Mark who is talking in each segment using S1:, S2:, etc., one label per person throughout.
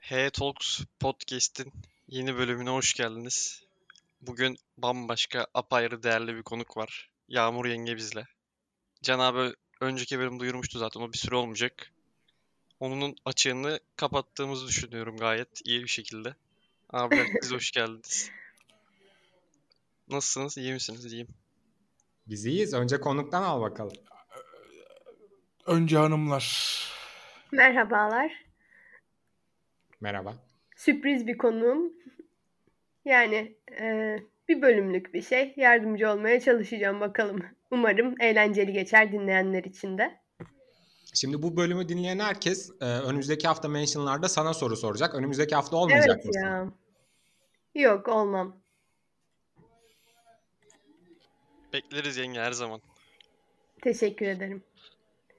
S1: H Talks Podcast'in yeni bölümüne hoş geldiniz. Bugün bambaşka apayrı değerli bir konuk var. Yağmur yenge bizle. Can abi önceki bölüm duyurmuştu zaten o bir süre olmayacak. Onun açığını kapattığımızı düşünüyorum gayet iyi bir şekilde. Abiler siz hoş geldiniz. Nasılsınız? İyi misiniz? İyiyim.
S2: Biz iyiyiz. Önce konuktan al bakalım.
S3: Önce hanımlar.
S4: Merhabalar.
S2: Merhaba.
S4: Sürpriz bir konuğum. Yani e, bir bölümlük bir şey. Yardımcı olmaya çalışacağım bakalım. Umarım eğlenceli geçer dinleyenler için de.
S2: Şimdi bu bölümü dinleyen herkes e, önümüzdeki hafta mentionlarda sana soru soracak. Önümüzdeki hafta olmayacak
S4: evet
S2: mısın?
S4: ya. Yok olmam.
S1: Bekleriz yenge her zaman.
S4: Teşekkür ederim.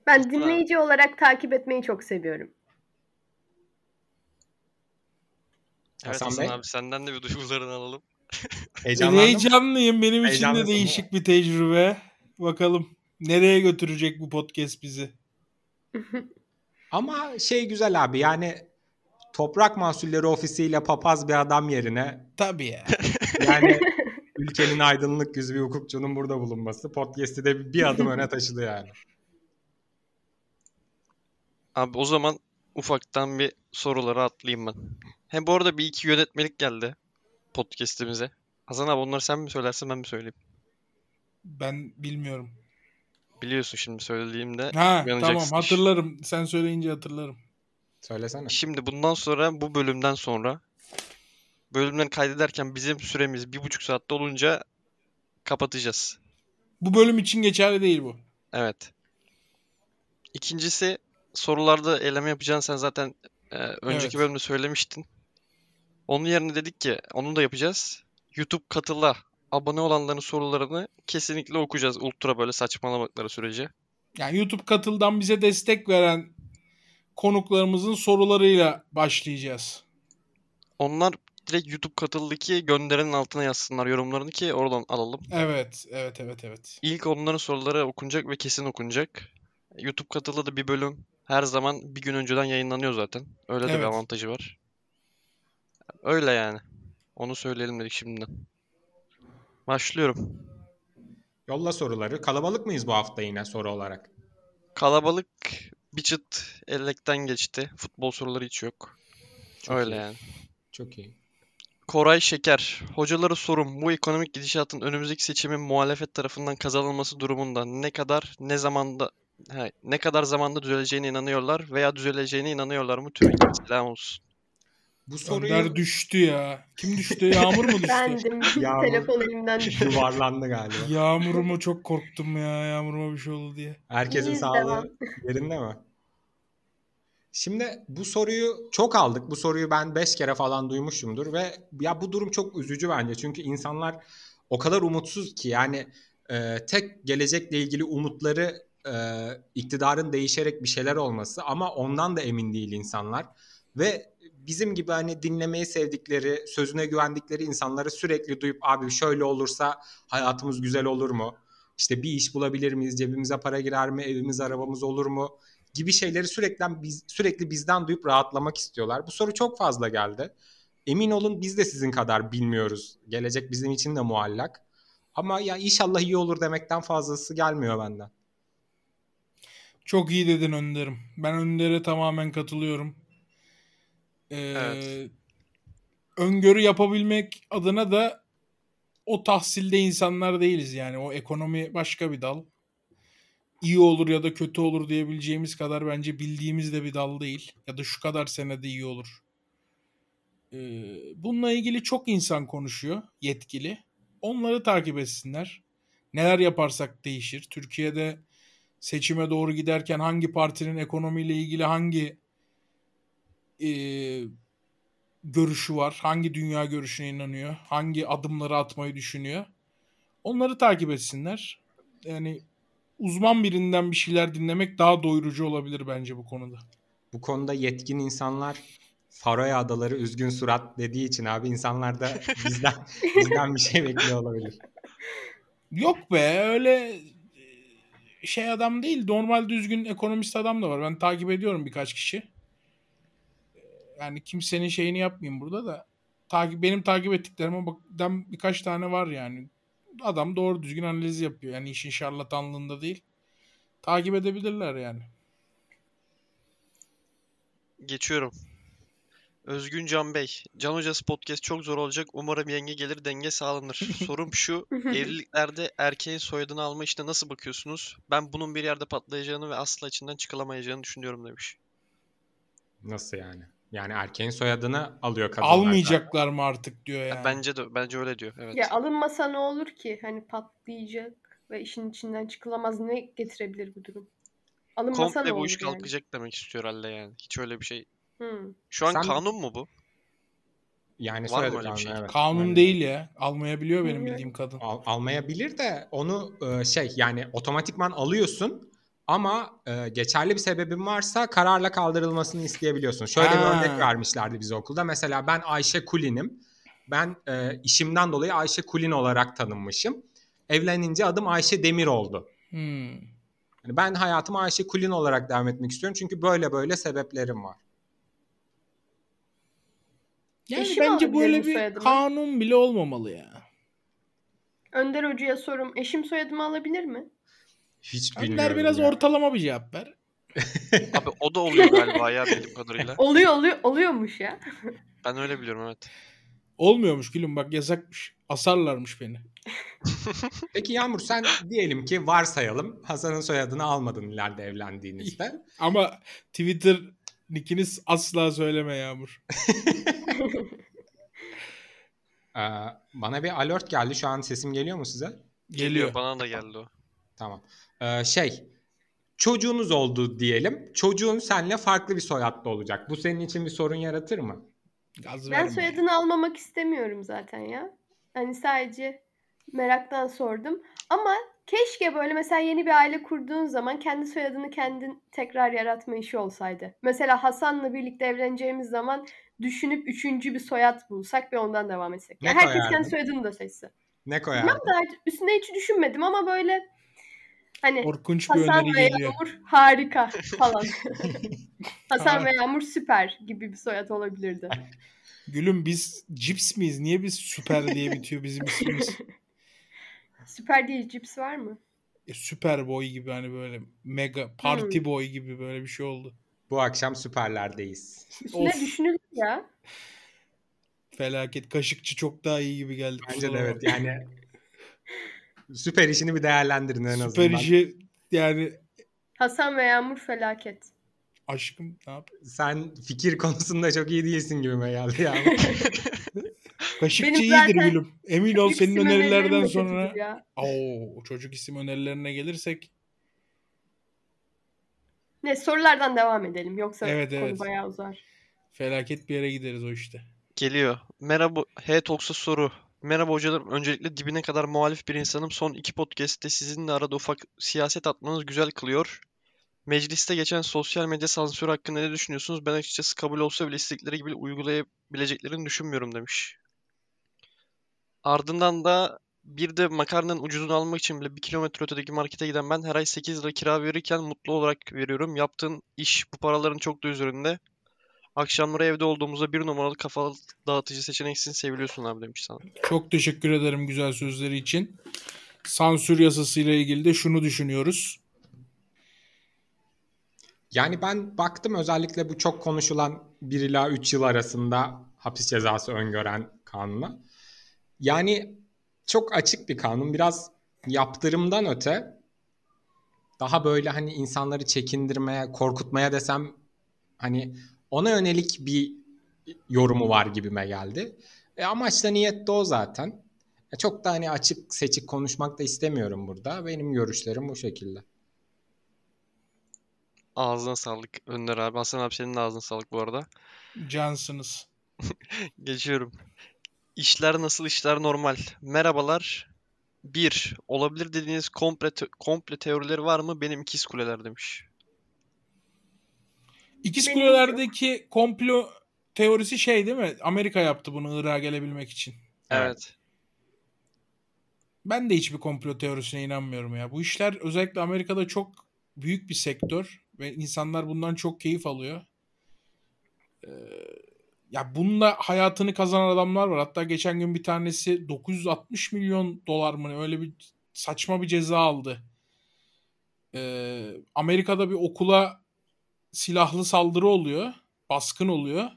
S4: Ben dinleyici olarak takip etmeyi çok seviyorum.
S1: Evet
S2: Hasan
S1: Hasan,
S2: Bey?
S1: abi senden de bir duygularını alalım.
S2: Heyecanlandın mı?
S3: Heyecanlıyım. Benim için
S2: Heyecanlısın
S3: de değişik bir tecrübe. Bakalım nereye götürecek bu podcast bizi?
S2: Ama şey güzel abi yani toprak mahsulleri ofisiyle papaz bir adam yerine
S3: Tabii ya.
S2: yani ülkenin aydınlık yüzü bir hukukçunun burada bulunması podcast'i de bir adım öne taşıdı yani.
S1: Abi o zaman ufaktan bir sorulara atlayayım ben. Hem bu arada bir iki yönetmelik geldi podcast'imize. Hasan abi onları sen mi söylersin ben mi söyleyeyim?
S3: Ben bilmiyorum.
S1: Biliyorsun şimdi söylediğimde.
S3: Ha tamam
S1: Yanacaksın iş.
S3: hatırlarım. Sen söyleyince hatırlarım.
S2: Söylesene.
S1: Şimdi bundan sonra bu bölümden sonra bölümden kaydederken bizim süremiz bir buçuk saatte olunca kapatacağız.
S3: Bu bölüm için geçerli değil bu.
S1: Evet. İkincisi sorularda eleme yapacağını sen zaten e, önceki
S3: Evet.
S1: bölümde söylemiştin. Onun yerine dedik ki onu da yapacağız. YouTube katıla abone olanların sorularını kesinlikle okuyacağız. Ultra böyle saçmalamakları sürece.
S3: Yani YouTube katıldan bize destek veren konuklarımızın sorularıyla başlayacağız.
S1: Onlar direkt YouTube katıldaki gönderenin altına yazsınlar yorumlarını ki oradan alalım.
S3: Evet, evet, evet, evet.
S1: İlk onların soruları okunacak ve kesin okunacak. YouTube katılı da bir bölüm her zaman bir gün önceden yayınlanıyor zaten. Öyle de bir
S3: Evet.
S1: avantajı var. Öyle yani. Onu söyleyelim dedik şimdiden. Başlıyorum.
S2: Yolla soruları. Kalabalık mıyız bu hafta yine soru olarak?
S1: Kalabalık bir çıt ellekten geçti. Futbol soruları hiç yok.
S2: Çok
S1: Öyle
S2: iyi.
S1: yani.
S2: Çok iyi.
S1: Koray Şeker. Hocalara sorum bu ekonomik gidişatın önümüzdeki seçimin muhalefet tarafından kazanılması durumunda ne kadar ne zamanda he, ne kadar zamanda düzeleceğine inanıyorlar veya düzeleceğine inanıyorlar mı? Türkiye selam olsun.
S2: Bu soruyu
S3: Önder düştü ya. Kim düştü? Yağmur mu düştü?
S4: Bendim.
S2: Yağmur.
S4: Telefon elimden düştü.
S2: yuvarlandı galiba.
S3: Yağmuruma çok korktum ya. Yağmuruma bir şey oldu diye.
S2: Herkesin
S4: İyiyiz,
S2: sağlığı
S4: devam.
S2: yerinde mi? Şimdi bu soruyu çok aldık. Bu soruyu ben 5 kere falan duymuşumdur ve ya bu durum çok üzücü bence. Çünkü insanlar o kadar umutsuz ki yani e, tek gelecekle ilgili umutları e, iktidarın değişerek bir şeyler olması ama ondan da emin değil insanlar. Ve bizim gibi hani dinlemeyi sevdikleri, sözüne güvendikleri insanları sürekli duyup abi şöyle olursa hayatımız güzel olur mu? İşte bir iş bulabilir miyiz? Cebimize para girer mi? Evimiz, arabamız olur mu? Gibi şeyleri sürekli biz, sürekli bizden duyup rahatlamak istiyorlar. Bu soru çok fazla geldi. Emin olun biz de sizin kadar bilmiyoruz. Gelecek bizim için de muallak. Ama ya inşallah iyi olur demekten fazlası gelmiyor benden.
S3: Çok iyi dedin Önder'im. Ben Önder'e tamamen katılıyorum. Ee,
S1: Evet.
S3: Öngörü yapabilmek adına da o tahsilde insanlar değiliz yani. O ekonomi başka bir dal. İyi olur ya da kötü olur diyebileceğimiz kadar bence bildiğimiz de bir dal değil. Ya da şu kadar senede iyi olur. Ee, bununla ilgili çok insan konuşuyor yetkili. Onları takip etsinler. Neler yaparsak değişir. Türkiye'de seçime doğru giderken hangi partinin ekonomiyle ilgili hangi e, görüşü var, hangi dünya görüşüne inanıyor, hangi adımları atmayı düşünüyor. Onları takip etsinler. Yani uzman birinden bir şeyler dinlemek daha doyurucu olabilir bence bu konuda.
S2: Bu konuda yetkin insanlar Faroe Adaları üzgün surat dediği için abi insanlar da bizden bizden bir şey bekliyor olabilir.
S3: Yok be öyle e, şey adam değil. Normal düzgün ekonomist adam da var. Ben takip ediyorum birkaç kişi. E, yani kimsenin şeyini yapmayayım burada da takip benim takip ettiklerime bakdan birkaç tane var yani. Adam doğru düzgün analiz yapıyor. Yani işin şarlatanlığında değil. Takip edebilirler yani.
S1: Geçiyorum. Özgün Can Bey. Can Hocası podcast çok zor olacak. Umarım yenge gelir denge sağlanır. Sorum şu. Evliliklerde erkeğin soyadını alma işine nasıl bakıyorsunuz? Ben bunun bir yerde patlayacağını ve asla içinden çıkılamayacağını düşünüyorum demiş.
S2: Nasıl yani? Yani erkeğin soyadını alıyor kadınlar.
S3: Almayacaklar mı artık diyor
S1: Ya
S3: yani.
S1: Bence de bence öyle diyor. Evet.
S4: Ya alınmasa ne olur ki? Hani patlayacak ve işin içinden çıkılamaz ne getirebilir bu durum? Alınmasa ne
S1: Komple
S4: olur
S1: bu iş
S4: yani? Hmm.
S1: kalkacak demek istiyor herhalde yani. Hiç öyle bir şey.
S4: Hı.
S1: Şu an
S2: Sen-
S1: kanun mu bu?
S2: Yani
S1: Var mı
S2: soyadı
S1: öyle bir
S2: kanunu,
S1: şey?
S2: evet.
S3: Kanun
S2: Yani
S3: değil ya. Almayabiliyor benim
S4: Bilmiyorum.
S3: bildiğim kadın.
S2: al- almayabilir de onu e, şey yani otomatikman alıyorsun ama e, geçerli bir sebebin varsa kararla kaldırılmasını isteyebiliyorsun. Şöyle
S3: Ha.
S2: bir örnek vermişlerdi bize okulda. Mesela ben Ayşe Kulin'im. Ben e, işimden dolayı Ayşe Kulin olarak tanınmışım. Evlenince adım Ayşe Demir oldu.
S3: Hmm.
S2: Yani ben hayatıma Ayşe Kulin olarak devam etmek istiyorum. Çünkü böyle böyle sebeplerim var.
S3: Yani
S4: Eşim
S3: bence
S4: alabilir
S3: böyle
S4: bu
S3: bir
S4: soyadını.
S3: kanun bile olmamalı ya.
S4: Önder Hoca'ya sorum. Eşim soyadımı alabilir mi?
S2: Hiç
S3: Önder
S2: bilmiyorum
S3: biraz
S2: ya.
S3: ortalama bir cevap ver.
S1: Abi o da oluyor galiba ya bildiğim kadarıyla.
S4: Oluyor oluyor oluyormuş ya.
S1: Ben öyle biliyorum evet.
S3: Olmuyormuş gülüm bak yasakmış. Asarlarmış beni.
S2: Peki Yağmur sen diyelim ki varsayalım Hasan'ın soyadını almadın ileride evlendiğinizde.
S3: Ama Twitter nickiniz asla söyleme Yağmur.
S2: Ee, bana bir alert geldi. Şu an sesim geliyor mu size?
S3: Geliyor.
S1: Bana da geldi o.
S2: Tamam. Ee, şey çocuğunuz oldu diyelim. Çocuğun seninle farklı bir soyadlı olacak. Bu senin için bir sorun yaratır mı?
S3: Gaz
S4: Ben
S3: verme.
S4: soyadını almamak istemiyorum zaten ya. Hani sadece meraktan sordum. Ama keşke böyle mesela yeni bir aile kurduğun zaman kendi soyadını kendin tekrar yaratma işi olsaydı. Mesela Hasan'la birlikte evleneceğimiz zaman düşünüp üçüncü bir soyad bulsak ve ondan devam etsek.
S2: Ne
S4: Yani herkes
S2: koyardın?
S4: kendi soyadını da seçse.
S2: Ne
S4: Bilmem
S2: koyardın?
S4: de hiç- üstüne hiç düşünmedim ama böyle hani
S3: Korkunç bir
S4: Hasan
S3: öneri
S4: ve
S3: geliyor.
S4: Yağmur harika falan. Hasan
S3: Tamam.
S4: ve Yağmur süper gibi bir soyad olabilirdi.
S3: Gülüm biz cips miyiz? Niye biz süper diye bitiyor bizim ismimiz?
S4: Süper değil cips var mı?
S3: E, süper boy gibi hani böyle mega party
S4: Hmm.
S3: boy gibi böyle bir şey oldu.
S2: Bu akşam süperlerdeyiz.
S4: Üstüne
S3: Of.
S4: düşünülür ya.
S3: Felaket kaşıkçı çok daha iyi gibi geldi.
S2: Bence
S3: kusura
S2: de
S3: bakma.
S2: evet yani süper işini bir değerlendirin en
S3: Süper
S2: azından.
S3: işi yani
S4: Hasan ve Yağmur felaket.
S3: aşkım ne yap?
S2: Sen fikir konusunda çok iyi değilsin gibime geldi ya.
S3: Kaşıkçı
S4: Benim
S3: iyidir
S4: zaten
S3: gülüm. Emin ol
S4: Büyük
S3: senin
S4: isim önerilerim
S3: önerilerden
S4: de
S3: sonra.
S4: kötüdür ya.
S3: Oo, çocuk isim önerilerine gelirsek
S4: Ne sorulardan devam edelim yoksa
S3: Evet,
S4: konu
S3: evet.
S4: bayağı uzar.
S3: felaket bir yere gideriz o işte.
S1: Geliyor. Merhaba. Hey Talks'a soru. Merhaba hocalarım. Öncelikle dibine kadar muhalif bir insanım. Son iki podcast'te sizinle arada ufak siyaset atmanız güzel kılıyor. Mecliste geçen sosyal medya sansürü hakkında ne düşünüyorsunuz? Ben açıkçası kabul olsa bile istedikleri gibi uygulayabileceklerini düşünmüyorum demiş. Ardından da bir de makarnanın ucuzunu almak için bile bir kilometre ötedeki markete giden ben her ay 8 lira kira verirken mutlu olarak veriyorum. Yaptığın iş bu paraların çok da üzerinde. Akşamları evde olduğumuzda bir numaralı kafa dağıtıcı seçeneksin seviliyorsun abi demiş sana.
S3: Çok teşekkür ederim güzel sözleri için. Sansür yasasıyla ilgili de şunu düşünüyoruz.
S2: Yani ben baktım özellikle bu çok konuşulan 1 ila 3 yıl arasında hapis cezası öngören kanuna. Yani çok açık bir kanun. Biraz yaptırımdan öte daha böyle hani insanları çekindirmeye, korkutmaya desem hani ona yönelik bir yorumu var gibime geldi. E amaç da niyet de o zaten. E çok da hani açık seçik konuşmak da istemiyorum burada. Benim görüşlerim bu şekilde.
S1: Ağzına sağlık Önder abi. Hasan abi senin de ağzına sağlık bu arada.
S3: Cansınız.
S1: Geçiyorum. İşler nasıl işler normal. Merhabalar. 1. Olabilir dediğiniz komple, te- komple teorileri var mı? Benim ikiz kuleler demiş.
S3: İkiz
S4: Benim
S3: Kuleler'deki komplo teorisi şey değil mi? Amerika yaptı bunu Irak'a gelebilmek için.
S2: Evet.
S1: Evet.
S3: Ben de hiçbir komplo teorisine inanmıyorum ya. Bu işler özellikle Amerika'da çok büyük bir sektör ve insanlar bundan çok keyif alıyor. Ee, Ya bununla hayatını kazanan adamlar var. Hatta geçen gün bir tanesi 960 milyon dolar mı öyle bir saçma bir ceza aldı. Ee, Amerika'da bir okula silahlı saldırı oluyor. Baskın oluyor.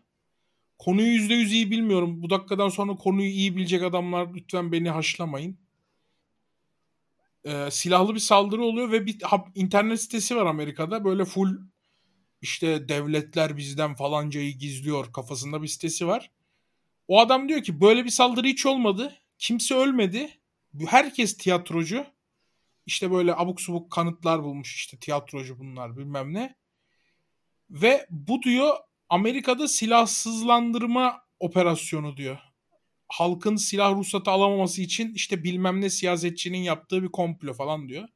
S3: Konuyu %100 iyi bilmiyorum. Bu dakikadan sonra konuyu iyi bilecek adamlar lütfen beni haşlamayın. Ee, silahlı bir saldırı oluyor ve bir ha- internet sitesi var Amerika'da. Böyle full işte devletler bizden falancayı gizliyor kafasında bir sitesi var. O adam diyor ki böyle bir saldırı hiç olmadı. Kimse ölmedi. Bu- Herkes tiyatrocu. İşte böyle abuk subuk kanıtlar bulmuş işte tiyatrocu bunlar bilmem ne. Ve bu diyor Amerika'da silahsızlandırma operasyonu diyor. Halkın silah ruhsatı alamaması için işte bilmem ne siyasetçinin yaptığı bir komplo falan diyor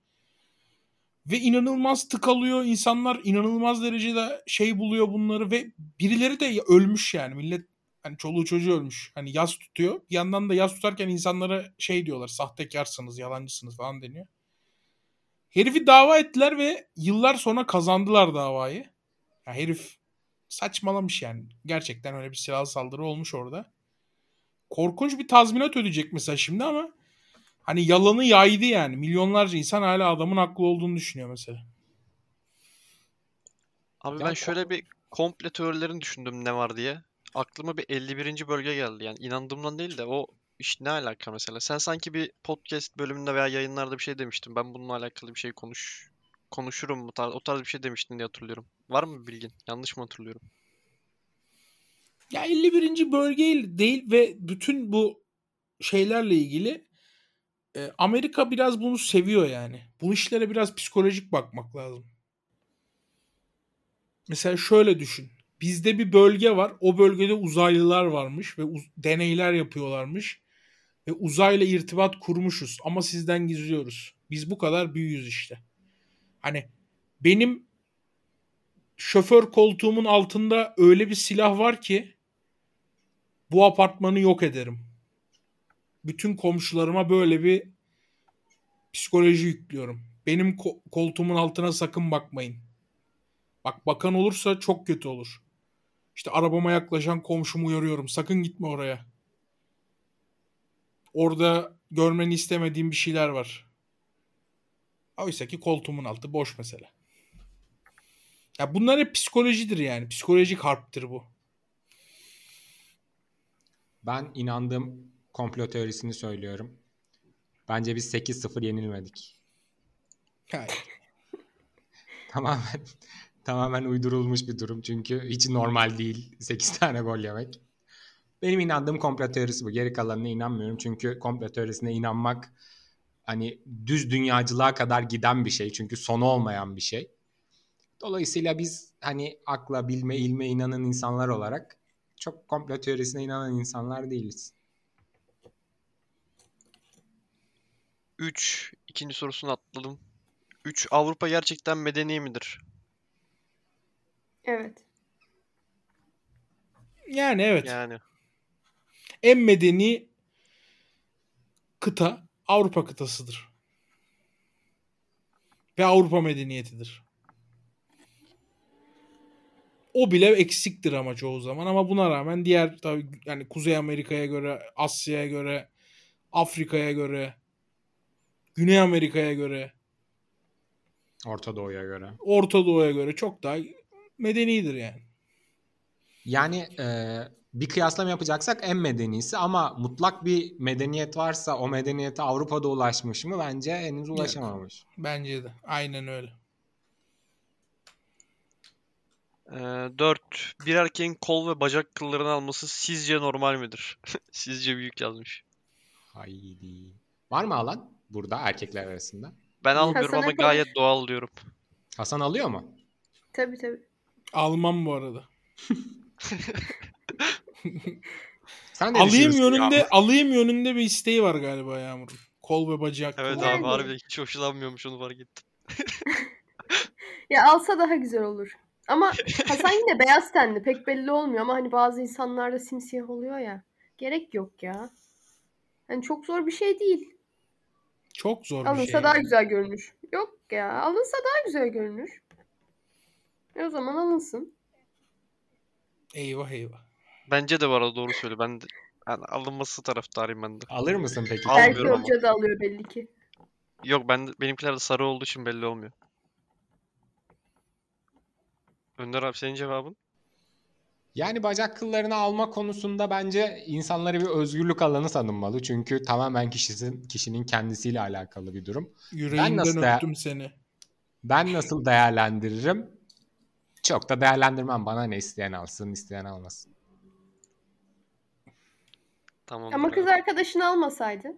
S3: ve inanılmaz tıkalıyor. İnsanlar inanılmaz derecede şey buluyor bunları ve birileri de ölmüş yani. Millet hani çoluğu çocuğu ölmüş. Hani yaz tutuyor. Bir yandan da yaz tutarken insanlara şey diyorlar. Sahtekarsınız, yalancısınız falan deniyor. Herifi dava ettiler ve yıllar sonra kazandılar davayı. Ya herif saçmalamış yani. Gerçekten öyle bir silahlı saldırı olmuş orada. Korkunç bir tazminat ödeyecek mesela şimdi ama hani yalanı yaydı yani. Milyonlarca insan hala adamın haklı olduğunu düşünüyor mesela.
S1: Abi
S2: Ya
S1: ben
S2: ko-
S1: şöyle bir komple teorilerini düşündüm ne var diye. Aklıma bir 51. bölge geldi. Yani inandığımdan değil de o iş ne alaka mesela? Sen sanki bir podcast bölümünde veya yayınlarda bir şey demiştin. Ben bununla alakalı bir şey konuş konuşurum mu tar- o tarz bir şey demiştin diye hatırlıyorum. Var mı bir bilgin? Yanlış mı hatırlıyorum?
S3: Ya 51. bölge değil ve bütün bu şeylerle ilgili e, Amerika biraz bunu seviyor yani. Bu işlere biraz psikolojik bakmak lazım. Mesela şöyle düşün. Bizde bir bölge var. O bölgede uzaylılar varmış ve uz- deneyler yapıyorlarmış. Ve uzayla irtibat kurmuşuz ama sizden gizliyoruz. Biz bu kadar büyüyüz işte. Hani benim şoför koltuğumun altında öyle bir silah var ki bu apartmanı yok ederim. Bütün komşularıma böyle bir psikoloji yüklüyorum. Benim ko- koltuğumun altına sakın bakmayın. Bak bakan olursa çok kötü olur. İşte arabama yaklaşan komşumu uyarıyorum. Sakın gitme oraya. Orada görmeni istemediğim bir şeyler var. Oysa ki koltuğumun altı boş mesela. Ya bunlar hep psikolojidir yani. Psikolojik harptir bu.
S2: Ben inandığım komplo teorisini söylüyorum. Bence biz 8-0 yenilmedik.
S3: Hayır.
S2: Tamamen tamamen uydurulmuş bir durum çünkü hiç normal değil 8 tane gol yemek. Benim inandığım komplo teorisi bu. Geri kalanına inanmıyorum çünkü komplo teorisine inanmak hani düz dünyacılığa kadar giden bir şey çünkü sonu olmayan bir şey. Dolayısıyla biz hani akla, bilme, ilme inanan insanlar olarak çok komplo teorisine inanan insanlar değiliz.
S1: 3. ikinci sorusunu atladım. 3. Avrupa gerçekten medeni midir?
S4: Evet.
S3: Yani evet.
S1: Yani
S3: En medeni kıta Avrupa kıtasıdır. Ve Avrupa medeniyetidir. O bile eksiktir ama çoğu zaman ama buna rağmen diğer tabii yani Kuzey Amerika'ya göre, Asya'ya göre, Afrika'ya göre, Güney Amerika'ya göre
S2: Orta Doğu'ya göre.
S3: Orta Doğu'ya göre çok daha medenidir yani.
S2: Yani e, bir kıyaslama yapacaksak en medenisi ama mutlak bir medeniyet varsa o medeniyete Avrupa'da ulaşmış mı? Bence henüz ulaşamamış.
S3: Bence de. Aynen öyle.
S1: 4. e, Bir erkeğin kol ve bacak kıllarını alması sizce normal midir? Sizce büyük yazmış.
S2: Haydi. Var mı alan burada erkekler arasında?
S1: Ben almıyorum
S4: Hasan'a
S1: ama
S4: konuş.
S1: gayet doğal diyorum.
S2: Hasan alıyor mu?
S4: Tabii tabii.
S3: Almam bu arada.
S2: Sen ne
S3: Alayım
S2: düşünüyorsun
S3: yönünde
S2: ya?
S3: alayım yönünde bir isteği var galiba Yağmur'un. Kol ve bacak.
S1: Evet
S3: kulağı.
S1: abi
S4: Yani.
S1: harbiden hiç hoşlanmıyormuş onu fark ettim.
S4: Ya alsa daha güzel olur. Ama Hasan yine beyaz tenli. Pek belli olmuyor ama hani bazı insanlarda simsiyah oluyor ya. Gerek yok ya. Hani çok zor bir şey değil.
S3: Çok zor bir
S4: Alınsa
S3: şey.
S4: daha
S3: yani.
S4: güzel görünür. Yok ya. Alınsa daha güzel görünür. E o zaman alınsın.
S3: Eyvah eyvah.
S1: Bence de bu arada doğru söyle. Ben de, yani alınması taraftarıyım ben de.
S2: Alır mısın peki?
S1: Almıyorum
S4: Belki
S1: Almıyorum ama.
S4: hoca da alıyor belli ki.
S1: Yok ben de, benimkiler de sarı olduğu için belli olmuyor. Önder abi senin cevabın?
S2: Yani bacak kıllarını alma konusunda bence insanlara bir özgürlük alanı tanınmalı. Çünkü tamamen kişisin, kişinin kendisiyle alakalı bir durum.
S3: Yüreğimden
S2: nasıl da-
S3: öptüm seni.
S2: Ben nasıl değerlendiririm? Çok da değerlendirmem. Bana ne isteyen alsın, isteyen almasın.
S1: Tamam.
S4: Ama kız arkadaşını almasaydı.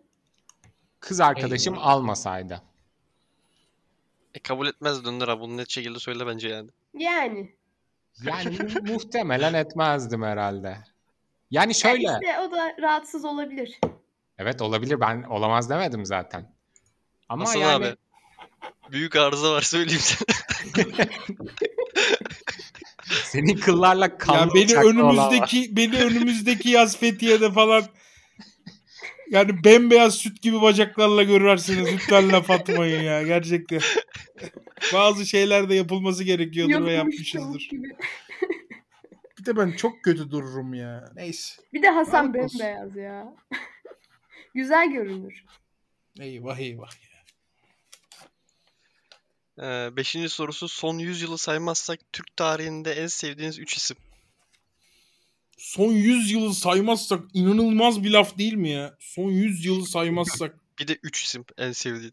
S2: Kız arkadaşım
S3: Eyvah.
S2: almasaydı.
S1: E, kabul etmez Önder abi. Bunu net şekilde söyle bence yani.
S4: Yani.
S2: Yani mu- muhtemelen etmezdim herhalde. Yani
S4: Ya
S2: şöyle.
S4: İşte o da rahatsız olabilir.
S2: Evet olabilir. Ben olamaz demedim zaten. Ama
S1: Hasan
S2: yani
S1: abi. Büyük arıza var söyleyeyim sana.
S2: senin kıllarla kanlı
S3: Yani beni
S2: bıçaklı olan var.
S3: önümüzdeki beni önümüzdeki yaz Fethiye'de falan yani bembeyaz süt gibi bacaklarla görürsünüz. Lütfen laf atmayın ya gerçekten. Bazı şeyler de yapılması gerekiyordur ve
S4: Yokmuş
S3: yapmışızdır.
S4: tavuk gibi.
S3: Bir de ben çok kötü dururum ya. Neyse.
S4: Bir de Hasan
S3: Lanet olsun.
S4: bembeyaz ya. Güzel görünür.
S3: Eyvah eyvah.
S1: Ee, beşinci sorusu son 100 yılı saymazsak Türk tarihinde en sevdiğiniz 3 isim.
S3: Son 100 yılı saymazsak inanılmaz bir laf değil mi ya? Son 100 yılı saymazsak.
S1: Bir de 3 isim en sevdiğin.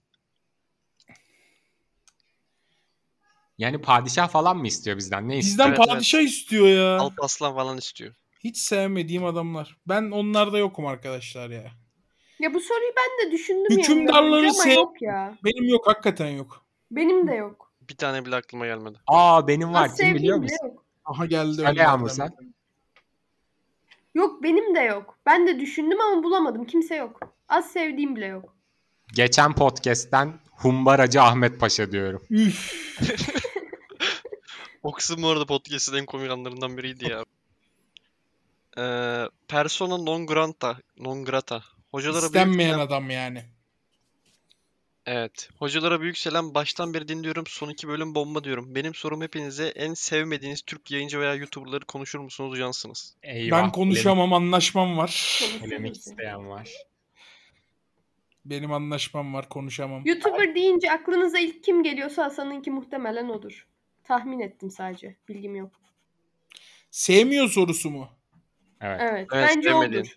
S2: Yani padişah falan mı istiyor bizden? Ne istiyor?
S3: Bizden
S1: Evet, evet.
S3: padişah istiyor ya.
S1: Alpaslan falan istiyor.
S3: Hiç sevmediğim adamlar. Ben onlarda yokum arkadaşlar ya.
S4: Ya bu soruyu ben de düşündüm
S3: Hükümdarları
S4: yani. Ama
S3: sev-
S4: yok ya.
S3: Benim yok hakikaten yok.
S4: Benim de yok.
S1: Bir tane bile aklıma gelmedi.
S2: Aa benim var.
S4: Az
S2: Kim
S4: sevdiğim
S2: biliyor
S4: bile
S2: musun?
S4: yok.
S3: Aha geldi.
S2: Söyle
S3: Önder
S2: Yağmur
S3: abi.
S2: sen.
S4: Yok benim de yok. Ben de düşündüm ama bulamadım. Kimse yok. Az sevdiğim bile yok.
S2: Geçen podcast'ten Humbaracı Ahmet Paşa diyorum.
S3: Üf.
S1: O kısım bu arada podcast'in en komik anlarından biriydi ya. Ee, persona non grata. Non grata. Hocalara büyük
S3: İstenmeyen
S1: selam.
S3: adam yani.
S1: Evet. Hocalara büyük selam. Baştan beri dinliyorum. Son iki bölüm bomba diyorum. Benim sorum hepinize en sevmediğiniz Türk yayıncı veya YouTuber'ları konuşur musunuz, uyansınız?
S2: Eyvah,
S3: ben konuşamam anlaşmam var.
S2: polemik- Polemik isteyen var.
S3: Benim anlaşmam var konuşamam.
S4: YouTuber deyince aklınıza ilk kim geliyorsa Hasan'ınki muhtemelen odur. Tahmin ettim sadece. Bilgim yok.
S3: Sevmiyor sorusu mu?
S2: Evet.
S4: Evet.
S1: Evet,
S4: bence
S1: sevmediğin.
S4: odur.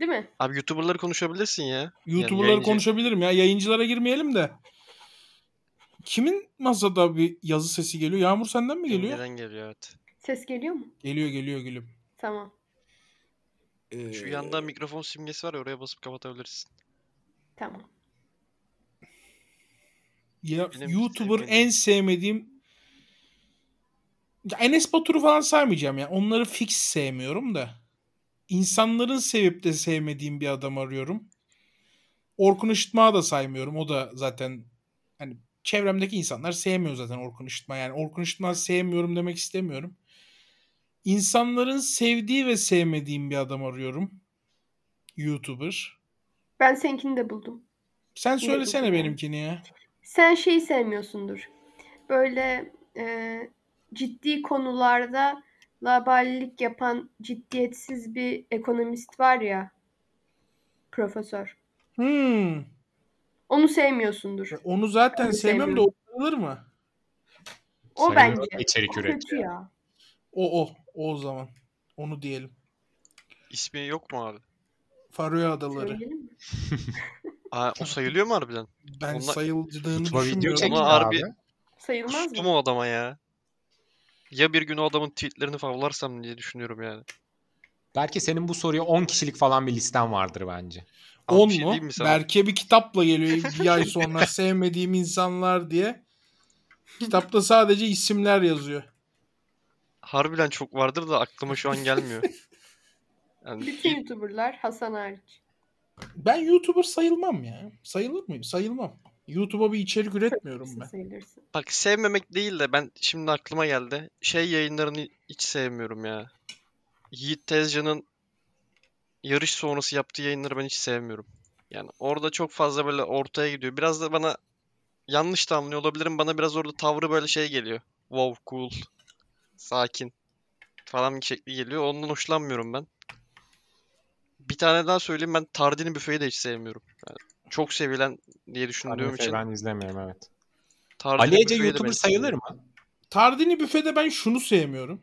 S4: Değil mi?
S1: Abi YouTuber'ları konuşabilirsin ya.
S3: YouTuber'ları
S1: yayıncı.
S3: konuşabilirim ya. Yayıncılara girmeyelim de. Kimin masada bir yazı sesi geliyor? Yağmur senden mi geliyor?
S1: Yengeden geliyor evet.
S4: Ses geliyor mu?
S3: Geliyor geliyor gülüm.
S4: Tamam.
S3: Ee,
S1: Şu yanda mikrofon simgesi var ya oraya basıp kapatabilirsin.
S4: Tamam.
S3: ya,
S1: Benim
S3: YouTuber
S1: sevmediğim-
S3: en sevmediğim Ya Enes Batur'u falan saymayacağım ya. Onları fix sevmiyorum da. İnsanların sevip de sevmediğim bir adam arıyorum. Orkun Işıtma'yı da saymıyorum. O da zaten hani çevremdeki insanlar sevmiyor zaten Orkun Işıtma. Yani Orkun Işıtma sevmiyorum demek istemiyorum. İnsanların sevdiği ve sevmediğim bir adam arıyorum. YouTuber.
S4: Ben seninkini de buldum.
S3: Sen söylesene
S4: YouTuber.
S3: benimkini ya.
S4: Sen şeyi sevmiyorsundur. Böyle e, ciddi konularda laballik yapan ciddiyetsiz bir ekonomist var ya. Profesör.
S3: Hmm.
S4: Onu sevmiyorsundur.
S3: Onu zaten
S4: Ben de
S3: sevmiyorum da o alır mı?
S4: O
S2: Sayın
S4: bence. O
S2: İçerik
S4: kötü
S2: üretiyor.
S4: ya.
S3: O o. O o zaman. Onu diyelim.
S1: İsmi yok mu abi?
S3: Faroe Adaları.
S4: Söyleyelim mi?
S1: Aa, o sayılıyor mu harbiden?
S3: Ben
S1: Onlar-
S3: sayıldığını
S2: Tutma video
S3: düşünmüyorum.
S2: çekiyor
S1: Ama harbi-
S2: abi.
S4: Sayılmaz mı?
S1: Kustum o adama ya. Ya bir gün o adamın tweetlerini favlarsam diye düşünüyorum yani.
S2: Belki senin bu soruya 10 kişilik falan bir listen vardır bence.
S1: Abi bir
S3: 10
S1: şey
S3: mu?
S1: diyeyim mi sana?
S3: Berke bir kitapla geliyor bir ay sonra sevmediğim insanlar diye. Kitapta sadece isimler yazıyor.
S1: Harbiden çok vardır da aklıma şu an gelmiyor. Yani
S4: Bütün YouTuber'lar Hasan hariç.
S3: Ben YouTuber sayılmam ya. Sayılır mıyım? Sayılmam. YouTube'a bir içerik üretmiyorum
S4: Nasıl
S3: ben.
S4: sayılırsın?
S1: bak sevmemek değil de ben şimdi aklıma geldi. Şey yayınlarını hiç sevmiyorum ya. Yiğit Tezcan'ın yarış sonrası yaptığı yayınları ben hiç sevmiyorum. Yani orada çok fazla böyle ortaya gidiyor. Biraz da bana yanlış da anlıyor olabilirim. Bana biraz orada tavrı böyle şey geliyor. Wow cool. Sakin falan şekli geliyor. Ondan hoşlanmıyorum ben. Bir tane daha söyleyeyim ben Tardini büfeyi de hiç sevmiyorum. Yani çok sevilen diye düşündüğüm için
S2: Ben izlemiyorum evet.
S1: Tardini
S2: Ali Ece
S1: büfeyi de ben
S2: YouTuber
S1: hiç
S2: sayılır
S1: sevmiyorum.
S2: mı?
S3: Tardini büfede ben şunu sevmiyorum.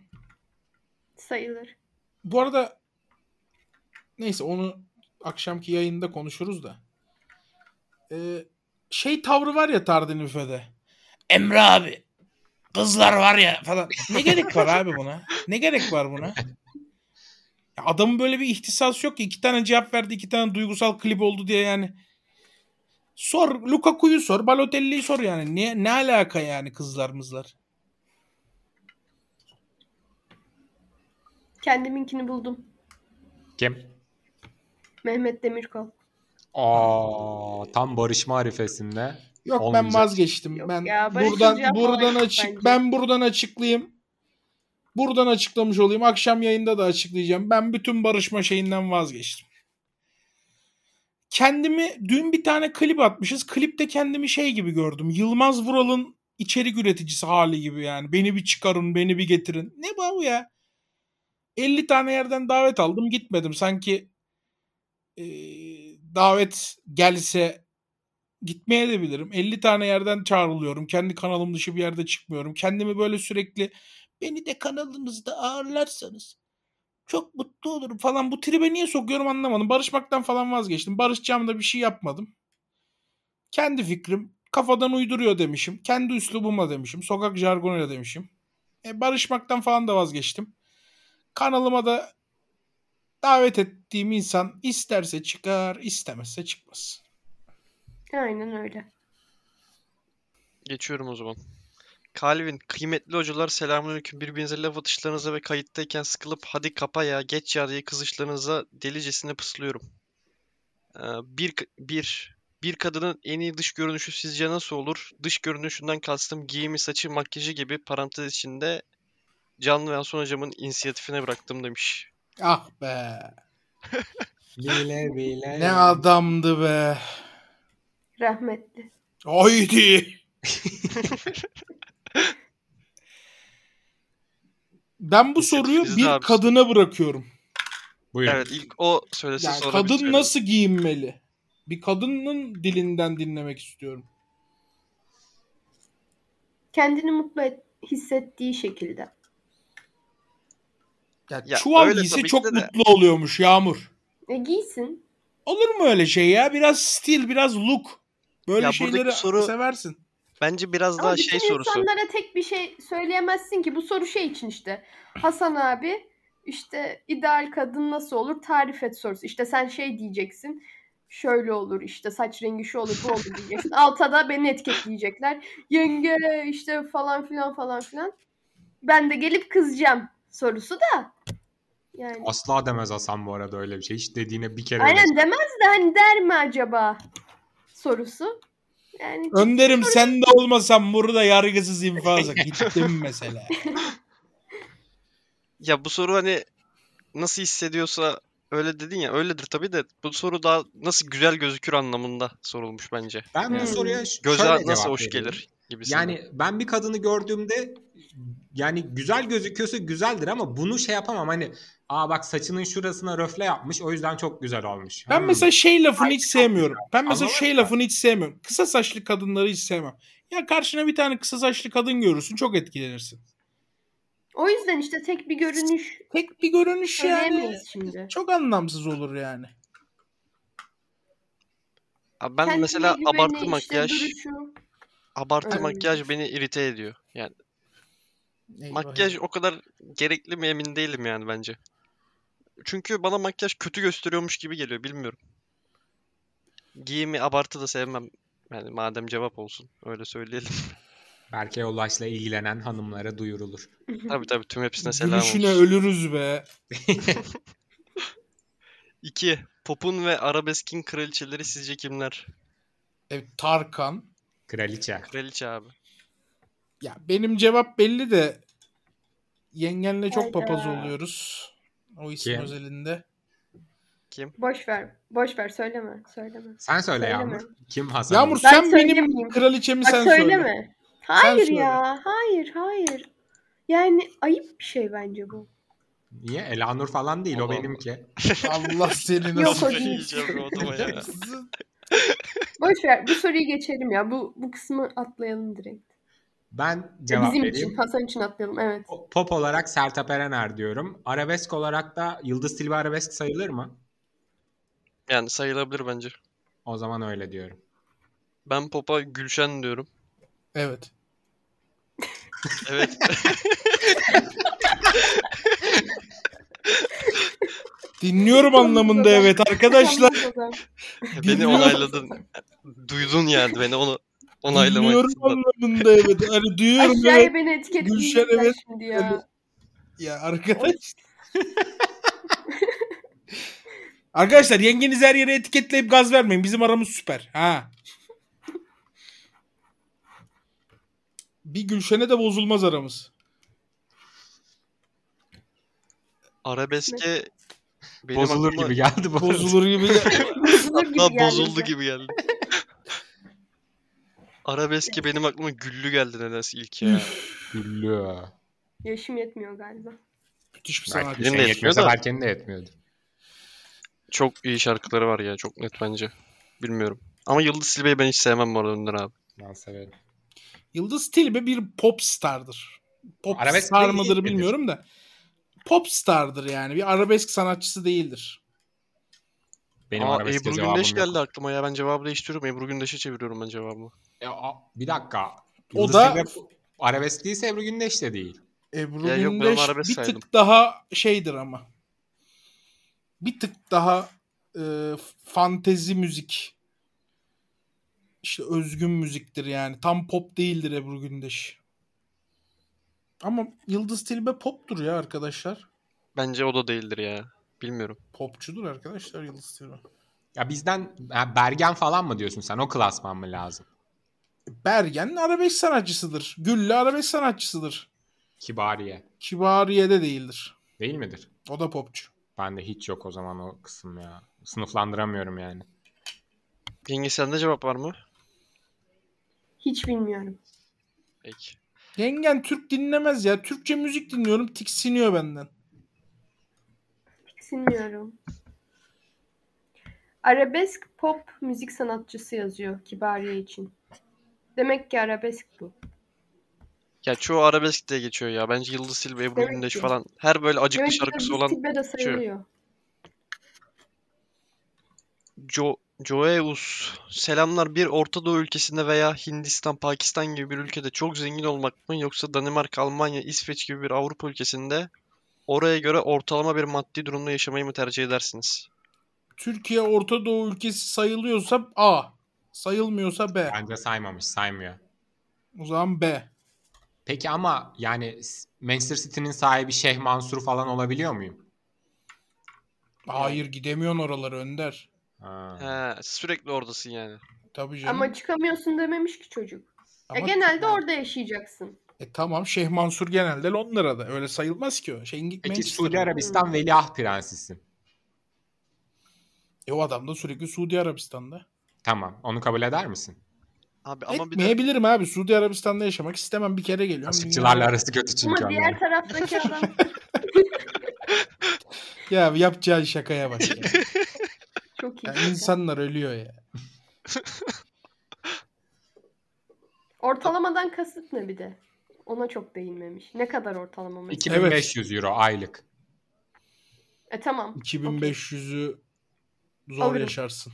S4: Sayılır.
S3: Bu arada neyse onu akşamki yayında konuşuruz da. Ee, şey tavrı var ya Tardini büfede. Emre abi kızlar var ya falan. Ne gerek var abi buna? Ne gerek var buna? Ya adamın böyle bir ihtisası yok ki. iki tane cevap verdi, iki tane duygusal klip oldu diye yani. Sor, Lukaku'yu sor, Balotelli'yi sor yani. Ne, ne alaka yani kızlarımızlar?
S4: Kendiminkini buldum.
S2: Kim?
S4: Mehmet Demirkol.
S2: Aa, tam barışma arifesinde.
S3: Yok ben
S2: Olmayacak.
S3: vazgeçtim.
S4: Yok
S3: ben
S4: ya, Barış
S3: buradan
S4: Hoca'ya falan
S3: buradan
S4: yok
S3: açık
S4: bence.
S3: ben buradan açıklayayım. Buradan açıklamış olayım. Akşam yayında da açıklayacağım. Ben bütün barışma şeyinden vazgeçtim. Kendimi dün bir tane klip atmışız. Klipte kendimi şey gibi gördüm. Yılmaz Vural'ın içerik üreticisi hali gibi yani. Beni bir çıkarın, beni bir getirin. Ne bu ya? 50 tane yerden davet aldım, gitmedim. Sanki e, davet gelse gitmeye de bilirim. 50 tane yerden çağrılıyorum. Kendi kanalım dışı bir yerde çıkmıyorum. Kendimi böyle sürekli beni de kanalınızda ağırlarsanız çok mutlu olurum falan. Bu tribe niye sokuyorum anlamadım. Barışmaktan falan vazgeçtim. Barışacağım da bir şey yapmadım. Kendi fikrim kafadan uyduruyor demişim. Kendi üslubumla demişim. Sokak jargonuyla demişim. E, barışmaktan falan da vazgeçtim. Kanalıma da davet ettiğim insan isterse çıkar, istemezse çıkmaz.
S4: Aynen öyle.
S1: Geçiyorum o zaman. Calvin, kıymetli hocalar selamünaleyküm. Birbirinize laf atışlarınıza ve kayıttayken sıkılıp hadi kapa ya, geç ya diye kızışlarınıza delicesine pıslıyorum. Ee, bir, bir, bir kadının en iyi dış görünüşü sizce nasıl olur? Dış görünüşünden kastım giyimi, saçı, makyajı gibi parantez içinde Can ve Hasan hocamın inisiyatifine bıraktım demiş.
S3: Ah be.
S2: Lile bile.
S3: Ne adamdı be.
S4: Rahmetli.
S3: Haydi. ben bu soruyu
S1: Biz de
S3: bir
S1: abi-
S3: kadına bırakıyorum.
S2: Buyurun.
S1: Evet, ilk o söylesin
S3: Yani
S1: sonra biz
S3: kadın
S1: söyleyelim.
S3: nasıl giyinmeli? Bir kadının dilinden dinlemek istiyorum.
S4: Kendini mutlu et- hissettiği şekilde.
S3: Ya,
S1: Ya
S3: çuval
S1: öyle
S3: giyse
S1: tabii ki
S3: çok
S1: de de.
S3: mutlu oluyormuş Yağmur.
S4: E giysin.
S3: Olur mu öyle şey ya? Biraz stil, biraz look. Böyle
S1: Ya buradaki
S3: şeyleri
S1: soru-
S3: seversin.
S1: Bence biraz
S4: Ama
S1: daha
S4: bütün
S1: şey sorusu.
S4: insanlara tek bir şey söyleyemezsin ki. Bu soru şey için işte. Hasan abi işte ideal kadın nasıl olur tarif et sorusu. İşte sen şey diyeceksin. Şöyle olur işte saç rengi şu olur bu olur diyeceksin. Alta da beni etiketleyecekler. Yenge işte falan filan falan filan. Ben de gelip kızacağım sorusu da. Yani.
S2: Asla demez Hasan bu arada öyle bir şey. Hiç dediğine bir kere
S4: Aynen demez de hani der mi acaba sorusu. Yani
S3: Önderim sen de olmasan burada yargısız infaza gittim mesela.
S1: Ya bu soru hani nasıl hissediyorsa öyle dedin ya öyledir tabii de bu soru daha nasıl güzel gözükür anlamında sorulmuş bence.
S2: Ben bu
S4: Hmm.
S2: soruya ş-
S1: Göze
S2: şöyle
S1: nasıl
S2: cevap
S1: hoş
S2: veriyorum.
S1: gelir gibisinden.
S2: Yani ben bir kadını gördüğümde yani güzel gözüküyorsa güzeldir ama bunu şey yapamam hani aa bak saçının şurasına röfle yapmış o yüzden çok güzel olmuş.
S3: Ben
S2: Hmm.
S3: mesela şey lafını hiç sevmiyorum. Ben mesela
S2: Anlamadım
S3: şey lafını hiç sevmiyorum. Kısa saçlı kadınları hiç sevmem. Ya karşına bir tane kısa saçlı kadın görürsün çok etkilenirsin.
S4: o yüzden işte tek bir görünüş
S3: Tek bir görünüş yani.
S4: söyleyemeyiz şimdi.
S3: Çok anlamsız olur yani.
S1: Abi ben
S4: Kendine
S1: mesela
S4: güveni,
S1: abartı
S4: işte
S1: makyaj,
S4: duruşu.
S1: abartı
S4: Öyle.
S1: makyaj beni irite ediyor. Yani
S3: Eyvah
S1: makyaj
S3: eyvah.
S1: o kadar gerekli mi emin değilim yani bence. Çünkü bana makyaj kötü gösteriyormuş gibi geliyor bilmiyorum. Giyimi abartı da sevmem. Yani madem cevap olsun öyle söyleyelim.
S2: Berke Ulaş'la ilgilenen hanımlara duyurulur.
S1: Tabii tabii tüm hepsine selam
S3: Gülüşüne
S1: olsun.
S3: ölürüz be.
S1: 2. Pop'un ve arabeskin kraliçeleri sizce kimler?
S3: Evet, E, Tarkan.
S2: Kraliçe.
S1: Kraliçe abi.
S3: Ya benim cevap belli de yengenle çok
S4: Hayda.
S3: papaz oluyoruz. O isim
S2: Kim?
S3: özelinde.
S4: Boş ver. Boş ver söyleme. Söyleme.
S2: Sen söyle
S4: Söyleme.
S2: Yağmur. Kim Hasan?
S3: Yağmur
S4: Ben
S3: sen benim
S4: söylemeyeyim.
S3: kraliçemi
S4: Bak
S3: sen
S4: söyleme.
S3: söyle.
S4: Hayır
S3: söyle.
S4: ya. Hayır hayır. Yani ayıp bir şey bence bu.
S2: Niye? Elanur falan değil
S1: Allah
S2: o
S1: Allah.
S2: benimki.
S3: Allah seni
S4: Yok
S3: nasıl
S4: hocam.
S1: yiyeceğim bu adama ya?
S3: Kızım.
S4: Boş ver. Bu soruyu geçelim ya. Bu bu kısmı atlayalım direkt.
S2: Ben cevap
S4: Bizim
S2: vereyim.
S4: için, Hasan için atlayalım. Evet.
S2: Pop olarak Sertab Erener diyorum. Arabesk olarak da Yıldız Tilbe arabesk sayılır mı?
S1: Yani sayılabilir bence.
S2: O zaman öyle diyorum.
S1: Ben popa Gülşen diyorum.
S3: Evet.
S1: Evet.
S3: Dinliyorum anlamında evet arkadaşlar.
S4: Tamam o zaman.
S1: beni
S3: Dinliyorum.
S1: onayladın. Duydun yani beni onu onaylamayı.
S3: Dinliyorum anlamında evet. Hani duyuyorum evet.
S4: Aşağıya beni etiketleyecekler
S3: Gülşen, evet.
S4: şimdi ya.
S3: Ya arkadaş. Arkadaşlar yengeniz her yere etiketleyip gaz vermeyin. Bizim aramız süper. Ha. Bir Gülşen'e de bozulmaz aramız.
S1: Arabeske benim
S2: Bozulur
S1: aklıma-
S2: gibi geldi bu.
S3: Bozulur gibi.
S4: Bozulur gibi
S1: Hatta
S4: geldi
S1: bozuldu
S4: bize.
S1: gibi geldi. Arabeski benim aklıma güllü geldi nedense ilk ya.
S3: Üf,
S2: Güllü.
S4: Yaşım yetmiyor galiba.
S3: Müthiş bir
S2: Belki
S3: sanatçı.
S1: Benim
S2: senin
S1: de yetmiyor
S2: yetmiyorsa
S1: da.
S2: Berke'nin de yetmiyordu.
S1: Çok iyi şarkıları var ya çok net bence. Bilmiyorum. Ama Yıldız Silbe'yi ben hiç sevmem bu arada Önder abi.
S2: Ben severim.
S3: Yıldız Tilbe bir pop stardır. Pop
S2: Arabesk
S3: star
S2: değil
S3: mıdır
S2: midir?
S3: bilmiyorum da. Pop stardır yani. Bir arabesk sanatçısı değildir.
S2: Benim
S1: Aa,
S2: arabeske
S1: Ebru
S2: cevabım
S1: Gündeş
S2: yok.
S1: geldi aklıma ya. Ben cevabı değiştiriyorum. Ebru Gündeş'e çeviriyorum ben cevabımı.
S2: E, a- bir dakika.
S3: O
S2: Yıldız
S3: da-
S2: Tilbe arabesk değilse Ebru Gündeş de değil.
S3: Ebru
S1: Ya yok, ben
S3: Gündeş
S1: arabesk
S3: bir
S1: saydım.
S3: tık daha şeydir ama. Bir tık daha e, fantezi müzik. İşte özgün müziktir yani. Tam pop değildir Ebru Gündeş. Ama Yıldız Tilbe poptur ya arkadaşlar.
S1: Bence o da değildir ya. Bilmiyorum.
S3: Popçudur arkadaşlar Yıldız Tilbe.
S2: Ya bizden ha, Bergen falan mı diyorsun sen? O klasman mı lazım?
S3: Bergen arabesk sanatçısıdır. Güllü arabesk sanatçısıdır.
S2: Kibariye.
S3: Kibariye de değildir.
S2: Değil midir?
S3: O da popçu.
S2: Bende hiç yok o zaman o kısım ya. Sınıflandıramıyorum yani.
S1: Yenge sende cevap var mı?
S4: Hiç bilmiyorum.
S1: Peki.
S3: Yengen Türk dinlemez ya. Türkçe müzik dinliyorum tiksiniyor benden.
S4: Bilmiyorum. Arabesk pop müzik sanatçısı yazıyor Kibariye için. Demek ki arabesk bu.
S1: Ya çoğu arabesk diye geçiyor ya. Bence Yıldız Silbe, Ebru
S4: Evet
S1: Gündeş
S4: ki.
S1: falan. Her böyle acıklı
S4: Demek ki
S1: şarkısı
S4: Yıldız
S1: olan şey.
S4: Tilbe de sayılıyor.
S1: Jo Joeus. Selamlar. Bir Orta Doğu ülkesinde veya Hindistan, Pakistan gibi bir ülkede çok zengin olmak mı yoksa Danimarka, Almanya, İsveç gibi bir Avrupa ülkesinde oraya göre ortalama bir maddi durumda yaşamayı mı tercih edersiniz?
S3: Türkiye Orta Doğu ülkesi sayılıyorsa A. Sayılmıyorsa B.
S2: Bence saymamış, saymıyor.
S3: O zaman B.
S2: Peki ama yani s- Manchester City'nin sahibi Şeyh Mansur falan olabiliyor muyum?
S3: Hayır gidemiyorsun oralara Önder.
S2: Ha.
S1: He, sürekli oradasın yani.
S3: Tabii canım.
S4: Ama çıkamıyorsun dememiş ki çocuk. Ya
S3: Ama-
S4: genelde orada yaşayacaksın.
S3: E tamam Şeyh Mansur genelde Londra'da. Öyle sayılmaz ki o. Şeyin
S2: Peki
S3: Manchester'da.
S2: Suudi Arabistan Veliaht Prensesi'sin.
S3: E o adam da sürekli Suudi Arabistan'da.
S2: Tamam. Onu kabul eder misin?
S1: Abi ama bir de
S3: Etmeyebilirim abi. Suudi Arabistan'da yaşamak istemem. Bir kere geliyorum.
S2: Işıkçılarla
S3: Dünyada-
S2: arası kötü çünkü
S4: Ama
S2: onların.
S4: diğer taraftaki adam
S3: Ya yapacağı şakaya bak. Ya.
S4: çok iyi.
S3: Ya insanlar ölüyor ya.
S4: Ortalamadan kasıt ne bir de? Ona çok değinmemiş. Ne kadar ortalama mesela?
S2: 2500 euro aylık.
S4: E tamam.
S3: 2500'ü zor
S4: Alırım.
S3: yaşarsın.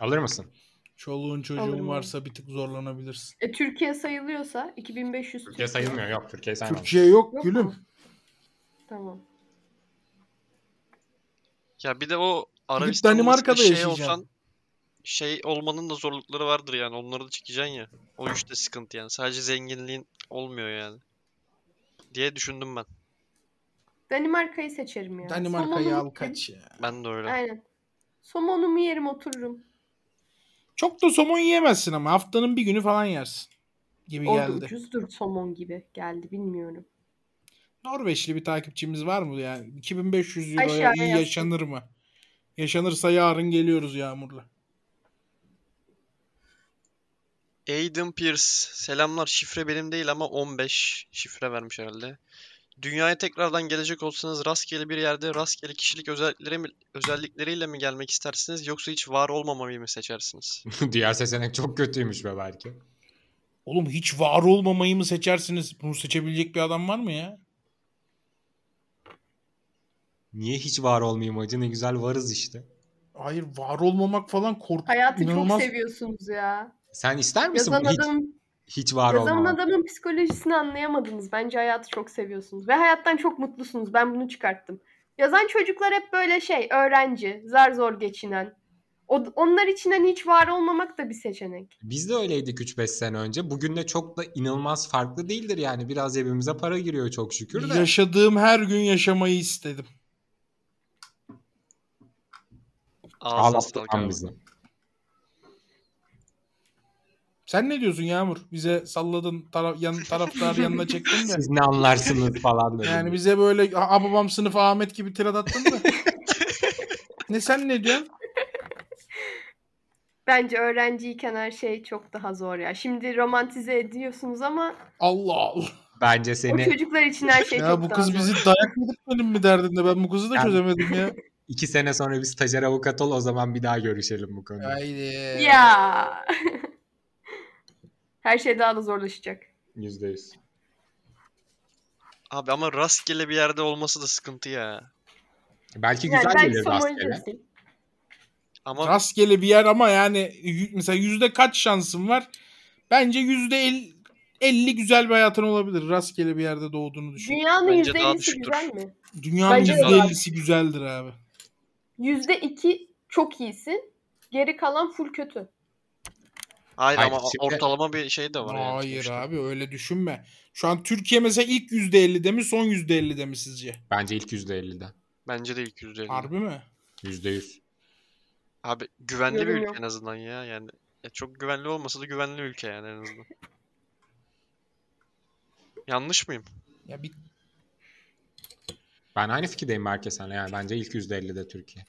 S2: Alır mısın?
S3: Çoluğun çocuğun
S4: Alırım ben.
S3: varsa bir tık zorlanabilirsin.
S4: E, Türkiye sayılıyorsa 2500
S2: Türkiye sayılmıyor. Yok Türkiye sayılmıyor.
S3: Türkiye yok,
S4: Yok
S3: gülüm.
S4: mu? Tamam.
S1: ya bir de o Arabistan'da
S3: Danimarka'da
S1: mesela şey
S3: yaşayacaksın.
S1: olsan şey olmanın da zorlukları vardır yani. Onları da çekeceksin ya. O işte sıkıntı yani. Sadece zenginliğin olmuyor yani. Diye düşündüm ben.
S4: Danimarka'yı seçerim ya.
S3: Danimarka'yı
S4: Somonumu
S3: al kaç ya.
S1: Ben de öyle.
S4: Aynen. Somonumu yerim otururum.
S3: Çok da somon yiyemezsin ama haftanın bir günü falan yersin gibi
S4: Orada
S3: geldi.
S4: ucuzdur somon gibi geldi bilmiyorum.
S3: Norveçli bir takipçimiz var mı yani? 2500 euroya
S4: Aşağıya
S3: iyi
S4: yazsın.
S3: yaşanır mı? Yaşanırsa yarın geliyoruz Yağmur'la.
S1: Aiden Pierce. Selamlar. Şifre benim değil ama 15 şifre vermiş herhalde. Dünyaya tekrardan gelecek olsanız rastgele bir yerde rastgele kişilik özellikleri mi- özellikleriyle mi gelmek istersiniz yoksa hiç var olmamayı mı seçersiniz?
S2: Diğer seçenek çok kötüymüş be belki.
S3: Oğlum hiç var olmamayı mı seçersiniz? Bunu seçebilecek bir adam var mı ya?
S2: Niye hiç var olmayayım acı ne güzel varız işte.
S3: Hayır var olmamak falan korkunç.
S4: Hayatı
S3: inanılmaz.
S4: çok seviyorsunuz ya.
S2: Sen ister misin
S4: Yazan
S2: hiç,
S4: adam,
S2: hiç var
S4: yazan
S2: olmamak?
S4: adamın psikolojisini anlayamadınız. Bence hayatı çok seviyorsunuz ve hayattan çok mutlusunuz. Ben bunu çıkarttım. Yazan çocuklar hep böyle şey, öğrenci, zar zor geçinen. O, onlar için hani hiç var olmamak da bir seçenek.
S2: Biz de öyleydik 3-5 sene önce. Bugün de çok da inanılmaz farklı değildir yani. Biraz cebimize para giriyor çok şükür de.
S3: Yaşadığım her gün yaşamayı istedim.
S1: Ağzına
S2: Ağlattı
S1: sağlık
S2: lan
S1: abi.
S2: bizi.
S3: Sen ne diyorsun Yağmur? Bize salladın taraf, yan, taraftar yanına çektin de.
S2: Siz ne anlarsınız falan dedi.
S3: Yani bize böyle "Aa, babam sınıf Ahmet gibi tirat attın da. ne sen ne diyorsun?
S4: Bence öğrenciyken her şey çok daha zor ya. Şimdi romantize ediyorsunuz ama
S3: Allah Allah.
S2: Bence
S4: o
S2: seni
S4: çocuklar için her şey çok
S3: Ya bu
S4: daha
S3: kız
S4: zor.
S3: bizi dayak mı etmedin mi derdinde ben bu kızı da
S2: Yani-
S3: çözemedim ya.
S2: 2 sene sonra bir stajyer avukat ol o zaman bir daha görüşelim bu konuda.
S1: Ee,
S3: Haydi.
S4: Ya. Her şey daha da zorlaşacak.
S2: %100.
S1: Abi ama rastgele bir yerde olması da sıkıntı ya.
S2: Belki
S4: Yani
S2: güzel
S4: belki
S2: gelir
S4: Somali'desin.
S2: rastgele.
S1: Ama
S3: Rastgele bir yer ama yani y- mesela yüzde kaç şansın var? Bence yüzde el- 50 güzel bir hayatın olabilir. Rastgele bir yerde doğduğunu düşün.
S4: Dünyanın
S1: Bence daha
S4: %50'si
S1: düşüktür.
S4: güzel mi?
S3: Dünyanın
S4: Bence de
S3: yüzde
S4: var.
S3: 50'si güzeldir abi.
S4: %2 çok iyisin. Geri kalan full kötü.
S1: hayır
S2: Hayır,
S1: ama
S2: şimdi-
S1: ortalama bir şey de var yani
S3: Hayır
S1: sonuçta.
S3: abi öyle düşünme. Şu an Türkiye mesela ilk yüzde 50'de mi son yüzde 50'de mi sizce?
S2: Bence ilk %50'den.
S1: Bence de ilk yüzde elli.
S3: Harbi mi?
S2: %100.
S1: Abi güvenli bir
S4: Yorum
S1: ülke
S4: yok.
S1: en azından ya. Yani ya çok güvenli olmasa da güvenli bir ülke yani en azından. Yanlış mıyım?
S3: Ya bir
S2: Ben aynı fikirdeyim Berke senle. Yani bence ilk %50'de Türkiye.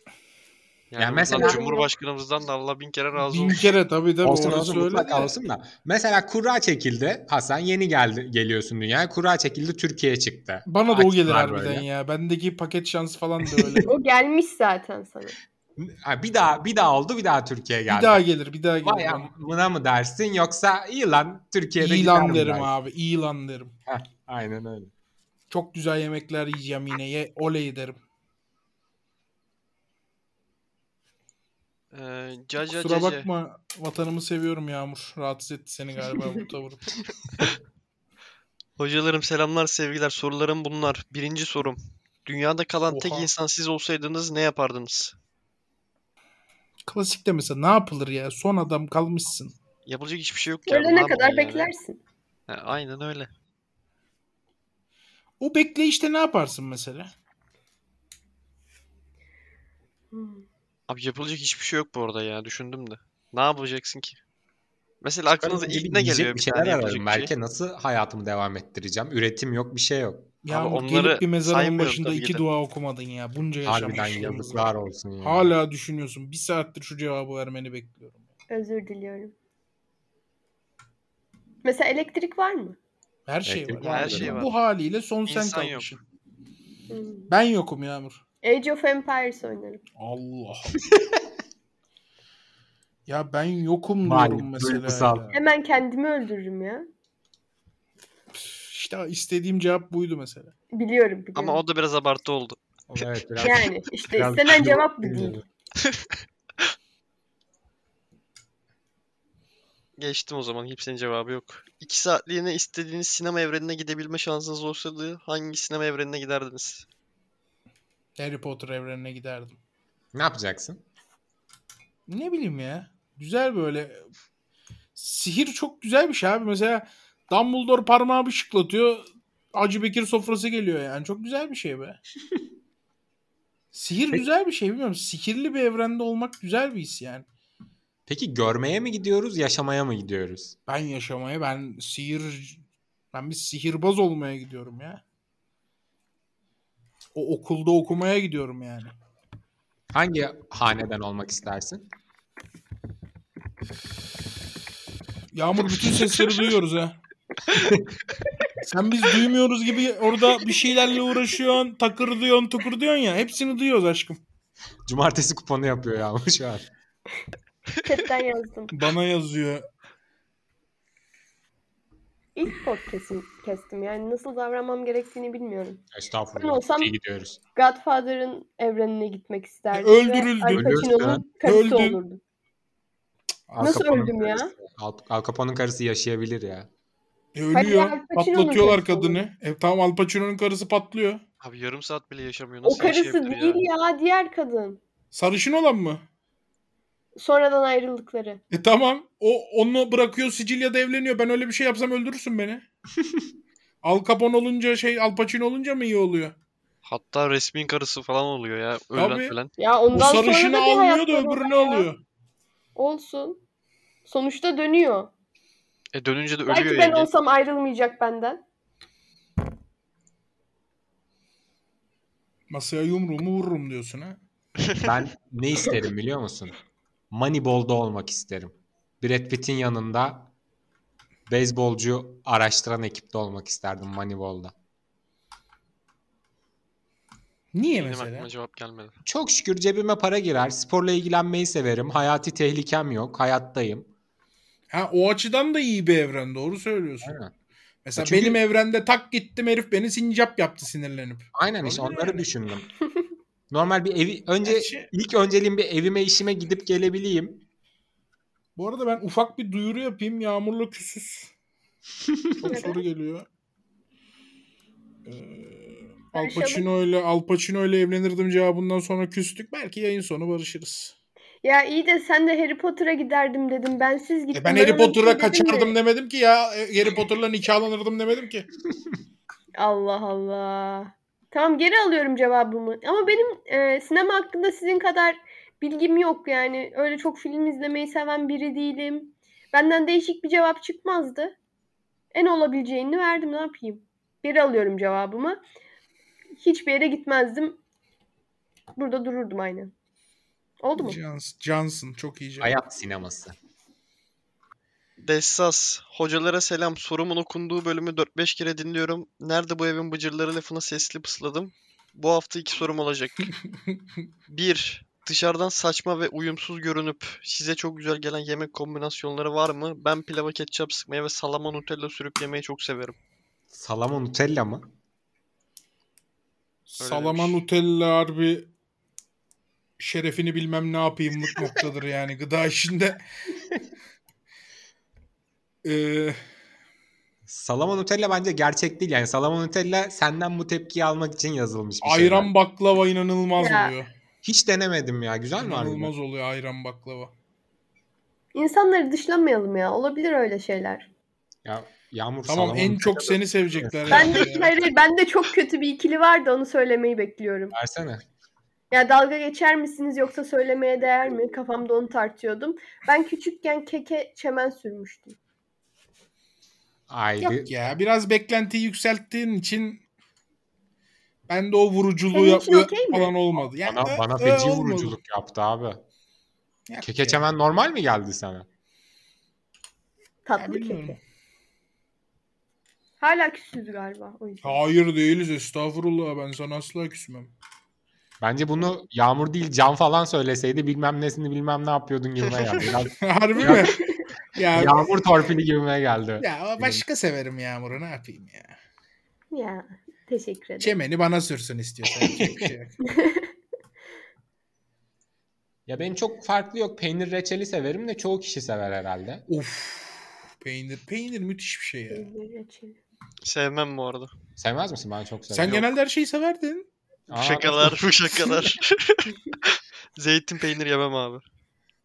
S1: Yani,
S2: Yani
S1: mesela
S2: mesela-
S1: Cumhurbaşkanımızdan da Allah bin kere razı
S3: bin
S1: olsun.
S3: kere tabii tabii
S2: olsun
S3: orası
S2: olsun
S3: öyle
S2: mutlaka
S3: de.
S2: olsun da. Mesela kura çekildi. Hasan yeni geldi geliyorsun dünyaya. Kura çekildi Türkiye'ye çıktı.
S3: Bana da o gelir
S2: Açtılar
S3: harbiden
S2: böyle.
S3: ya. Bendeki paket şansı falan da öyle.
S4: O gelmiş zaten sana.
S2: Ha, bir daha bir daha oldu bir daha Türkiye geldi.
S3: bir daha gelir bir daha gelir.
S2: Vay amına mı dersin yoksa iyi lan Türkiye'de
S3: İyi
S2: gider
S3: lan
S2: mi
S3: derim
S2: dersin?
S3: abi. iyi lan derim.
S2: Aynen öyle.
S3: Çok güzel yemekler yiyeceğim yine. Ye, oley derim.
S1: Ee, caca
S3: Kusura
S1: cece.
S3: bakma vatanımı seviyorum Yağmur. Rahatsız etti seni galiba bu tavırım.
S1: Hocalarım selamlar sevgiler. Sorularım bunlar. Birinci sorum. Dünyada kalan tek
S3: Oha.
S1: insan siz olsaydınız ne yapardınız?
S3: Klasikte mesela ne yapılır ya? Son adam kalmışsın.
S1: Yapılacak hiçbir şey yok ki abi, ne
S4: Ölene
S1: yapacaksın
S4: kadar
S1: yani?
S4: beklersin.
S1: Ha, aynen öyle.
S3: O bekleyişte ne yaparsın mesela?
S4: Hmm.
S1: Abi yapılacak hiçbir şey yok bu arada ya. Düşündüm de. Ne yapacaksın ki? Mesela aklınıza
S2: Önce
S1: ilk ne
S2: yiyecek
S1: geliyor
S2: bir
S1: bir
S2: şeyler
S1: tane
S2: ararım.
S1: yapılacak bir şey?
S2: Belki nasıl hayatımı devam ettireceğim? Üretim yok bir şey yok.
S3: Yağmur
S1: onları
S3: gelip bir mezarın
S1: saymıyorum
S3: başında
S1: tabii ki
S3: iki
S1: de.
S3: dua okumadın ya. Bunca
S2: Harbiden
S3: yaşamışsın.
S2: yazıklar olsun ya.
S3: Hala düşünüyorsun. Bir saattir şu cevabı vermeni bekliyorum.
S4: Özür diliyorum. Mesela elektrik var mı?
S3: Her şey
S2: Elektrik
S3: var.
S1: var,
S3: Her
S1: her şey var.
S3: Bu haliyle son sen
S1: İnsan yok.
S3: kalmışsın.
S4: Hmm.
S3: Ben yokum Yağmur.
S4: Age of Empires oynarım.
S3: Allah. ya ben yokum
S2: Vay,
S3: diyorum mesela.
S2: duygusal.
S3: ya.
S4: Hemen kendimi öldürürüm ya.
S3: İşte istediğim cevap buydu mesela.
S4: Biliyorum biliyorum.
S1: Ama o da biraz abartı oldu.
S2: Evet, biraz,
S4: Yani işte
S2: biraz şey
S4: istenen
S2: kilo-
S4: cevap bu değil.
S1: Geçtim o zaman. Hepsinin cevabı yok. İki saatliğine istediğiniz sinema evrenine gidebilme şansınız olsaydı hangi sinema evrenine giderdiniz?
S3: Harry Potter evrenine giderdim.
S2: Ne yapacaksın?
S3: Ne bileyim ya. Güzel böyle. Sihir çok güzel bir şey abi. Mesela Dumbledore parmağı bir şıklatıyor. Acı Bekir sofrası geliyor yani. Çok güzel bir şey be. Sihir
S2: Peki-
S3: güzel bir şey bilmiyorum. Sihirli bir evrende olmak güzel bir his yani.
S2: Peki görmeye mi gidiyoruz, yaşamaya mı gidiyoruz?
S3: Ben yaşamaya ben sihir ben bir sihirbaz olmaya gidiyorum ya. O okulda okumaya gidiyorum yani.
S2: Hangi haneden olmak istersin?
S3: Yağmur bütün sesleri duyuyoruz ha. Sen biz duymuyoruz gibi orada bir şeylerle uğraşıyorsun, takır diyorsun, tukur diyorsun ya. Hepsini duyuyoruz aşkım.
S2: Cumartesi kuponu yapıyor Yağmur şu an.
S4: Chatten yazdım.
S3: Bana yazıyor.
S4: İlk podcast'im kestim. Yani nasıl davranmam gerektiğini bilmiyorum.
S2: Estağfurullah.
S4: Ben olsam-
S2: İyi gidiyoruz.
S4: Godfather'ın evrenine gitmek isterdim.
S3: E, öldürüldü.
S4: Ve Al Pacino'nun karısı
S3: Öldü.
S4: olurdu.
S2: Al
S4: Nasıl
S2: Capone'un
S4: öldüm ya?
S2: karısı- Al, Al Capone'un karısı yaşayabilir ya.
S3: E,
S4: Hayır,
S3: ölüyor.
S4: Al Pacino'nun
S3: Patlatıyorlar
S4: karısı
S3: kadını. E, tamam Al Pacino'nun karısı patlıyor.
S1: Abi yarım saat bile yaşamıyor.
S4: O
S1: Nasıl şey
S4: karısı
S1: yaşayabilir
S4: değil ya. diğer kadın.
S3: Sarışın olan mı?
S4: Sonradan ayrıldıkları.
S3: E tamam. O onu bırakıyor Sicilya'da evleniyor. Ben öyle bir şey yapsam öldürürsün beni. Al Capone olunca şey Al Pacino olunca mı iyi oluyor?
S1: Hatta resmin karısı falan oluyor ya. Ölen
S3: Tabii.
S1: ölen.
S4: Ya
S3: O
S4: ondan sonra
S3: sarışını
S4: da bir
S3: almıyor da
S4: hayatları
S3: öbürünü
S4: var ya.
S3: alıyor.
S4: Olsun. Sonuçta dönüyor.
S1: E dönünce de
S4: Belki
S1: ölüyor
S4: ben
S1: yenge.
S4: olsam ayrılmayacak benden.
S3: Masaya yumruğumu vururum diyorsun ha.
S2: Ben ne isterim biliyor musun? Moneyball'da olmak isterim. Brad Pitt'in yanında beyzbolcu araştıran ekipte olmak isterdim Moneyball'da.
S3: Niye
S1: Benim
S3: mesela?
S1: aklıma cevap gelmedi.
S2: Çok şükür cebime para girer. Sporla ilgilenmeyi severim. Hayati tehlikem yok. Hayattayım.
S3: Ha o açıdan da iyi bir evren doğru söylüyorsun.
S2: Aynen.
S3: Mesela
S2: Çünkü-
S3: benim evrende tak gittim herif beni sincap yaptı sinirlenip.
S2: Aynen işte
S3: Olabilir
S2: onları
S3: yani.
S2: düşündüm. Normal bir evi önce
S3: Gerçi-
S2: ilk önceliğim bir evime işime gidip gelebileyim.
S3: Bu arada ben ufak bir duyuru yapayım. Yağmurla küsüz. Çok soru geliyor. Ee, Al
S4: Barışalım.
S3: Pacino ile Al Pacino ile evlenirdim cevabından sonra küstük. Belki yayın sonu barışırız.
S4: Ya iyi de sen de Harry Potter'a giderdim dedim. Ben siz gittim.
S3: E ben
S4: öyle
S3: Harry
S4: bir şey
S3: Potter'a
S4: dedim
S3: kaçardım
S4: mi?
S3: demedim ki ya. E, Harry Potter'la nikahlanırdım demedim ki.
S4: Allah Allah. Tamam geri alıyorum cevabımı. Ama benim e, sinema hakkında sizin kadar bilgim yok yani. Öyle çok film izlemeyi seven biri değilim. Benden değişik bir cevap çıkmazdı. En olabileceğini verdim ne yapayım? Geri alıyorum cevabımı. Hiçbir yere gitmezdim. Burada dururdum aynen. Oldu mu?
S3: Johnson, Johnson çok iyi. cevap.
S2: Hayat sineması.
S1: Dessas, hocalara selam. Sorumun okunduğu bölümü 4-5 kere dinliyorum. Nerede bu evin bıcırları lafını sesli pısladım. Bu hafta iki sorum olacak. 1. Dışarıdan saçma ve uyumsuz görünüp size çok güzel gelen yemek kombinasyonları var mı? Ben pilava ketçap sıkmayı ve salama nutella sürüp yemeyi çok severim.
S2: Salama Nutella mı?
S3: Salama
S1: demiş.
S3: Nutella harbi şerefini bilmem ne yapayımlık noktadır yani gıda işinde. Ee,
S2: Salama Nutella bence gerçek değil. Yani Salama Nutella senden bu tepkiyi almak için yazılmış bir şey.
S3: ayran baklava inanılmaz
S4: Ya.
S3: oluyor.
S2: Hiç denemedim ya. Güzel mi harbiden?
S3: İnanılmaz oluyor ayran baklava.
S4: İnsanları dışlamayalım ya. Olabilir öyle şeyler.
S2: Ya, yağmur
S3: Tamam
S2: Salama
S3: en
S2: Nutella
S3: çok seni sevecekler.
S4: Ben de
S3: herhalde ya.
S4: hayır, hayır, ben de çok kötü bir ikili var da onu söylemeyi bekliyorum.
S2: versene.
S4: Ya dalga geçer misiniz yoksa söylemeye değer mi? Kafamda onu tartıyordum. Ben küçükken keke çemen sürmüştüm.
S2: Ay,
S3: Yok ya biraz beklentiyi yükselttiğin için ben de o vuruculuğu
S4: Senin için
S3: yapma
S4: okey mi?
S3: falan olmadı. Yani
S2: bana,
S3: ö-
S2: bana
S3: ö-
S2: feci
S3: e, olmadı.
S2: vuruculuk yaptı abi.
S3: Yok
S2: Keke
S3: ya.
S2: çemen normal mi geldi sana?
S3: Ya
S4: Tatlı
S3: bilmiyorum.
S4: keke. Hala küsüz galiba o yüzden.
S3: Hayır değiliz estağfurullah ben sana asla küsmem.
S2: Bence bunu Yağmur değil Can falan söyleseydi bilmem nesini bilmem ne yapıyordun gibime geldi. Biraz
S3: Harbi mi? ya, ya,
S2: yağmur torpili gibime geldi.
S3: başka severim Yağmur'u ne yapayım ya.
S4: Ya teşekkür ederim.
S3: Çemeni bana sürsün istiyorsan. yapacak bir şey yok.
S2: Ya benim çok farklı yok. Peynir reçeli severim de çoğu kişi sever herhalde.
S3: of. Peynir. Peynir müthiş bir şey ya.
S4: Peynir reçeli.
S1: Sevmem bu arada.
S2: Sevmez misin? Ben çok
S3: Sen
S2: severim.
S3: genelde her şeyi severdin.
S1: Bu şakalar, bu şakalar. Zeytin peynir yemem abi.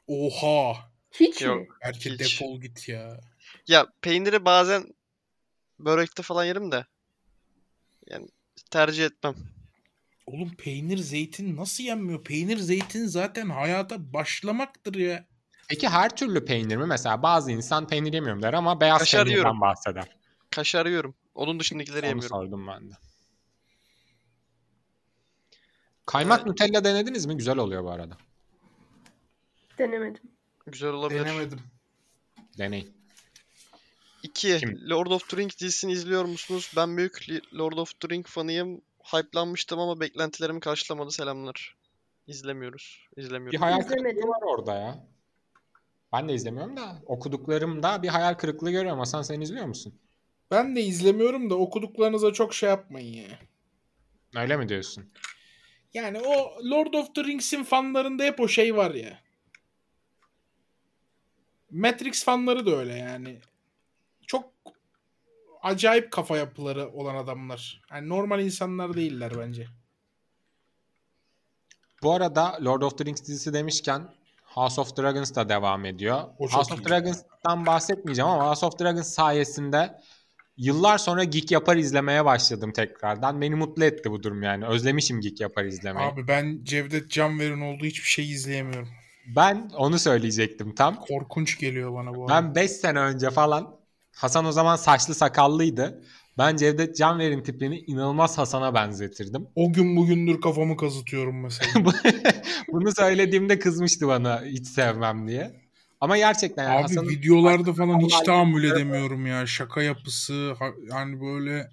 S3: Oha.
S4: Hiç mi?
S1: Yok.
S3: Erkek
S1: Hiç.
S3: defol git ya.
S1: Ya peyniri bazen börekte falan yerim de. Yani tercih etmem.
S3: Oğlum peynir zeytin nasıl yenmiyor? Peynir zeytin zaten hayata başlamaktır ya.
S2: Peki her türlü peynir mi? Mesela bazı insan peynir yemiyorum der ama beyaz
S1: Kaşar
S2: peynirden
S1: yiyorum.
S2: bahseder.
S1: Kaşar yiyorum. Onun dışındakileri
S2: Onu
S1: yemiyorum.
S2: sordum ben de. Kaymak
S1: Evet.
S2: Nutella denediniz mi? Güzel oluyor bu arada.
S4: Denemedim.
S1: Güzel olabilir.
S3: Denemedim.
S2: Deneyin.
S1: Peki
S2: Kim?
S1: Lord of the Rings dizisini izliyor musunuz? Ben büyük Li- Lord of the Rings fanıyım. Hype'lanmıştım ama beklentilerimi karşılamadı. Selamlar. İzlemiyoruz.
S2: Bir
S1: İzlemiyorum.
S2: hayal
S4: İzlemedim.
S2: kırıklığı var orada ya. Ben de izlemiyorum da okuduklarımda bir hayal kırıklığı görüyorum. Hasan sen izliyor musun?
S3: Ben de izlemiyorum da okuduklarınıza çok şey yapmayın ya.
S2: Öyle mi diyorsun?
S3: Yani o Lord of the Rings'in fanlarında hep o şey var ya. Matrix fanları da öyle yani. Çok acayip kafa yapıları olan adamlar. Yani normal insanlar değiller bence.
S2: Bu arada Lord of the Rings dizisi demişken House of Dragons da devam ediyor.
S3: O çok
S2: House
S3: iyi.
S2: of Dragons'tan bahsetmeyeceğim ama House of Dragons sayesinde yıllar sonra Geek Yapar izlemeye başladım tekrardan. Beni mutlu etti bu durum yani. Özlemişim Geek Yapar izlemeyi.
S3: Abi ben Cevdet Canver'in olduğu hiçbir şey izleyemiyorum.
S2: Ben onu söyleyecektim tam.
S3: Korkunç geliyor bana bu arada.
S2: Ben 5 sene önce falan Hasan o zaman saçlı sakallıydı. Ben Cevdet Canver'in tipini inanılmaz Hasan'a benzetirdim.
S3: O gün bugündür kafamı kazıtıyorum mesela.
S2: Bunu söylediğimde kızmıştı bana hiç sevmem diye. Ama gerçekten yani
S3: Abi
S2: Hasan'ın
S3: videolarda falan hiç
S2: Vallahi
S3: tahammül edemiyorum ya. Şaka yapısı ha- yani böyle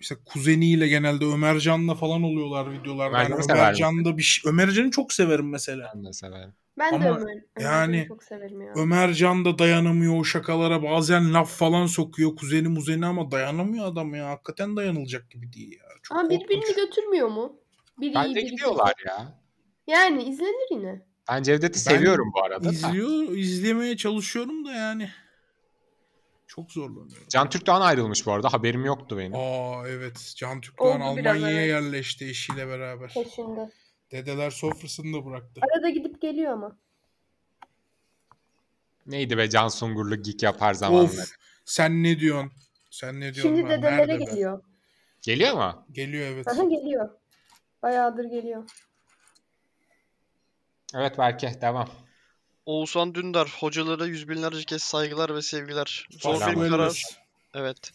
S3: işte kuzeniyle genelde Ömercan'la falan oluyorlar videolarda.
S2: Ömercan'ı
S3: Yani
S2: sever misin?
S3: Ömercan'da bir şey. Ömercan'ı çok severim mesela.
S2: ben de severim.
S4: Ben de
S3: Ama
S4: Ömer. Ömer'i
S3: yani-
S4: çok severim ya.
S3: Ömercan da dayanamıyor o şakalara. Bazen laf falan sokuyor kuzeni muzeni ama dayanamıyor adam ya. Hakikaten dayanılacak gibi değil ya. Çok
S4: Ama
S3: korkunç.
S4: birbirini götürmüyor mu? Biri iyi,
S2: Bence
S4: biri
S2: gidiyorlar
S4: kötü.
S2: ya.
S4: Yani izlenir yine.
S2: Ben Cevdet'i
S3: Ben
S2: seviyorum bu arada. da.
S3: İzliyor, izlemeye çalışıyorum da yani. Çok zorlanıyorum.
S2: Can Türk'ten ayrılmış bu arada. Haberim yoktu benim.
S3: Aa evet. Can Türkdoğan
S4: Oldu biraz,
S3: Almanya'ya
S4: evet.
S3: yerleşti eşiyle beraber.
S4: Peşinde.
S3: Dedeler sofrasını da bıraktı.
S4: Arada gidip geliyor ama.
S2: Neydi be Can Sungurlu geek yapar zamanları.
S3: Of sen ne diyorsun? Sen ne diyorsun?
S4: Şimdi
S3: lan?
S4: dedelere
S3: Nerede ben?
S4: geliyor.
S2: Geliyor mu?
S3: Geliyor evet.
S4: Aha geliyor. Bayağıdır geliyor.
S2: Evet Berke devam.
S1: Oğuzhan Dündar, hocalara yüz binlerce kez saygılar ve sevgiler. Zor
S2: Selam.
S1: bir
S3: Böyle
S1: karar. Evet.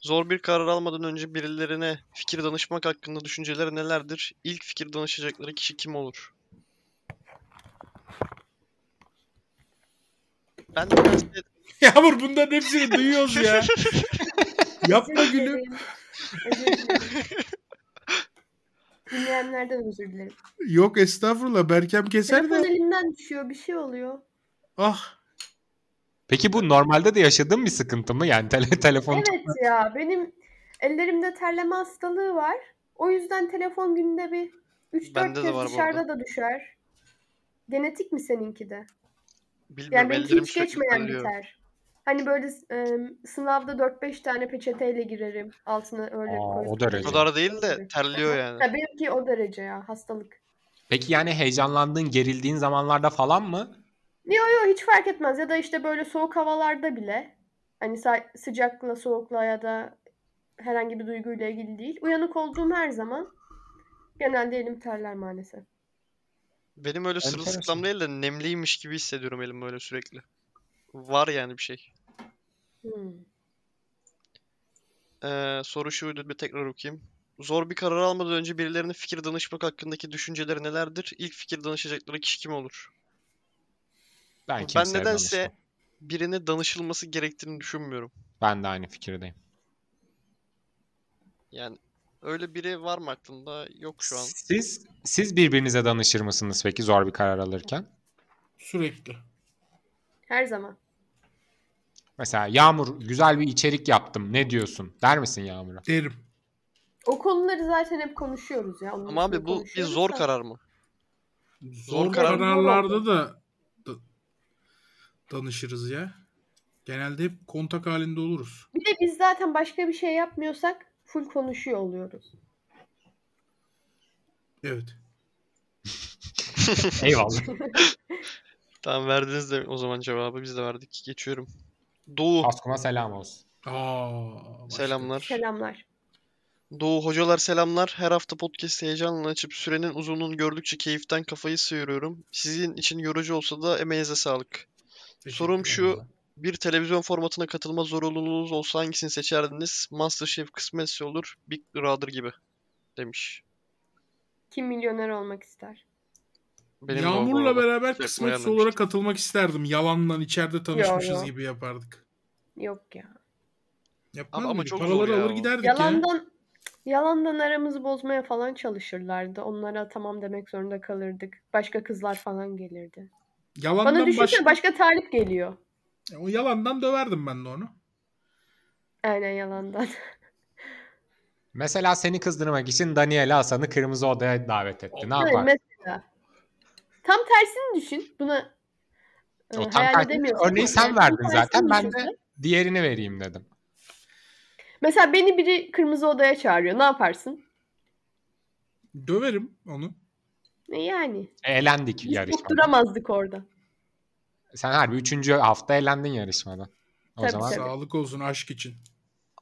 S1: Zor bir karar almadan önce birilerine fikir danışmak hakkında düşünceleri nelerdir? İlk fikir danışacakları kişi kim olur? Ben de biraz-
S3: Yağmur bunların hepsini duyuyoruz ya. Yapma
S4: Özür
S3: gülüm.
S4: dilerim. Özür dilerim. Dinleyenlerden özür dilerim.
S3: Yok estağfurullah Berkem keser
S4: Telefon
S3: de.
S4: elimden düşüyor. Bir şey oluyor.
S3: Ah
S2: Peki bu normalde de yaşadığın bir sıkıntı mı? Yani tele telefon
S4: Evet ya benim ellerimde terleme hastalığı var. O yüzden telefon günde bir 3-4
S1: Bende de
S4: kez
S1: var bu
S4: dışarıda
S1: arada.
S4: da düşer. Genetik mi seninki de?
S1: Bilmiyorum
S4: Yani benimki
S1: ellerim
S4: hiç
S1: sürekli
S4: geçmeyen
S1: terliyor.
S4: biter. Hani böyle e, sınavda 4-5 tane peçeteyle girerim. Altına öyle
S2: Aa,
S4: koyup.
S2: o derece.
S1: O kadar değil de
S4: Evet.
S1: terliyor yani.
S4: Ya benimki o derece ya hastalık.
S2: Peki yani heyecanlandığın, gerildiğin zamanlarda falan mı?
S4: Yo hiç fark etmez ya da işte böyle soğuk havalarda bile hani sa- sıcakla soğukla ya da herhangi bir duyguyla ilgili değil. Uyanık olduğum her zaman genelde elim terler maalesef.
S1: Benim öyle
S2: Enteresan.
S1: sırılsıklam değil de nemliymiş gibi hissediyorum elim böyle sürekli. Var yani bir şey.
S4: Hmm.
S1: Ee, soru şuydu bir tekrar okuyayım. Zor bir karar almadan önce birilerine fikir danışmak hakkındaki düşünceleri nelerdir? İlk fikir danışacakları kişi kim olur?
S2: Ben
S1: Ben
S2: kimseye
S1: nedense
S2: danışmam.
S1: birine danışılması gerektiğini düşünmüyorum.
S2: Ben de aynı fikirdeyim.
S1: Yani öyle biri var mı aklında? Yok şu an.
S2: Siz siz birbirinize danışır mısınız peki zor bir karar alırken?
S3: sürekli.
S4: Her zaman.
S2: Mesela Yağmur güzel bir içerik yaptım. Ne diyorsun? Der misin Yağmur'a?
S3: Derim.
S4: O konuları zaten hep konuşuyoruz ya. onun
S1: Ama abi
S4: üstüne
S1: bu bir
S4: konuşuyoruz
S1: zor
S4: da.
S1: karar mı?
S3: Zor,
S1: Zor karar-
S3: kararlarda da, da danışırız ya. Genelde hep kontak halinde oluruz.
S4: Bir de biz zaten başka bir şey yapmıyorsak full konuşuyor oluyoruz.
S3: Evet.
S2: Eyvallah.
S1: Tamam verdiniz de o zaman cevabı biz de verdik. Geçiyorum. Doğu.
S2: Askum'a selam olsun.
S3: Aa, başka.
S1: Selamlar.
S4: Selamlar.
S1: Doğu hocalar selamlar. Her hafta podcast'i heyecanla açıp sürenin uzunluğunu gördükçe keyiften kafayı sıyırıyorum. Sizin için yorucu olsa da emeğinize sağlık.
S3: Teşekkür
S1: Sorum şu.
S3: ederim.
S1: Bir televizyon formatına katılma zorunluluğunuz olsa hangisini seçerdiniz? MasterChef kısmetse olur, Big Brother gibi demiş.
S4: Kim milyoner olmak ister?
S1: Benim de o bu
S3: Yağmur'la
S1: arada.
S3: beraber
S1: Yapmaya
S3: kısmetsiz
S1: gelmemiştim.
S3: olarak katılmak isterdim. Yalandan içeride tanışmışız
S4: yo.
S3: gibi yapardık.
S4: Yok ya.
S3: Yapmaz
S1: Abi ama
S3: mıydık?
S1: çok zor
S3: Paraları
S1: ya
S3: alır
S1: o.
S3: giderdik ya.
S4: Yalandan yalandan aramızı bozmaya falan çalışırlardı. Onlara tamam demek zorunda kalırdık. Başka kızlar falan gelirdi. Bana
S3: Yalandan baş...
S4: düşünsene başka talip geliyor.
S3: O yalandan döverdim ben de onu.
S4: Aynen yalandan.
S2: Mesela seni kızdırmak için Daniel Hasan'ı kırmızı odaya davet etti. Ne
S4: Evet,
S2: yapar?
S4: mesela. Tam tersini düşün. Buna e,
S2: O tam
S4: hayal
S2: tersi-
S4: edemiyorsun
S2: örneği
S4: ama
S2: sen
S4: yani tam
S2: verdin zaten,
S4: tersini
S2: ben de-
S4: düşünsen.
S2: Diğerini vereyim dedim.
S4: Mesela beni biri kırmızı odaya çağırıyor. Ne yaparsın?
S3: Döverim onu.
S4: E yani.
S2: Eğlendik
S4: Biz çok
S2: yarışmada.
S4: duramazdık orada.
S2: Sen harbi üçüncü hafta eğlendin yarışmadan. O
S4: Tabii,
S2: zaman
S4: tabii.
S3: Sağlık olsun aşk için.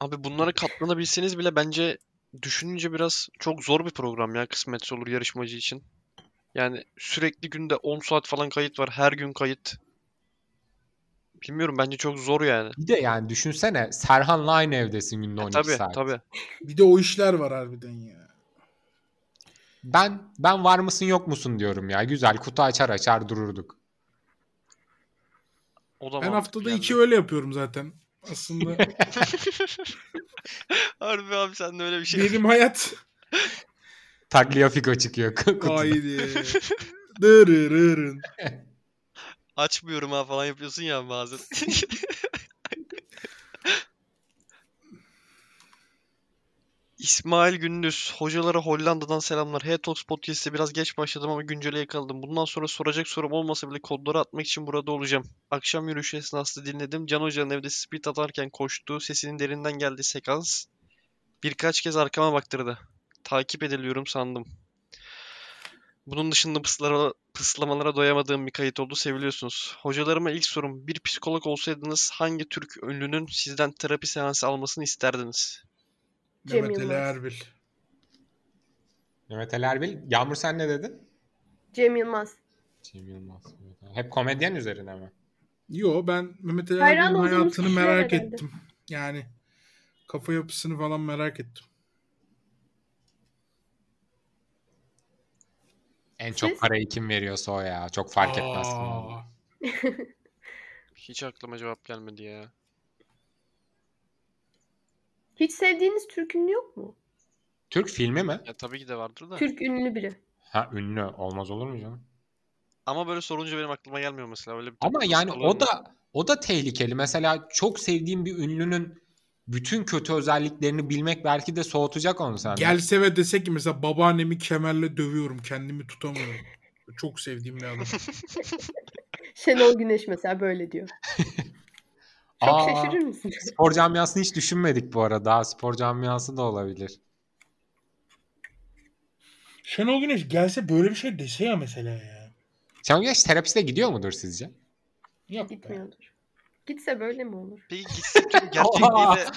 S1: Abi bunlara katlanabilseniz bile bence düşününce biraz çok zor bir program ya kısmetse olur yarışmacı için. Yani sürekli günde 10 saat falan kayıt var. Her gün kayıt. Bilmiyorum bence çok zor yani.
S2: bir de yani düşünsene Serhan'la aynı evdesin günde
S1: E,
S2: 12
S1: tabii
S2: saat.
S1: tabii.
S3: Bir de o işler var harbiden ya.
S2: Ben ben var mısın yok musun diyorum ya. Güzel kutu açar açar dururduk.
S1: O da
S3: Ben
S1: mantıklı
S3: haftada
S1: geldi.
S3: iki öyle yapıyorum zaten. Aslında
S1: Harbi abi sen de öyle bir şey.
S3: benim hayat
S2: Takliye fiko çıkıyor kutuda.
S3: Haydi. Dırırırın.
S1: Açmıyorum ha falan yapıyorsun ya bazen. İsmail Gündüz. Hocalara Hollanda'dan selamlar. Hey Talks Podcast'e biraz geç başladım ama güncele yakaladım. Bundan sonra soracak sorum olmasa bile kodları atmak için burada olacağım. Akşam yürüyüşü esnasında dinledim. Can Hoca'nın evde split atarken koştuğu sesinin derinden geldiği sekans birkaç kez arkama baktırdı. Takip ediliyorum sandım. Bunun dışında pıslara, pıslamalara doyamadığım bir kayıt oldu. Seviliyorsunuz. Hocalarıma ilk sorum. Bir psikolog olsaydınız hangi Türk ünlünün sizden terapi seansı almasını isterdiniz?
S4: Cem
S3: Mehmet Ali
S4: Yılmaz.
S3: Erbil.
S2: Mehmet Ali Erbil. Yağmur sen ne dedin?
S4: Cem Yılmaz.
S2: Cem Yılmaz. Hep komedyen üzerine mi?
S3: Yo ben Mehmet Ali
S4: Hayran
S3: Erbil'in
S4: olduğumuz
S3: hayatını
S4: kişiler
S3: merak
S4: herhalde.
S3: ettim. Yani kafa yapısını falan merak ettim.
S2: En
S4: Siz?
S2: çok parayı kim veriyorsa o ya. Çok fark etmez.
S3: Aa,
S1: Hiç aklıma cevap gelmedi ya.
S4: Hiç sevdiğiniz Türk ünlü yok mu?
S2: Türk filmi mi?
S1: Ya tabii ki de vardır da.
S4: Türk ünlü biri.
S2: Ha ünlü. Olmaz olur mu canım?
S1: Ama böyle sorunca benim aklıma gelmiyor mesela. Öyle bir
S2: Ama
S1: takıntı
S2: yani
S1: alıyorum ben.
S2: o da o da tehlikeli. Mesela çok sevdiğim bir ünlünün bütün kötü özelliklerini bilmek belki de soğutacak onu senden.
S3: Gelse ve dese ki mesela babaannemi kemerle dövüyorum. Kendimi tutamıyorum. Çok sevdiğim bir adam.
S4: Şenol Güneş mesela böyle diyor. Çok
S2: Aa,
S4: şaşırır mısın?
S2: Spor camiasını hiç düşünmedik bu arada. Daha Spor camiası da olabilir.
S3: Şenol Güneş gelse böyle bir şey dese ya mesela ya.
S2: Şenol Güneş terapiste gidiyor mudur sizce?
S3: Yok be.
S4: Gitmiyordur. Gitse böyle mi olur?
S1: Peki gitsin çünkü gerçekliğiyle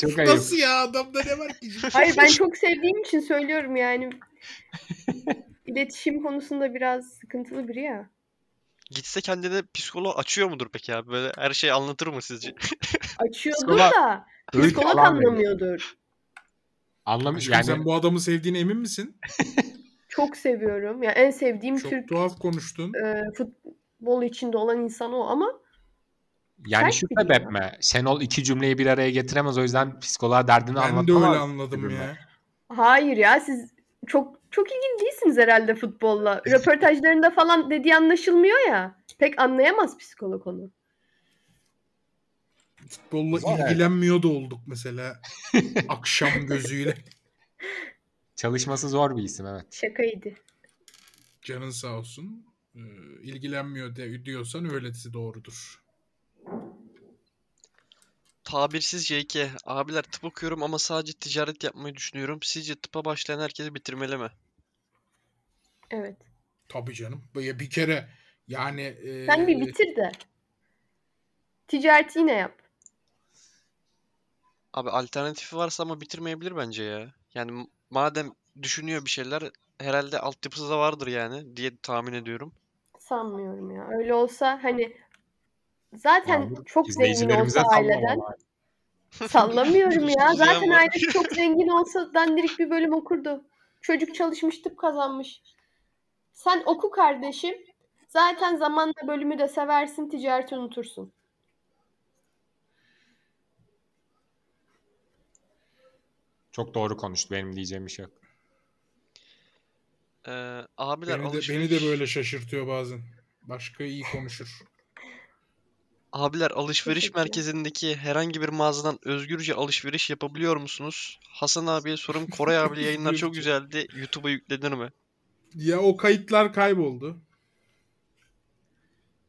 S2: Çok ayıp.
S3: Nasıl ya adamda ne var ki?
S4: Hayır ben çok sevdiğim için söylüyorum yani. İletişim konusunda biraz sıkıntılı biri ya.
S1: gitse kendine psikoloğa açıyor mudur peki abi? Böyle her şeyi anlatır mı sizce?
S4: Açıyordur
S2: Psikolog-
S4: da
S2: Öğüt
S4: psikolog
S2: falan şey veriyor.
S4: anlamıyordur.
S2: Anlamış
S3: Aşkım
S2: yani.
S3: sen bu adamı sevdiğine emin misin?
S4: Çok seviyorum. Ya en sevdiğim
S3: Çok
S4: Türk
S3: tuhaf konuştun.
S4: e, futbol içinde olan insan o ama
S2: Yani
S4: Sert
S2: şu
S4: biri ya.
S2: sebepme. Şenol iki cümleyi bir araya getiremez o yüzden psikoloğa derdini
S3: Ben de
S2: anlatamaz.
S3: öyle anladım
S2: Bilmem.
S3: ya.
S4: hayır ya siz çok çok ilgili değilsiniz herhalde futbolla. Röportajlarında falan dediği anlaşılmıyor ya. Pek anlayamaz psikolog onu.
S3: Futbolla
S2: Zor evet.
S3: ilgilenmiyor da olduk mesela. Akşam gözüyle.
S2: Çalışması zor bir isim evet.
S4: Şakaydı.
S3: Canın sağ olsun. Ee, ilgilenmiyor de, diyorsan öylesi doğrudur.
S1: Tabirsiz JK. Abiler tıp okuyorum ama sadece ticaret yapmayı düşünüyorum. Sizce tıpa başlayan herkesi bitirmeli mi?
S4: Evet.
S3: Tabii canım. Böyle bir kere yani e,
S4: Sen
S1: Ee,
S4: bir bitir de. Ticareti yine yap.
S1: Abi alternatifi varsa ama bitirmeyebilir bence ya. Yani m- madem düşünüyor bir şeyler herhalde altyapısı da vardır yani diye tahmin ediyorum.
S4: Sanmıyorum ya. Öyle olsa hani zaten
S2: Yani
S4: çok zengin
S2: İzleyicilerimize
S4: olsa aileden
S2: sallamalar.
S4: sallamıyorum ya. Zaten
S1: Üzülen var.
S4: ailesi çok zengin olsa dandirik bir bölüm okurdu. Çocuk çalışmış tıp kazanmış. Sen oku kardeşim. Zaten zamanla bölümü de seversin, ticareti unutursun.
S2: Çok doğru konuştu. Benim diyeceğim bir şey yok.
S1: Ee, abiler
S3: Beni de,
S1: alışveriş...
S3: beni de böyle şaşırtıyor bazen. Başka iyi konuşur.
S1: Abiler alışveriş
S4: Teşekkürler.
S1: merkezindeki herhangi bir mağazadan özgürce alışveriş yapabiliyor musunuz? Hasan abiye sorum. Koray abi yayınlar çok güzeldi. YouTube'a yüklenir mi?
S3: Ya o kayıtlar kayboldu.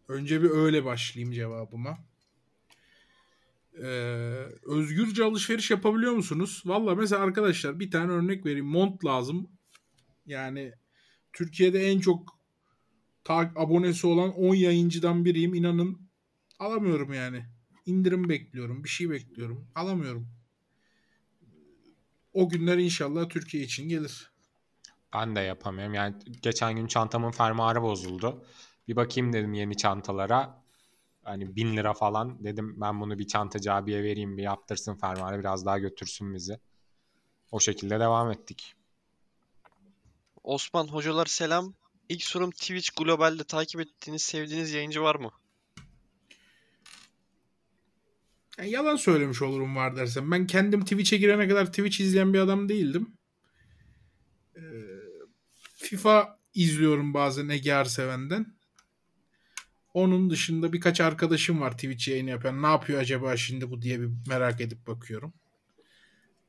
S3: Önce bir öyle başlayayım cevabıma. Ee, özgürce alışveriş yapabiliyor musunuz? Valla mesela arkadaşlar bir tane örnek vereyim. Mont lazım. Yani Türkiye'de en çok ta- abonesi olan 10 yayıncıdan biriyim. İnanın alamıyorum yani. İndirim bekliyorum. Bir şey bekliyorum. Alamıyorum. O günler inşallah Türkiye için gelir.
S2: Ben de yapamıyorum. Yani geçen gün çantamın fermuarı bozuldu. Bir bakayım dedim yeni çantalara. Hani bin lira falan dedim ben bunu bir çantacı abiye vereyim bir yaptırsın fermuarı biraz daha götürsün bizi. O şekilde devam ettik.
S1: Osman hocalar selam. İlk sorum Twitch Global'de takip ettiğiniz, sevdiğiniz yayıncı var mı?
S3: Yani yalan söylemiş olurum var dersen. Ben kendim Twitch'e girene kadar Twitch izleyen bir adam değildim. Ee, FIFA izliyorum bazen Ege Arseven'den. Onun dışında birkaç arkadaşım var Twitch yayını yapan. Ne yapıyor acaba şimdi bu diye bir merak edip bakıyorum.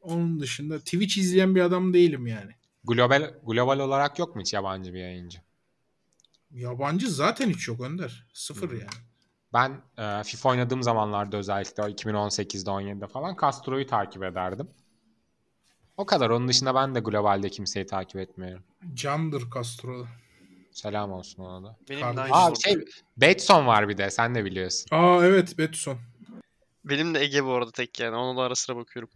S3: Onun dışında Twitch izleyen bir adam değilim yani.
S2: Global global olarak yok mu hiç yabancı bir yayıncı?
S3: Yabancı zaten hiç yok Önder. Sıfır yani.
S2: Ben e, FIFA oynadığım zamanlarda özellikle o 2018'de 17'de falan Castro'yu takip ederdim. O kadar. Onun dışında ben de globalde kimseyi takip etmiyorum.
S3: Candır Castro'da.
S2: Selam olsun ona da.
S1: Benim de
S3: Kardeşim.
S1: aynı
S2: Aa
S1: soru.
S2: şey Betson var bir de sen de biliyorsun.
S3: Aa evet Betson.
S1: Benim de Ege bu arada tek yani. Ona da ara sıra bakıyorum.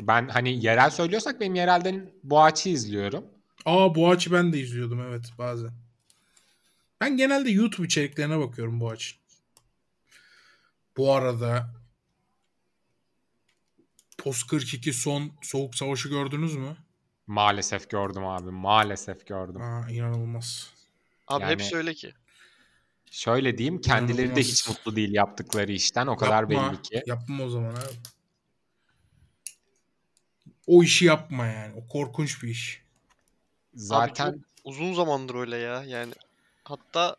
S2: Ben hani yerel söylüyorsak benim yerelden Boğaç'ı izliyorum.
S3: Aa Boğaç'ı ben de izliyordum evet bazen. Ben genelde YouTube içeriklerine bakıyorum Boğaç'ın. Bu arada Post 42 son Soğuk Savaşı gördünüz mü?
S2: Maalesef gördüm abi. Maalesef gördüm.
S3: Aa inanılmaz.
S1: Abi hep
S2: Yani-
S1: hepsi öyle ki.
S2: Şöyle diyeyim kendileri de
S3: İnanılmaz.
S2: hiç mutlu değil yaptıkları işten. O kadar
S3: Yapma.
S2: belli ki.
S3: Yapma o zaman abi. O işi yapma yani. O korkunç bir iş.
S2: Zaten
S1: Abi çok uzun zamandır öyle ya. Yani hatta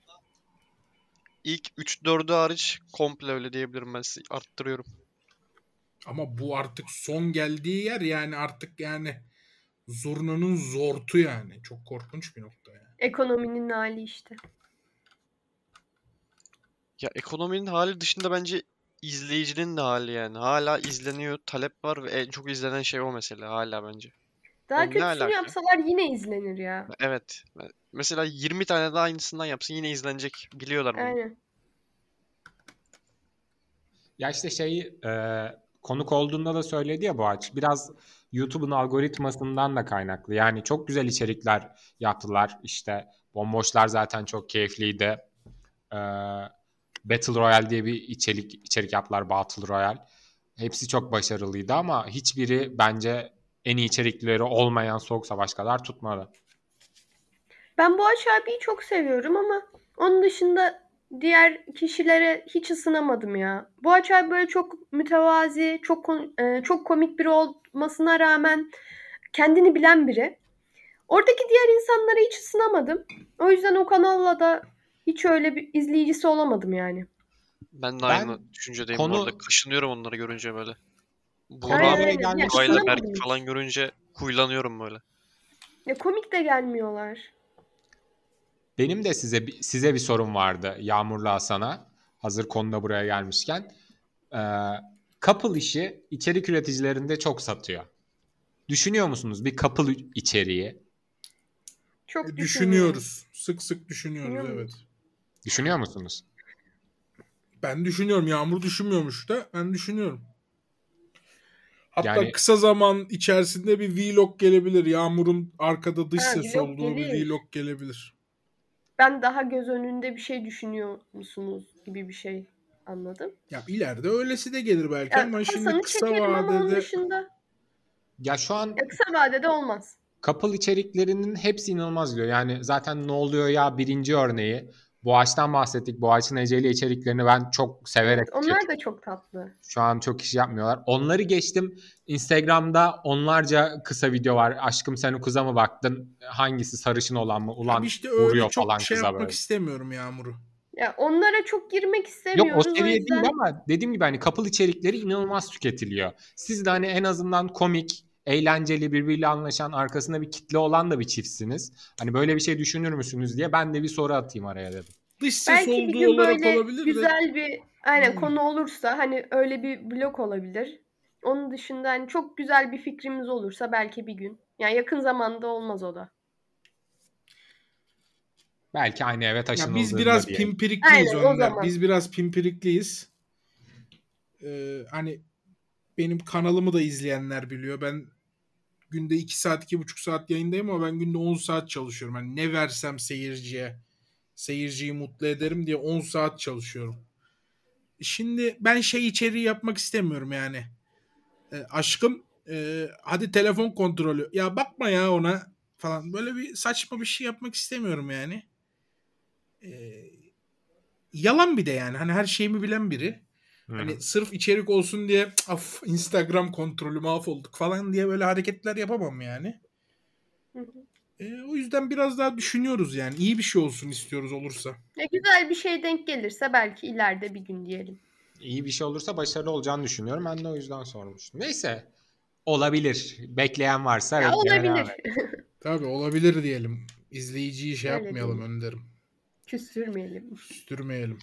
S1: ilk 3-4'ü hariç komple öyle diyebilirim ben size. Arttırıyorum.
S3: Ama bu artık son geldiği yer yani artık yani zurnanın zortu yani. Çok korkunç bir nokta yani.
S4: Ekonominin hali işte.
S1: Ya ekonominin hali dışında bence izleyicinin de hali yani. Hala izleniyor, talep var ve en çok izlenen şey o mesela hala bence.
S4: Daha
S1: Oğlum ne
S4: kötüsünü
S1: alaka?
S4: yapsalar yine izlenir ya.
S1: Evet. Mesela 20 tane daha aynısından yapsın yine izlenecek. Biliyorlar bunu.
S4: Aynen.
S2: Ya işte şeyi e, konuk olduğunda da söyledi ya Boğaç. Biraz YouTube'un algoritmasından da kaynaklı. Yani çok güzel içerikler yaptılar. İşte Bomboşlar zaten çok keyifliydi. E, Battle Royale diye bir içerik içerik yaptılar Battle Royale. Hepsi çok başarılıydı ama hiçbiri bence en iyi içerikleri olmayan Soğuk Savaş kadar tutmadı.
S4: Ben Boğaç abiyi çok seviyorum ama onun dışında diğer kişilere hiç ısınamadım ya. Boğaç abi böyle çok mütevazi, çok kon- e, çok komik biri olmasına rağmen kendini bilen biri. Oradaki diğer insanlara hiç ısınamadım. O yüzden o kanalla da hiç öyle bir izleyicisi olamadım yani.
S1: Ben de
S2: Ben
S1: aynı düşüncedeyim bu
S2: konu-
S1: arada. Kaşınıyorum onları görünce böyle.
S2: Konu
S1: Buğra,
S4: Aynen
S2: abi
S4: öyle. Ya
S2: gelmiş.
S1: Burayla
S4: ısınamadım
S1: Berk'i
S4: hiç.
S1: falan görünce huylanıyorum böyle.
S4: Ya komik de gelmiyorlar.
S2: Benim de size bi- size bir sorum vardı Yağmurlu Hasan'a. Hazır konuda buraya gelmişken. Ee, couple işi içerik üreticilerinde çok satıyor. Düşünüyor musunuz bir couple ü- içeriği?
S4: Çok
S3: E,
S4: düşünüyorum.
S3: Düşünüyoruz. Sık sık düşünüyoruz
S4: Düşünüyor
S3: evet.
S2: Düşünüyor musunuz?
S3: Ben düşünüyorum. Yağmur düşünmüyormuş da ben düşünüyorum. Hatta
S2: Yani-
S3: kısa zaman içerisinde bir vlog gelebilir. Yağmur'un arkada dış
S4: Ha,
S3: ses
S4: vlog
S3: olduğu bir
S4: gelir.
S3: vlog gelebilir.
S4: ben daha göz önünde bir şey düşünüyor musunuz gibi bir şey anladım.
S3: Ya ileride öylesi de gelir belki
S4: Yani
S3: ama şimdi
S4: Hasan'ı
S3: kısa
S4: çekerim ama onun
S3: vadede
S4: dışında
S2: Ya şu an
S4: ya kısa vadede olmaz.
S2: couple içeriklerinin hepsi inanılmaz diyor. Yani zaten ne oluyor ya birinci örneği. Boğaç'tan bahsettik. Boğaç'ın Ece'yle içeriklerini ben çok severek
S4: Onlar da çok tatlı.
S2: Şu an çok iş yapmıyorlar. Onları geçtim. Instagram'da onlarca kısa video var. Aşkım sen o kıza mı baktın? Hangisi sarışın olan mı? Ulan
S3: Abi işte öyle
S2: vuruyor
S3: çok
S2: falan
S3: şey
S2: kıza
S3: yapmak
S2: böyle.
S3: istemiyorum Yağmur'u.
S4: Ya onlara çok girmek
S2: Yok
S4: istemiyoruz.
S2: o seviye
S4: yüzden-
S2: değil ama dediğim gibi hani couple içerikleri inanılmaz tüketiliyor. Siz de hani en azından komik, eğlenceli, birbiriyle anlaşan, arkasında bir kitle olan da bir çiftsiniz. Hani böyle bir şey düşünür müsünüz diye ben de bir soru atayım araya dedim.
S3: Dış ses
S4: Belki bir
S3: olduğu
S4: gün
S3: olarak
S4: böyle
S3: olabilir de.
S4: güzel bir aynen
S3: Hmm.
S4: konu olursa hani öyle bir blok olabilir. Onun dışında hani çok güzel bir fikrimiz olursa belki bir gün. Yani yakın zamanda olmaz o da.
S2: Belki aynı eve
S3: Ya
S2: taşınıldığında
S3: biz biraz
S2: diye.
S3: pimpirikliyiz
S4: Aynen, o
S3: Önder.
S4: zaman.
S3: Biz biraz pimpirikliyiz. Ee, hani benim kanalımı da izleyenler biliyor. Ben günde 2 saat, iki buçuk saat yayındayım ama ben günde 10 saat çalışıyorum. Hani ne versem seyirciye, seyirciyi mutlu ederim diye 10 saat çalışıyorum. Şimdi ben şey içeriği yapmak istemiyorum yani. E, aşkım e, hadi telefon kontrolü. Ya bakma ya ona falan. Böyle bir saçma bir şey yapmak istemiyorum yani. E, yalan bir de yani. Hani her şeyimi bilen biri.
S2: Hı.
S3: Hani sırf içerik olsun diye "Cık, af Instagram kontrolü mahvolduk falan diye böyle hareketler yapamam yani.
S4: Hı hı.
S3: E, o yüzden biraz daha düşünüyoruz yani. İyi bir şey olsun istiyoruz olursa.
S4: Ya güzel bir şey denk gelirse belki ileride bir gün diyelim.
S2: İyi bir şey olursa başarılı olacağını düşünüyorum. Ben de o yüzden sormuştum. Neyse. Olabilir. Bekleyen varsa
S4: Ya
S2: beklemeye devam
S4: olabilir.
S2: edin.
S3: Tabii olabilir diyelim. İzleyiciyi şey
S4: Öyle
S3: yapmayalım
S4: diyelim.
S3: önderim.
S4: Küstürmeyelim.
S3: Sürmeyelim.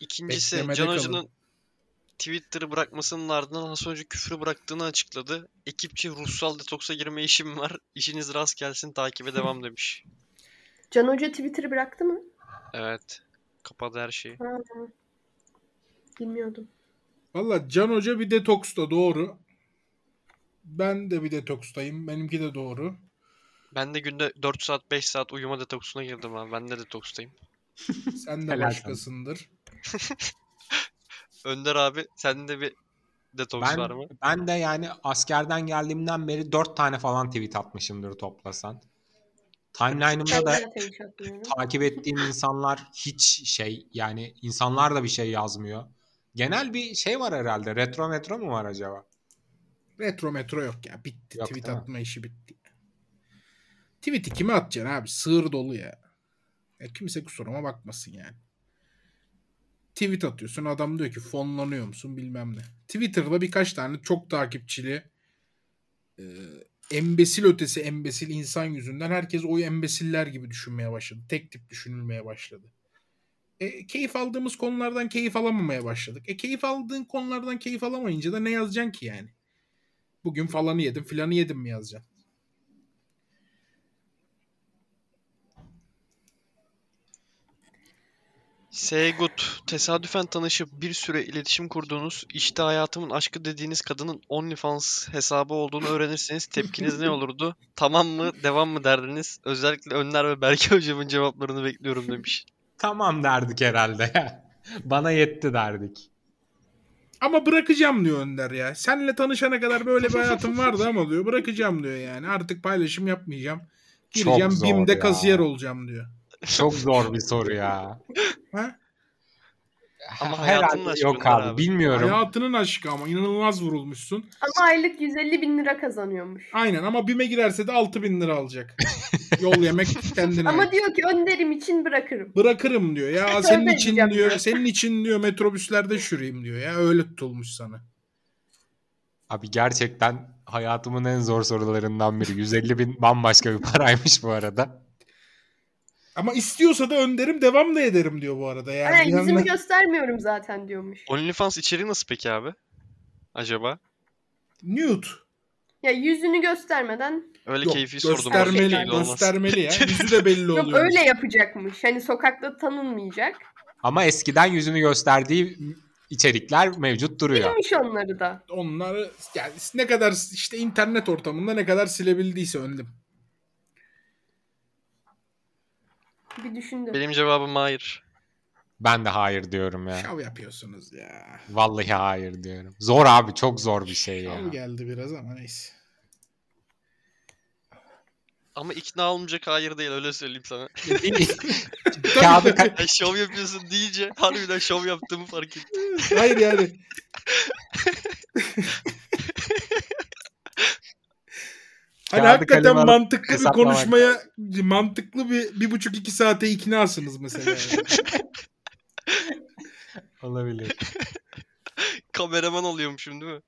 S1: İkincisi
S3: Beklemede
S1: Can
S3: kalın.
S1: Hoca'nın Twitter'ı bırakmasının ardından Hasan Hoca küfrü bıraktığını açıkladı. Ekipçi ruhsal detoksa girme işim var. İşiniz rast gelsin takibe devam demiş.
S4: Can Hoca Twitter'ı bıraktı mı?
S1: Evet. Kapadı her şeyi.
S4: Ha, bilmiyordum.
S3: Valla Can Hoca bir detoksta doğru. Ben de bir detokstayım. Benimki de doğru.
S1: Ben de günde 4 saat 5 saat uyuma detoksuna girdim abi. Ben de detokstayım.
S3: Sen de
S2: Helal
S3: başkasındır.
S1: Önder abi sende bir detoks var mı?
S2: Ben, ben de yani askerden geldiğimden beri dört tane falan tweet atmışımdır toplasan. Timeline'ımda
S4: Ben
S2: da
S4: zaten hiç atmıyorum.
S2: takip ettiğim insanlar hiç şey yani insanlar da bir şey yazmıyor. Genel bir şey var herhalde. Retro metro mu var acaba?
S3: Retro metro yok ya. Bitti.
S2: Yok,
S3: Tweet
S2: değil mi?
S3: atma işi bitti. Tweet'i kime atacaksın abi? Sığır dolu ya. ya kimse kusuruma bakmasın yani. Tweet atıyorsun adam diyor ki fonlanıyor musun bilmem ne. Twitter'da birkaç tane çok takipçili e, embesil ötesi embesil insan yüzünden herkes o embesiller gibi düşünmeye başladı. Tek tip düşünülmeye başladı. E, keyif aldığımız konulardan keyif alamamaya başladık. E keyif aldığın konulardan keyif alamayınca da ne yazacaksın ki yani? Bugün falanı yedim filanı yedim mi yazacaksın?
S1: Seygut, tesadüfen tanışıp bir süre iletişim kurduğunuz, işte hayatımın aşkı dediğiniz kadının OnlyFans hesabı olduğunu öğrenirseniz tepkiniz ne olurdu? Tamam mı, devam mı derdiniz? Özellikle Önder ve Berke hocamın cevaplarını bekliyorum demiş.
S2: Tamam derdik herhalde. Bana yetti derdik.
S3: Ama bırakacağım diyor Önder ya. Senle tanışana kadar böyle bir hayatım vardı ama diyor bırakacağım diyor yani. Artık paylaşım yapmayacağım.
S2: Çok
S3: Gireceğim
S2: zor
S3: BİM'de
S2: ya.
S3: kasiyer olacağım diyor.
S2: Çok zor bir soru ya.
S3: Ha?
S1: Ama hayatının
S2: herhalde
S1: aşkı
S2: yok
S1: bunlar
S2: abi.
S1: abi.
S2: Bilmiyorum.
S3: Hayatının aşkı ama inanılmaz vurulmuşsun.
S4: Ama aylık 150 bin lira kazanıyormuş.
S3: Aynen ama BİM'e girerse de 6000 bin lira alacak. Yol yemek kendine.
S4: Ama diyor ki önderim için bırakırım.
S3: Bırakırım diyor ya. Senin
S4: Öyle
S3: için
S4: diyeceğim
S3: diyor.
S4: ya.
S3: Senin için diyor metrobüslerde şüreyim diyor ya. Öyle tutulmuş sana.
S2: Abi gerçekten hayatımın en zor sorularından biri. 150 bin bambaşka bir paraymış bu arada.
S3: Ama istiyorsa da önderim devam da ederim diyor bu arada. Yani
S4: Aynen,
S3: bir yandan-
S4: yüzümü göstermiyorum zaten diyormuş.
S1: OnlyFans içeriği nasıl peki abi? Acaba?
S3: Nude.
S4: Ya yüzünü göstermeden
S1: Öyle
S3: Yok,
S1: keyfi sordum. orada
S3: göstermeli,
S1: keyifli olmaz.
S3: göstermeli ya. Yüzü de belli
S4: Yok
S3: oluyor.
S4: öyle yapacakmış. Hani sokakta tanınmayacak.
S2: Ama eskiden yüzünü gösterdiği içerikler mevcut duruyor.
S4: Bilmiş onları da.
S3: Onları yani ne kadar işte internet ortamında ne kadar silebildiyse önlem.
S4: Bir düşündüm.
S1: Benim cevabım hayır.
S2: Ben de hayır diyorum ya.
S3: Şov yapıyorsunuz ya.
S2: Vallahi hayır diyorum. Zor abi çok zor bir şey ya.
S3: Şov geldi biraz ama neyse.
S1: Ama ikna olmayacak hayır değil öyle söyleyeyim sana.
S2: Kağıdı ka-
S1: Ya şov yapıyorsun deyince harbiden şov yaptığımı fark ettim.
S3: Hayır yani. hani
S2: Kağıdı
S3: Hani hakikaten
S2: kaleme alıp
S3: mantıklı bir
S2: hesaplamak.
S3: konuşmaya mantıklı bir, bir buçuk iki saate iknasınız mesela. yani.
S2: olabilir.
S1: Kameraman oluyormuşum değil mi?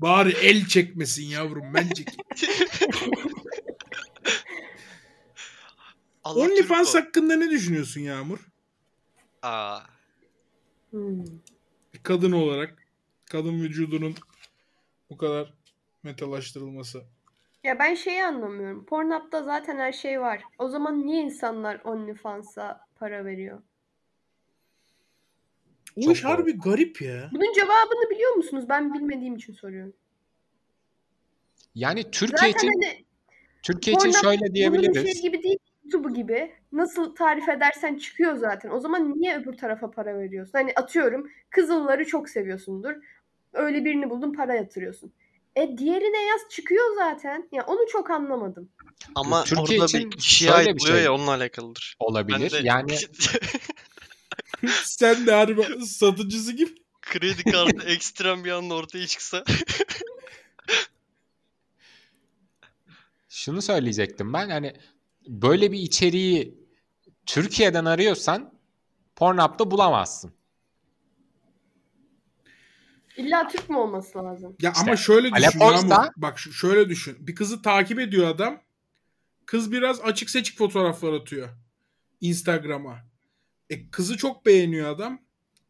S3: Bari el çekmesin yavrum bence ki.
S1: Allah Türk
S3: OnlyFans
S1: ol.
S3: hakkında ne düşünüyorsun Yağmur?
S1: Aa,
S4: Hmm.
S3: Bir kadın olarak. Kadın vücudunun bu kadar metalaştırılması.
S4: Ya ben şeyi anlamıyorum. Pornhub'da zaten her şey var. O zaman niye insanlar OnlyFans'a para veriyor?
S3: O
S2: Çok
S3: iş
S2: doğru.
S3: harbi garip ya.
S4: Bunun cevabını biliyor musunuz? Ben bilmediğim için soruyorum.
S2: Yani Türkiye
S4: Zaten
S2: için
S4: hani
S2: Türkiye için
S4: Pornhub-
S2: şöyle
S4: bunun
S2: diyebiliriz.
S4: şey gibi değil. YouTube gibi. Nasıl tarif edersen çıkıyor zaten. O zaman niye öbür tarafa para veriyorsun? Hani atıyorum kızılları çok seviyorsundur. Öyle birini buldun para yatırıyorsun. E diğerine yaz çıkıyor zaten. Ya onu çok anlamadım.
S1: ama
S2: Türkiye
S1: orada
S2: için
S1: bir kişiye
S2: şöyle bir
S1: ait oluyor
S2: şey.
S1: ya onunla alakalıdır. Ben
S2: olabilir.
S1: de- şey-
S2: Yani
S3: Sen de harbi satıcısı gibi.
S1: kredi kartı ekstrem bir anda ortaya çıksa
S2: şunu söyleyecektim ben hani böyle bir içeriği Türkiye'den arıyorsan Pornhub'da bulamazsın.
S4: İlla Türk mü olması lazım?
S3: Ya
S2: İşte
S3: ama şöyle
S2: Alep
S3: düşün Yağmur.
S2: Osta-
S3: Bak şu- şöyle düşün. Bir kızı takip ediyor adam. Kız biraz açık seçik fotoğraflar atıyor. Instagram'a. E, kızı çok beğeniyor adam.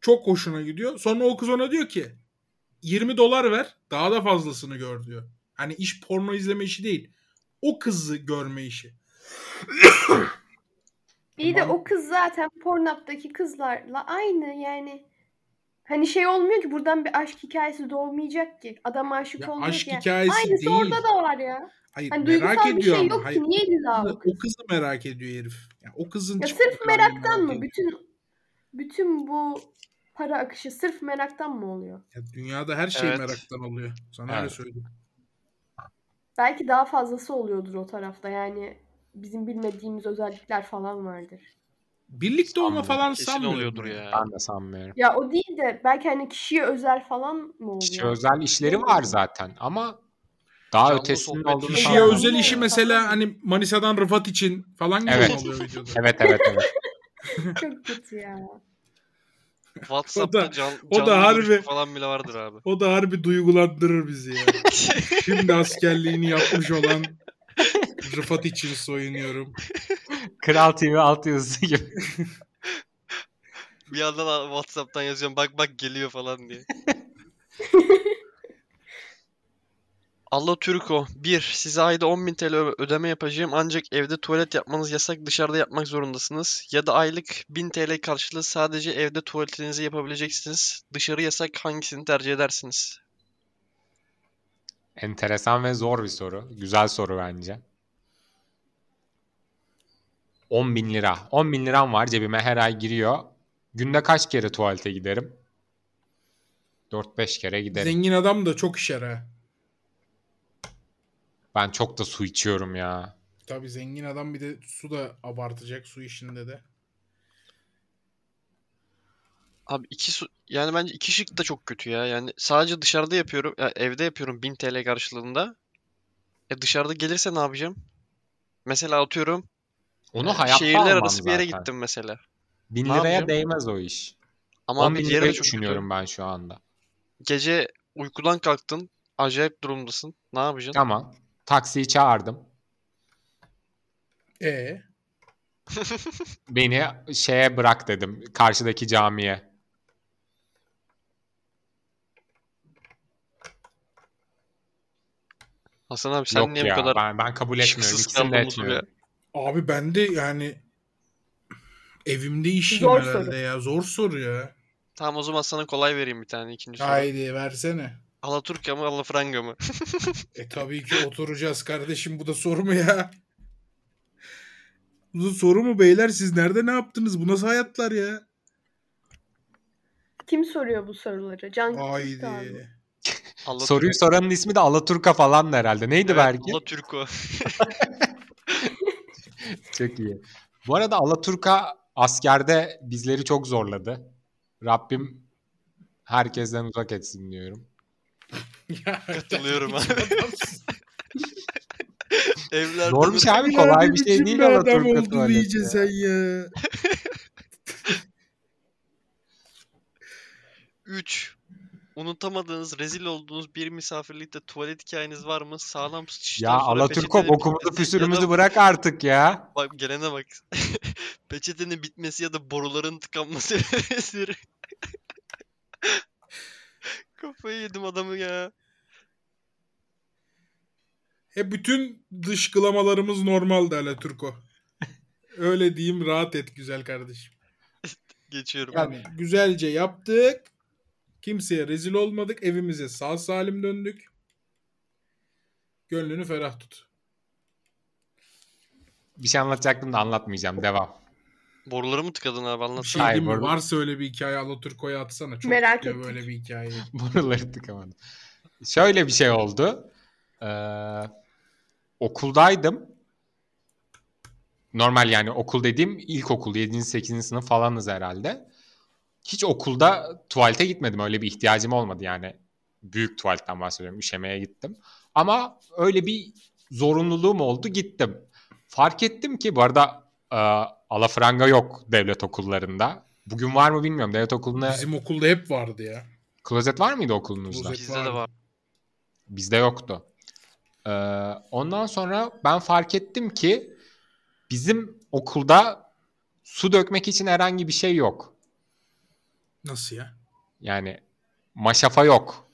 S3: Çok hoşuna gidiyor. Sonra o kız ona diyor ki 20 dolar ver. Daha da fazlasını gör diyor. Hani iş porno izleme işi değil. O kızı görme işi.
S4: İyi de
S3: Tamam.
S4: o kız zaten Pornhub'daki kızlarla aynı yani. Hani şey olmuyor ki buradan bir aşk hikayesi doğmayacak ki. Adam aşık
S3: Ya
S4: olmuyor
S3: aşk
S4: ki.
S3: hikayesi
S4: Aynısı
S3: değil.
S4: orada da var ya.
S3: Hayır
S4: Hani
S3: merak
S4: duygusal bir
S3: ediyor
S4: şey
S3: ama.
S4: yok
S3: Hayır.
S4: ki. Niye illa o kız?
S3: O kızı merak ediyor herif. Yani o kızın
S4: Ya
S3: çıktığı
S4: sırf
S3: kararını
S4: meraktan
S3: merak
S4: mı?
S3: ediyor.
S4: Bütün bütün bu para akışı sırf meraktan mı oluyor?
S3: Ya dünyada her şey
S1: Evet.
S3: meraktan oluyor. Sana öyle
S2: Evet.
S3: söyleyeyim.
S4: Belki daha fazlası oluyordur o tarafta yani. Bizim bilmediğimiz özellikler falan vardır.
S3: Birlikte olma
S2: Sanmıyorum.
S3: falan
S1: kesin
S3: sanmıyorum.
S1: oluyordur
S3: ben.
S1: ya.
S2: Ben de sanmıyorum.
S4: Ya o değil de belki hani kişiye özel falan mı oluyor?
S2: Kişi özel işleri var zaten ama daha
S1: Canlı
S2: ötesinin
S1: sohbet
S2: olduğunu
S3: Kişiye
S2: sanmıyorum.
S3: özel işi
S4: Sanmıyorum.
S3: mesela hani Manisa'dan Rıfat için falan gibi
S2: Evet.
S3: mi oluyor videoda?
S2: Evet evet evet.
S4: Çok kötü ya.
S1: WhatsApp'ta
S3: O da-
S1: can,
S3: o da
S1: canlı
S3: harbi-
S1: görüşme falan bile vardır abi.
S3: O da harbi duygulandırır bizi ya. Şimdi askerliğini yapmış olan Rıfat için soyunuyorum.
S2: Kral TV alt yazısı gibi.
S1: Bir yandan a- WhatsApp'tan yazıyorum bak bak geliyor falan diye. Allah Türko 1. Size ayda 10.000 TL ö- ödeme yapacağım ancak evde tuvalet yapmanız yasak dışarıda yapmak zorundasınız. Ya da aylık 1000 TL karşılığı sadece evde tuvaletinizi yapabileceksiniz. Dışarı yasak hangisini tercih edersiniz?
S2: Enteresan ve zor bir soru. Güzel soru bence. 10 bin lira. 10 bin liram var cebime her ay giriyor. Günde kaç kere tuvalete giderim? 4-5 kere giderim.
S3: Zengin adam da çok işer ha.
S2: Ben çok da su içiyorum ya.
S3: Tabii zengin adam bir de su da abartacak su işinde de.
S1: Abi iki su- yani bence iki şık da çok kötü ya. Yani sadece dışarıda yapıyorum. ya evde yapıyorum 1000 TL karşılığında. E dışarıda gelirse ne yapacağım? Mesela atıyorum
S2: Onu hayatta
S1: şehirler
S2: almam
S1: arası bir yere
S2: zaten.
S1: gittim mesela.
S2: Bin
S1: Ne
S2: liraya
S1: yapacağım?
S2: değmez o iş.
S1: Ama
S2: 10
S1: abi
S2: bin
S1: diğeri de
S2: lirayı
S1: çok kötü.
S2: şey düşünüyorum ben şu anda.
S1: Gece uykudan kalktın. Acayip durumdasın. Ne yapacaksın?
S2: Tamam. Taksiyi çağırdım.
S3: E
S2: Beni şeye bırak dedim. Karşıdaki camiye.
S1: Hasan abi sen
S2: Yok
S1: niye bu
S2: ya
S1: kadar
S2: ben, ben kabul etmiyorum.
S1: şıksız
S2: İkisini de
S1: kaldın bu soruya?
S2: etmiyorum.
S3: abi ben de yani evimde işim
S4: Zor
S3: herhalde
S4: soru.
S3: ya. Zor soru ya.
S1: Tamam o zaman sana kolay vereyim bir tane ikinci soru.
S3: Haydi versene.
S1: Alaturka mı Alafranga mı?
S3: E tabii ki oturacağız kardeşim bu da soru mu ya? Bu da soru mu beyler siz nerede ne yaptınız? Bu nasıl hayatlar ya?
S4: Kim soruyor bu soruları? Can Küçük
S3: Haydi.
S4: abi.
S1: Allah
S2: Soruyu soranın ismi de Alaturka falan herhalde. Neydi belki?
S1: Allah Türko.
S2: Çok iyi. Bu arada Alaturka askerde bizleri çok zorladı. Rabbim herkesten uzak etsin diyorum.
S3: Ya,
S1: Katılıyorum abi. Evlerde
S2: Zormuş
S1: nasıl-
S2: abi kolay bir şey
S3: Kim
S2: değil
S3: be adam
S2: Alaturka
S3: oldu
S2: tuvaleti.
S3: iyice sen ya.
S1: 3. Unutamadığınız, rezil olduğunuz bir misafirlikte tuvalet hikayeniz var mı? Sağlam sıçıştan
S2: Ya
S1: sonra
S2: Alaturka
S1: peçetenin
S2: bokumuzu
S1: bitmesi ya da-
S2: püsürümüzü bırak artık ya.
S1: Bak gelene bak. Peçetenin bitmesi ya da boruların tıkanması eseri. Kafayı yedim adamı ya.
S3: E bütün dışkılamalarımız normaldi Ala Turko. Öyle diyeyim rahat et güzel kardeşim.
S1: Geçiyorum.
S3: Yani güzelce yaptık. Kimseye rezil olmadık. Evimize sağ salim döndük. Gönlünü ferah tut.
S2: Bir şey anlatacaktım da anlatmayacağım. Devam.
S1: Boruları mı tıkadın abi anlat.
S3: Bir şey
S2: Hayır,
S3: diyeyim mi?
S2: bu arada-
S3: Varsa öyle bir hikaye Alaturko'ya atsana. Çok
S4: Merak
S3: tutuyor
S4: ettik.
S3: böyle bir hikaye.
S2: Buraları tıkamadım. Şöyle bir şey oldu. Ee, okuldaydım. Normal yani okul dediğim ilkokul 7. 8. sınıf falanız herhalde. Hiç okulda tuvalete gitmedim. Öyle bir ihtiyacım olmadı yani. Büyük tuvaletten bahsediyorum. Üşemeye gittim. Ama öyle bir zorunluluğum oldu gittim. Fark ettim ki bu arada e, alafranga yok devlet okullarında. Bugün var mı bilmiyorum. Devlet okulunda
S3: Bizim okulda hep vardı ya.
S2: klozet var mıydı okulunuzda?
S3: Klozet
S1: Bizde de var.
S2: Bizde yoktu. Ee, ondan sonra ben fark ettim ki bizim okulda su dökmek için herhangi bir şey yok.
S3: Nasıl ya?
S2: Yani maşafa yok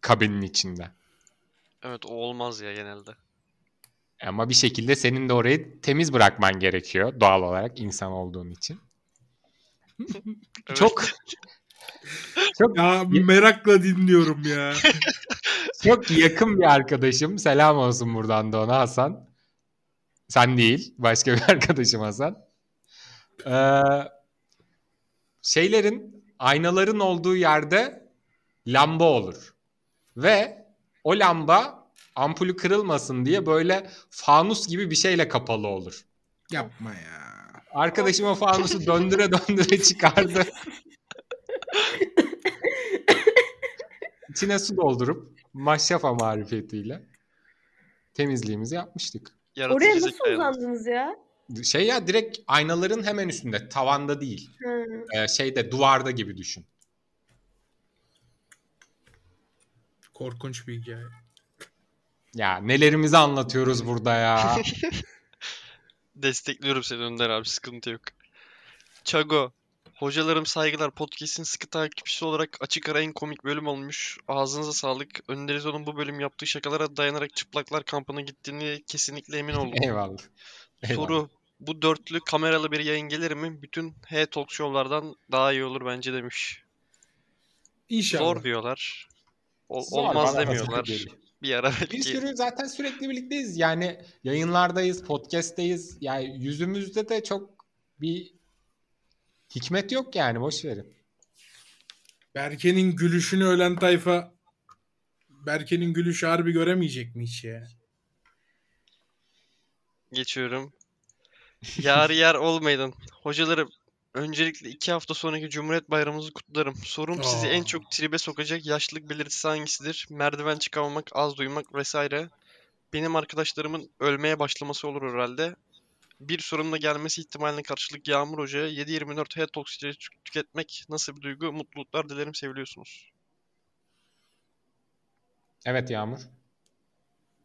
S2: kabinin içinde.
S1: Evet o olmaz ya genelde.
S2: Ama bir şekilde senin de orayı temiz bırakman gerekiyor doğal olarak insan olduğun için.
S1: Evet.
S2: Çok çok
S3: Ya merakla dinliyorum ya.
S2: çok yakın bir arkadaşım. Selam olsun buradan da ona Hasan. Sen değil. Başka bir arkadaşım Hasan. Ee, şeylerin aynaların olduğu yerde lamba olur. Ve o lamba ampulü kırılmasın diye böyle fanus gibi bir şeyle kapalı olur.
S3: Yapma ya.
S2: Arkadaşım o fanusu döndüre döndüre çıkardı. İçine su doldurup maşrafa marifetiyle temizliğimizi yapmıştık.
S1: Yaratıcı
S4: Oraya nasıl
S1: zekayla.
S4: uzandınız ya?
S2: Şey ya direkt aynaların hemen üstünde tavanda değil
S4: Ha.
S2: ee, şeyde duvarda gibi düşün.
S3: Korkunç bir hikaye.
S2: Ya nelerimizi anlatıyoruz burada ya.
S1: Destekliyorum seni Önder abi sıkıntı yok. Çago. Hocalarım saygılar. Podcast'in sıkı takipçisi olarak açık ara en komik bölüm olmuş. Ağzınıza sağlık. Önder İzo'nun bu bölüm yaptığı şakalara dayanarak çıplaklar kampına gittiğini kesinlikle emin oldum.
S2: Eyvallah. Eyvallah.
S1: Soru. Bu dörtlü kameralı bir yayın gelir mi? Bütün H talk show'lardan daha iyi olur bence demiş.
S3: İnşallah.
S1: Zor diyorlar. Ol-
S2: Zor,
S1: olmaz
S2: bana
S1: demiyorlar.
S2: hazır değil.
S1: Bir ara
S2: Bir
S1: belki
S2: sürü zaten sürekli birlikteyiz. Yani yayınlardayız, podcast'teyiz. Yani yüzümüzde de çok bir hikmet yok yani boş verin.
S3: Berke'nin gülüşünü ölen tayfa Berke'nin gülüşü harbi göremeyecek mi hiç ya?
S1: geçiyorum. Yar yer olmayın. Hocalarım öncelikle iki hafta sonraki Cumhuriyet Bayramınızı kutlarım. Sorum sizi en
S3: Aa.
S1: çok tribe sokacak yaşlılık belirtisi hangisidir? Merdiven çıkamamak, az duymak vesaire. Benim arkadaşlarımın ölmeye başlaması olur herhalde. Bir sorumla gelmesi ihtimaline karşılık Yağmur Hoca'ya 7-24 head talk stili tü- tüketmek nasıl bir duygu? Mutluluklar dilerim seviliyorsunuz.
S2: Evet Yağmur.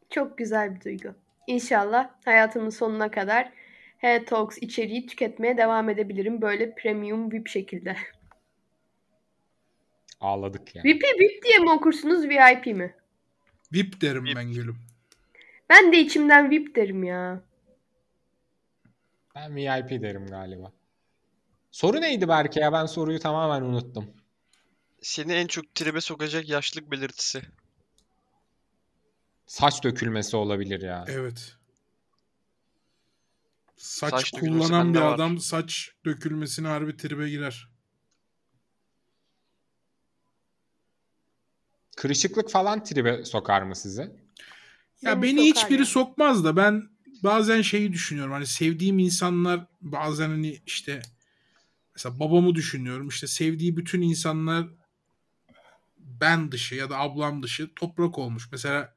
S4: Çok güzel bir duygu. İnşallah hayatımın sonuna kadar Head Talks içeriği tüketmeye devam edebilirim böyle premium VIP şekilde.
S2: Ağladık yani.
S4: VIP'i VIP diye mi okursunuz VIP mi?
S3: Vip derim
S1: Vip.
S3: ben gülüm.
S4: Ben de içimden VIP derim ya.
S2: Ben VIP derim galiba. Soru neydi Berke ya? Ben soruyu tamamen unuttum.
S1: Seni en çok tribe sokacak yaşlılık belirtisi.
S2: Saç dökülmesi olabilir ya.
S3: Evet. Saç,
S1: Saç dökülmesi
S3: kullanan
S1: bende
S3: bir
S1: var.
S3: adam saç dökülmesine harbi tribe girer.
S2: Kırışıklık falan tribe sokar mı sizi?
S3: Ya
S4: Seni
S3: beni
S4: sokar
S3: hiçbiri
S4: yani.
S3: sokmaz da ben bazen şeyi düşünüyorum. Hani sevdiğim insanlar bazen hani işte mesela babamı düşünüyorum. İşte sevdiği bütün insanlar ben dışı ya da ablam dışı toprak olmuş. Mesela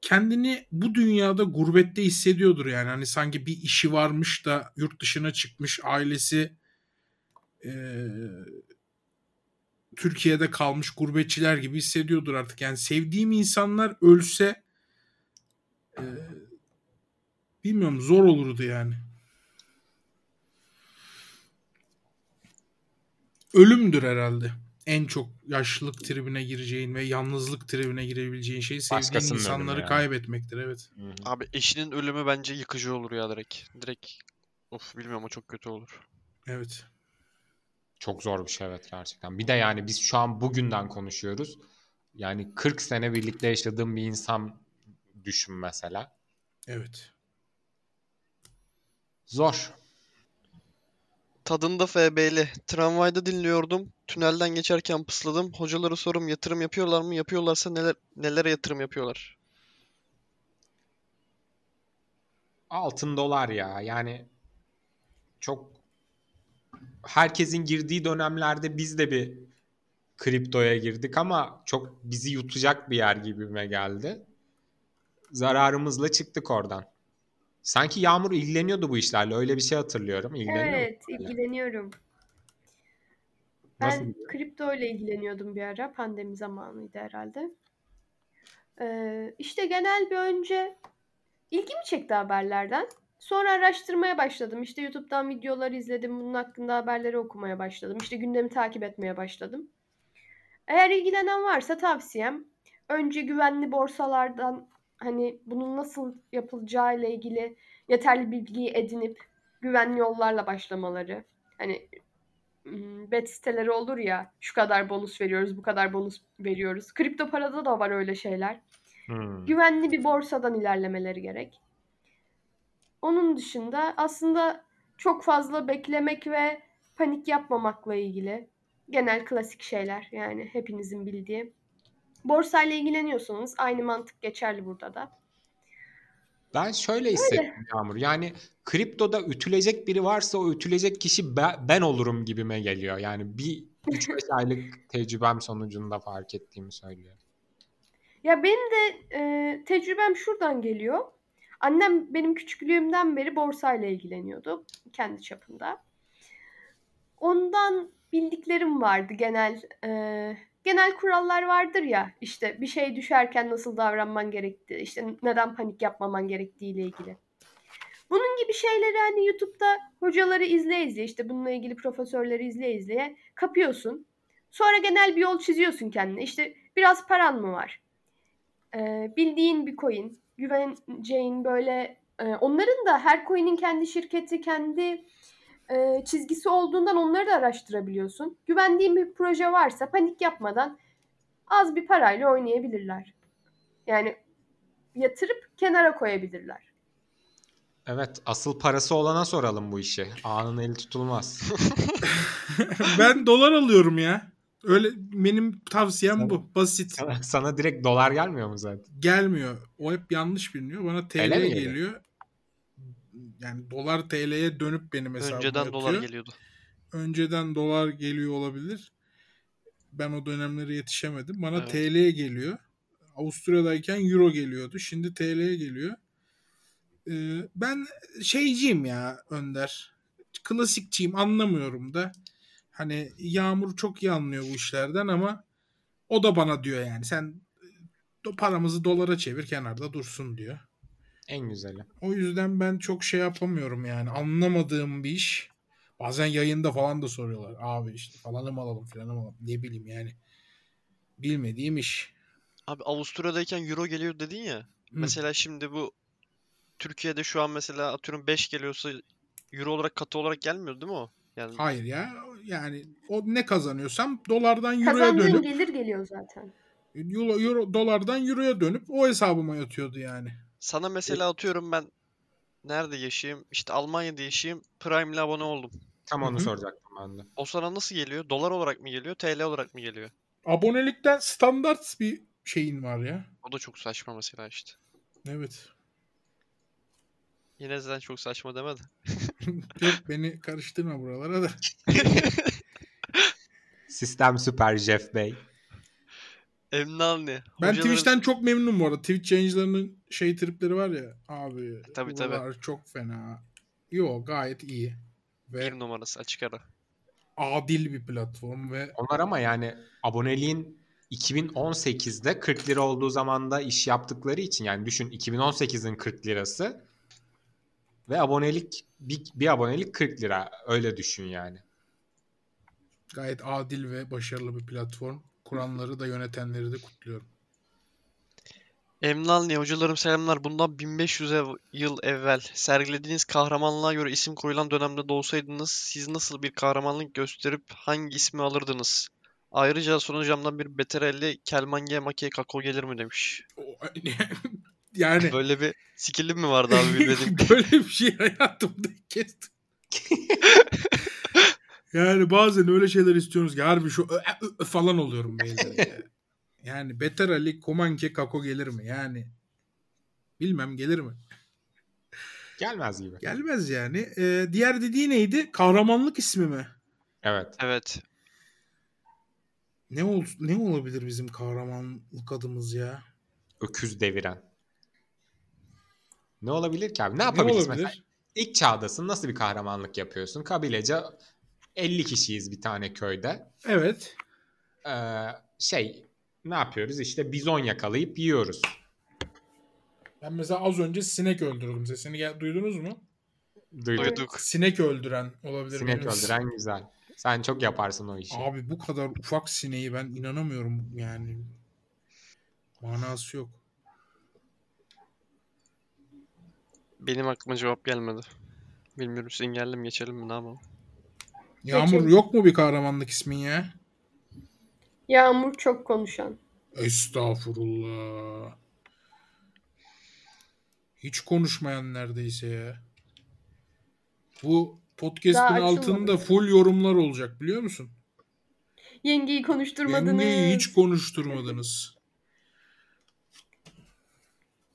S3: kendini bu dünyada gurbette hissediyordur yani. Hani sanki bir işi varmış da yurt dışına çıkmış ailesi eee, Ee, Türkiye'de kalmış gurbetçiler gibi hissediyordur artık. Yani sevdiğim insanlar ölse ee, bilmiyorum zor olurdu yani. Ölümdür herhalde. En çok yaşlılık tribine gireceğin ve yalnızlık tribine girebileceğin şey sevdiğin
S2: Başkasının ölümü
S3: insanları
S2: yani.
S3: kaybetmektir evet.
S1: Abi eşinin ölümü bence yıkıcı olur ya direkt. Direkt of bilmiyorum o çok kötü olur.
S3: Evet.
S2: Çok zor bir şey evet gerçekten. Bir de yani biz şu an bugünden konuşuyoruz. Yani 40 sene birlikte yaşadığım bir insan düşün mesela.
S3: Evet.
S2: Zor.
S1: Tadında FB'li. Tramvayda dinliyordum. Tünelden geçerken pısladım. Hocalara sorum yatırım yapıyorlar mı? Yapıyorlarsa neler nelere yatırım yapıyorlar?
S2: Altın dolar ya. Yani çok herkesin girdiği dönemlerde biz de bir kriptoya girdik ama çok bizi yutacak bir yer gibime geldi. Zararımızla çıktık oradan. Sanki Yağmur ilgileniyordu bu işlerle. Öyle bir şey hatırlıyorum. İlgileniyor mu?
S4: Evet ilgileniyorum.
S2: Nasıl
S4: Ben
S2: gidiyor?
S4: kripto ile ilgileniyordum bir ara. Pandemi zamanıydı herhalde. Ee, işte genel bir önce ilgimi çekti haberlerden. Sonra araştırmaya başladım. İşte YouTube'dan videolar izledim. Bunun hakkında haberleri okumaya başladım. İşte gündemi takip etmeye başladım. Eğer ilgilenen varsa tavsiyem önce güvenli borsalardan hani bunun nasıl yapılacağı ile ilgili yeterli bilgiyi edinip güvenli yollarla başlamaları. Hani Hmm, bet siteleri olur ya şu kadar bonus veriyoruz bu kadar bonus veriyoruz. Kripto parada da var öyle şeyler.
S2: Hmm.
S4: Güvenli bir borsadan ilerlemeleri gerek. Onun dışında aslında çok fazla beklemek ve panik yapmamakla ilgili genel klasik şeyler yani hepinizin bildiği. Borsayla ilgileniyorsanız aynı mantık geçerli burada da.
S2: Ben şöyle hissettim Yağmur. Yani kriptoda ütülecek biri varsa o ütülecek kişi be- ben olurum gibime geliyor. Yani bir 3-5 aylık tecrübem sonucunda fark ettiğimi söylüyor.
S4: Ya benim de e, tecrübem şuradan geliyor. Annem benim küçüklüğümden beri borsayla ilgileniyordu kendi çapında. Ondan bildiklerim vardı genel e, genel kurallar vardır ya işte bir şey düşerken nasıl davranman gerektiği işte neden panik yapmaman gerektiği ile ilgili. Bunun gibi şeyleri hani YouTube'da hocaları izle izle işte bununla ilgili profesörleri izle izleye kapıyorsun. Sonra genel bir yol çiziyorsun kendine. İşte biraz paran mı var? Ee, bildiğin bir coin, güveneceğin böyle e, onların da her coin'in kendi şirketi, kendi e, çizgisi olduğundan onları da araştırabiliyorsun. Güvendiğin bir proje varsa panik yapmadan az bir parayla oynayabilirler. Yani yatırıp kenara koyabilirler.
S2: Evet asıl parası olana soralım bu işi. Anın eli tutulmaz.
S3: ben dolar alıyorum ya. Öyle benim tavsiyem
S2: Sen-
S3: bu. Basit.
S2: sana, sana direkt dolar gelmiyor mu zaten?
S3: Gelmiyor. O hep yanlış biliniyor. Bana TL
S2: Öyle mi
S3: geliyor.
S2: geliyor?
S3: Yani dolar TL'ye dönüp benim hesabıma
S1: Önceden dolar
S3: yatıyor.
S1: geliyordu.
S3: önceden dolar geliyor olabilir. Ben o dönemlere yetişemedim. Bana
S1: Evet.
S3: TL'ye geliyor. Avusturya'dayken Euro geliyordu. Şimdi TL'ye geliyor. Ee, ben şeyciyim ya Önder. Klasikçiyim anlamıyorum da. Hani Yağmur çok iyi anlıyor bu işlerden ama o da bana diyor yani sen do- paramızı dolara çevir kenarda dursun diyor.
S2: En güzeli.
S3: O yüzden ben çok şey yapamıyorum yani. Anlamadığım bir iş. Bazen yayında falan da soruyorlar. Abi işte falanı mı alalım filanı mı alalım. Ne bileyim yani. Bilmediğim iş.
S1: Abi Avusturya'dayken euro geliyor dedin ya. Mesela şimdi bu Türkiye'de şu an mesela atıyorum 5 geliyorsa euro olarak katı olarak gelmiyor değil mi o? Yani
S3: Hayır ya. Yani o ne kazanıyorsam dolardan euroya
S4: Kazandığın
S3: dönüp
S4: gelir geliyor zaten.
S3: euro, euro- dolardan euroya dönüp o hesabıma yatıyordu yani.
S1: sana mesela atıyorum ben nerede yaşayayım? İşte Almanya'da yaşayayım. Prime'le abone oldum.
S2: Tam onu
S3: Hı hı.
S2: soracaktım ben de.
S1: O sana nasıl geliyor? Dolar olarak mı geliyor? TL olarak mı geliyor?
S3: Abonelikten standart bir şeyin var ya.
S1: O da çok saçma mesela işte.
S3: Evet.
S1: Yine zaten çok saçma demedi.
S3: Yok beni karıştırma buralara da.
S2: Sistem süper Jeff Bey.
S1: Emnal ne?
S3: Ben
S1: Hocaların-
S3: Twitch'ten çok memnunum bu arada. Twitch yayıncılarının şey tripleri var ya. Abi
S1: E, Tabii, tabii.
S3: buralar çok fena. Yo gayet iyi. Ve
S1: bir numarası açık ara.
S3: adil bir platform ve
S2: Onlar ama yani aboneliğin 2018'de 40 lira olduğu zamanda iş yaptıkları için yani düşün 2018'in 40 lirası ve abonelik bir, bir abonelik 40 lira öyle düşün yani.
S3: gayet adil ve başarılı bir platform. Kur'anları da yönetenleri de kutluyorum.
S1: Emnal ne? Hocalarım selamlar. Bundan 1500 ev- yıl evvel sergilediğiniz kahramanlığa göre isim koyulan dönemde doğsaydınız siz nasıl bir kahramanlık gösterip hangi ismi alırdınız? Ayrıca sonucamdan bir Beterelli Kelmange Make Kako gelir mi demiş.
S3: O- yani
S1: Böyle bir skill'im mi vardı abi bilmediğim?
S3: Böyle bir şey hayatımda kestim. yani bazen öyle şeyler istiyoruz ki harbi şu ö- ö- ö- falan oluyorum beyler. ya. yani Beter Ali Komanke Kako gelir mi? Yani bilmem gelir mi?
S2: Gelmez gibi.
S3: Gelmez yani. Ee, diğer dediği neydi? Kahramanlık ismi mi?
S2: Evet.
S1: Evet.
S3: Ne ol ne olabilir bizim kahramanlık adımız ya?
S2: Öküz deviren. Ne olabilir ki abi? Ne
S3: Ne
S2: yapabiliriz mesela?
S3: olabilir?
S2: İlk çağdasın nasıl bir kahramanlık yapıyorsun? Kabilece 50 kişiyiz bir tane köyde.
S3: Evet.
S2: Ee, şey ne yapıyoruz? İşte bizon yakalayıp yiyoruz.
S3: Ben mesela az önce sinek öldürdüm. Sesini gel- duydunuz mu?
S2: Duyduk.
S1: Duyduk.
S3: Sinek öldüren olabilir.
S2: Sinek
S3: biliyor musun?
S2: öldüren güzel. Sen çok yaparsın o
S4: Şey.
S2: işi.
S3: Abi bu kadar ufak sineği ben inanamıyorum yani. Manası yok.
S1: Benim aklıma cevap gelmedi. Bilmiyorum sizin geldi mi geçelim mi ne yapalım?
S3: Yağmur
S4: Peki.
S3: yok mu bir kahramanlık ismin ya?
S4: Yağmur çok konuşan.
S3: Estağfurullah. Hiç konuşmayan neredeyse ya. Bu
S4: Daha
S3: podcast'in
S4: açılmadı
S3: altında
S4: yani.
S3: full yorumlar olacak biliyor musun?
S4: Yengeyi konuşturmadınız.
S3: Yengeyi hiç konuşturmadınız.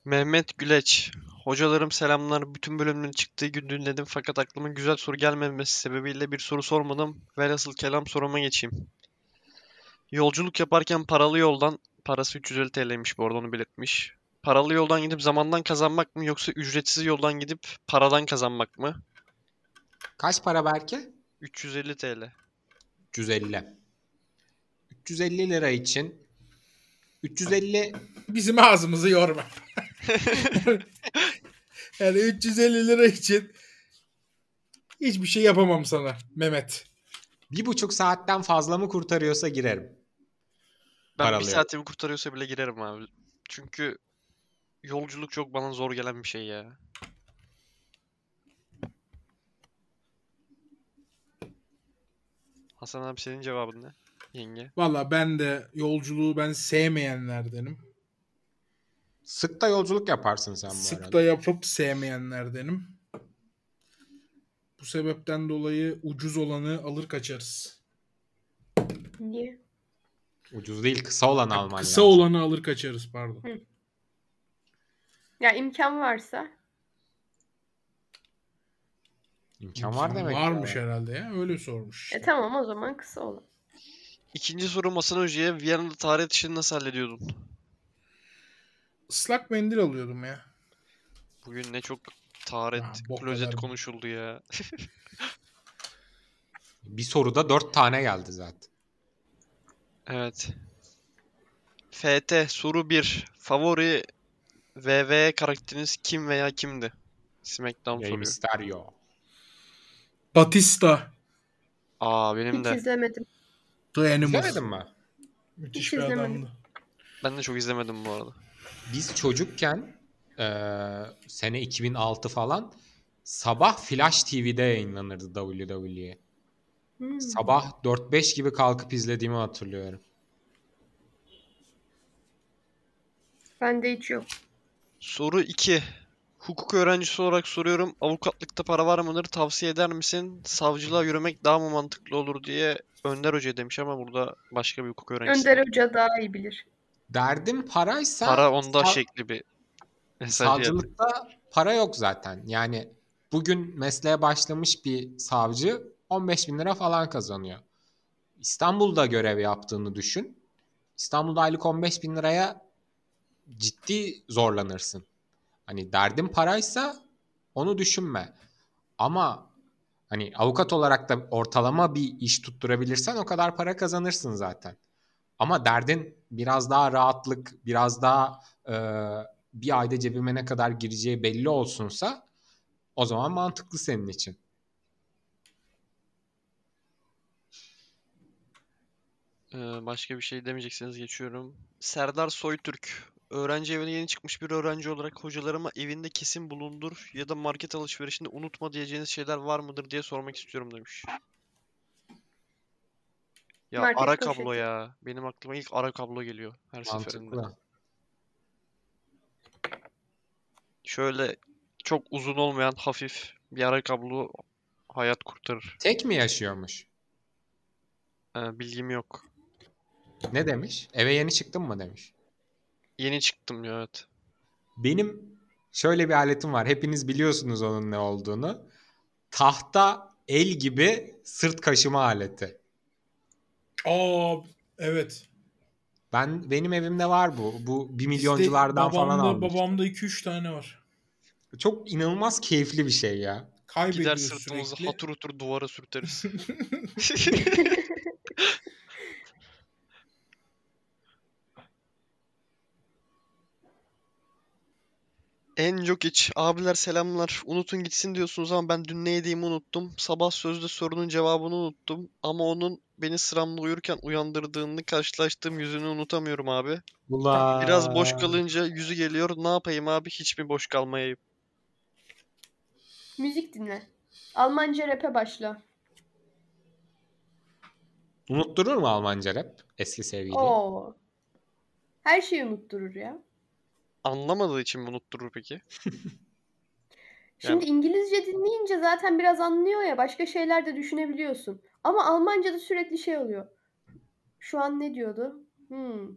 S1: Mehmet Güleç. Hocalarım selamlar. Bütün bölümlerin çıktığı gün dinledim fakat aklıma güzel soru gelmemesi sebebiyle bir soru sormadım. Velhasıl kelam soruma geçeyim. Yolculuk yaparken paralı yoldan, parası 350 TL'ymiş bu arada onu belirtmiş. Paralı yoldan gidip zamandan kazanmak mı yoksa ücretsiz yoldan gidip paradan kazanmak mı?
S2: Kaç para belki?
S1: 350 TL.
S2: 350. 350 lira için 350
S3: Bizim ağzımızı yorma. yani 350 lira için hiçbir şey yapamam sana Mehmet.
S2: bir buçuk saatten fazla mı kurtarıyorsa girerim.
S1: Ben bir
S2: Paralı yol.
S1: saatimi kurtarıyorsa bile girerim abi. Çünkü yolculuk çok bana zor gelen bir şey ya. Hasan abi senin cevabın ne? Yenge.
S3: Valla ben de yolculuğu ben sevmeyenlerdenim.
S2: Sık da yolculuk yaparsın sen bu
S3: Sık
S2: arada.
S3: da yapıp sevmeyenlerdenim. Bu sebepten dolayı ucuz olanı alır kaçarız.
S4: Niye?
S2: Ucuz değil kısa olan Almanya.
S3: Kısa olanı alır kaçarız pardon.
S4: Ya imkan varsa. e,
S2: İmkan var demek. ki.
S3: Varmış herhalde ya öyle sormuş.
S4: E tamam o zaman kısa olan.
S1: İkinci sorum Hasan Hoca'ya Viyana'da tarih işini nasıl hallediyordun?
S3: Islak mendil alıyordum ya.
S1: Bugün ne çok taharet,
S3: Ha, bok
S1: klozet
S3: kadar.
S1: konuşuldu ya.
S2: Bir soruda dört tane geldi zaten.
S1: Evet. FT soru 1. Favori VV karakteriniz kim veya kimdi? Smackdown
S2: Rey
S1: soruyor.
S2: Mysterio.
S3: Batista.
S1: Aa benim
S4: Hiç
S1: de.
S4: izlemedim.
S3: The Animal.
S2: İzlemedin mi?
S3: Müthiş
S4: Hiç
S3: bir
S4: izlemedim.
S3: adamdı.
S1: Ben de çok izlemedim bu arada.
S2: Biz çocukken eee, sene 2006 falan sabah Flash TV'de yayınlanırdı E. WWE.
S4: Hmm.
S2: Sabah 4-5 gibi kalkıp izlediğimi hatırlıyorum.
S4: Bende hiç yok.
S1: Soru 2. Hukuk öğrencisi olarak soruyorum. Avukatlıkta para var mıdır? Tavsiye eder misin? Savcılığa yürümek daha mı mantıklı olur diye Önder Hoca demiş ama burada başka bir hukuk öğrencisi.
S4: Önder Hoca daha iyi bilir.
S2: Derdim paraysa
S1: Para onda
S2: sav-
S1: şekli bir mesaj geldi.
S2: savcılıkta para yok zaten. Yani bugün mesleğe başlamış bir savcı 15 bin lira falan kazanıyor. İstanbul'da görev yaptığını düşün. İstanbul'da aylık 15 bin liraya ciddi zorlanırsın. Hani derdin paraysa onu düşünme. Ama hani avukat olarak da ortalama bir iş tutturabilirsen o kadar para kazanırsın zaten. Ama derdin biraz daha rahatlık, biraz daha e, bir ayda cebime ne kadar gireceği belli olsunsa o zaman mantıklı senin için.
S1: Ee, başka bir şey demeyecekseniz geçiyorum. Serdar Soytürk. Öğrenci evine yeni çıkmış bir öğrenci olarak hocalarıma evinde kesin bulundur ya da market alışverişinde unutma diyeceğiniz şeyler var mıdır diye sormak istiyorum demiş. Ya
S4: Market
S1: ara
S4: poşeti.
S1: kablo ya. Benim aklıma ilk ara kablo geliyor her seferinde.
S2: Mantıklı.
S1: Şöyle çok uzun olmayan hafif bir ara kablo hayat kurtarır.
S2: Tek mi yaşıyormuş?
S1: Ee, bilgim yok.
S2: Ne demiş? Eve yeni çıktın mı demiş.
S1: Yeni çıktım ya evet.
S2: Benim şöyle bir aletim var. Hepiniz biliyorsunuz onun ne olduğunu. Tahta el gibi sırt kaşıma aleti.
S3: Aa evet.
S2: Ben benim evimde var bu. Bu bir
S3: Bizde
S2: milyonculardan falan
S3: babamda,
S2: almış.
S3: Babamda 2-3 tane var.
S2: Çok inanılmaz keyifli bir şey ya.
S1: Gider
S3: Kaybediyor
S1: sırtımızı
S3: sürekli.
S1: hatır hutur duvara sürteriz. En yok iç. Abiler selamlar. Unutun gitsin diyorsunuz ama ben dün ne yediğimi unuttum. Sabah sözde sorunun cevabını unuttum. Ama onun beni sıramla uyurken uyandırdığını karşılaştığım yüzünü unutamıyorum abi.
S2: Ula.
S1: Biraz boş kalınca yüzü geliyor. Ne yapayım abi hiç mi boş kalmayayım?
S4: Müzik dinle. Almanca rap'e başla.
S2: Unutturur mu Almanca rap eski sevgili?
S4: Oo. Her şeyi unutturur ya.
S1: Anlamadığı için mi unutturur peki?
S4: Şimdi İngilizce dinleyince zaten biraz anlıyor ya başka şeyler de düşünebiliyorsun. Ama Almanca'da sürekli şey oluyor. Şu an ne diyordu? Hmm.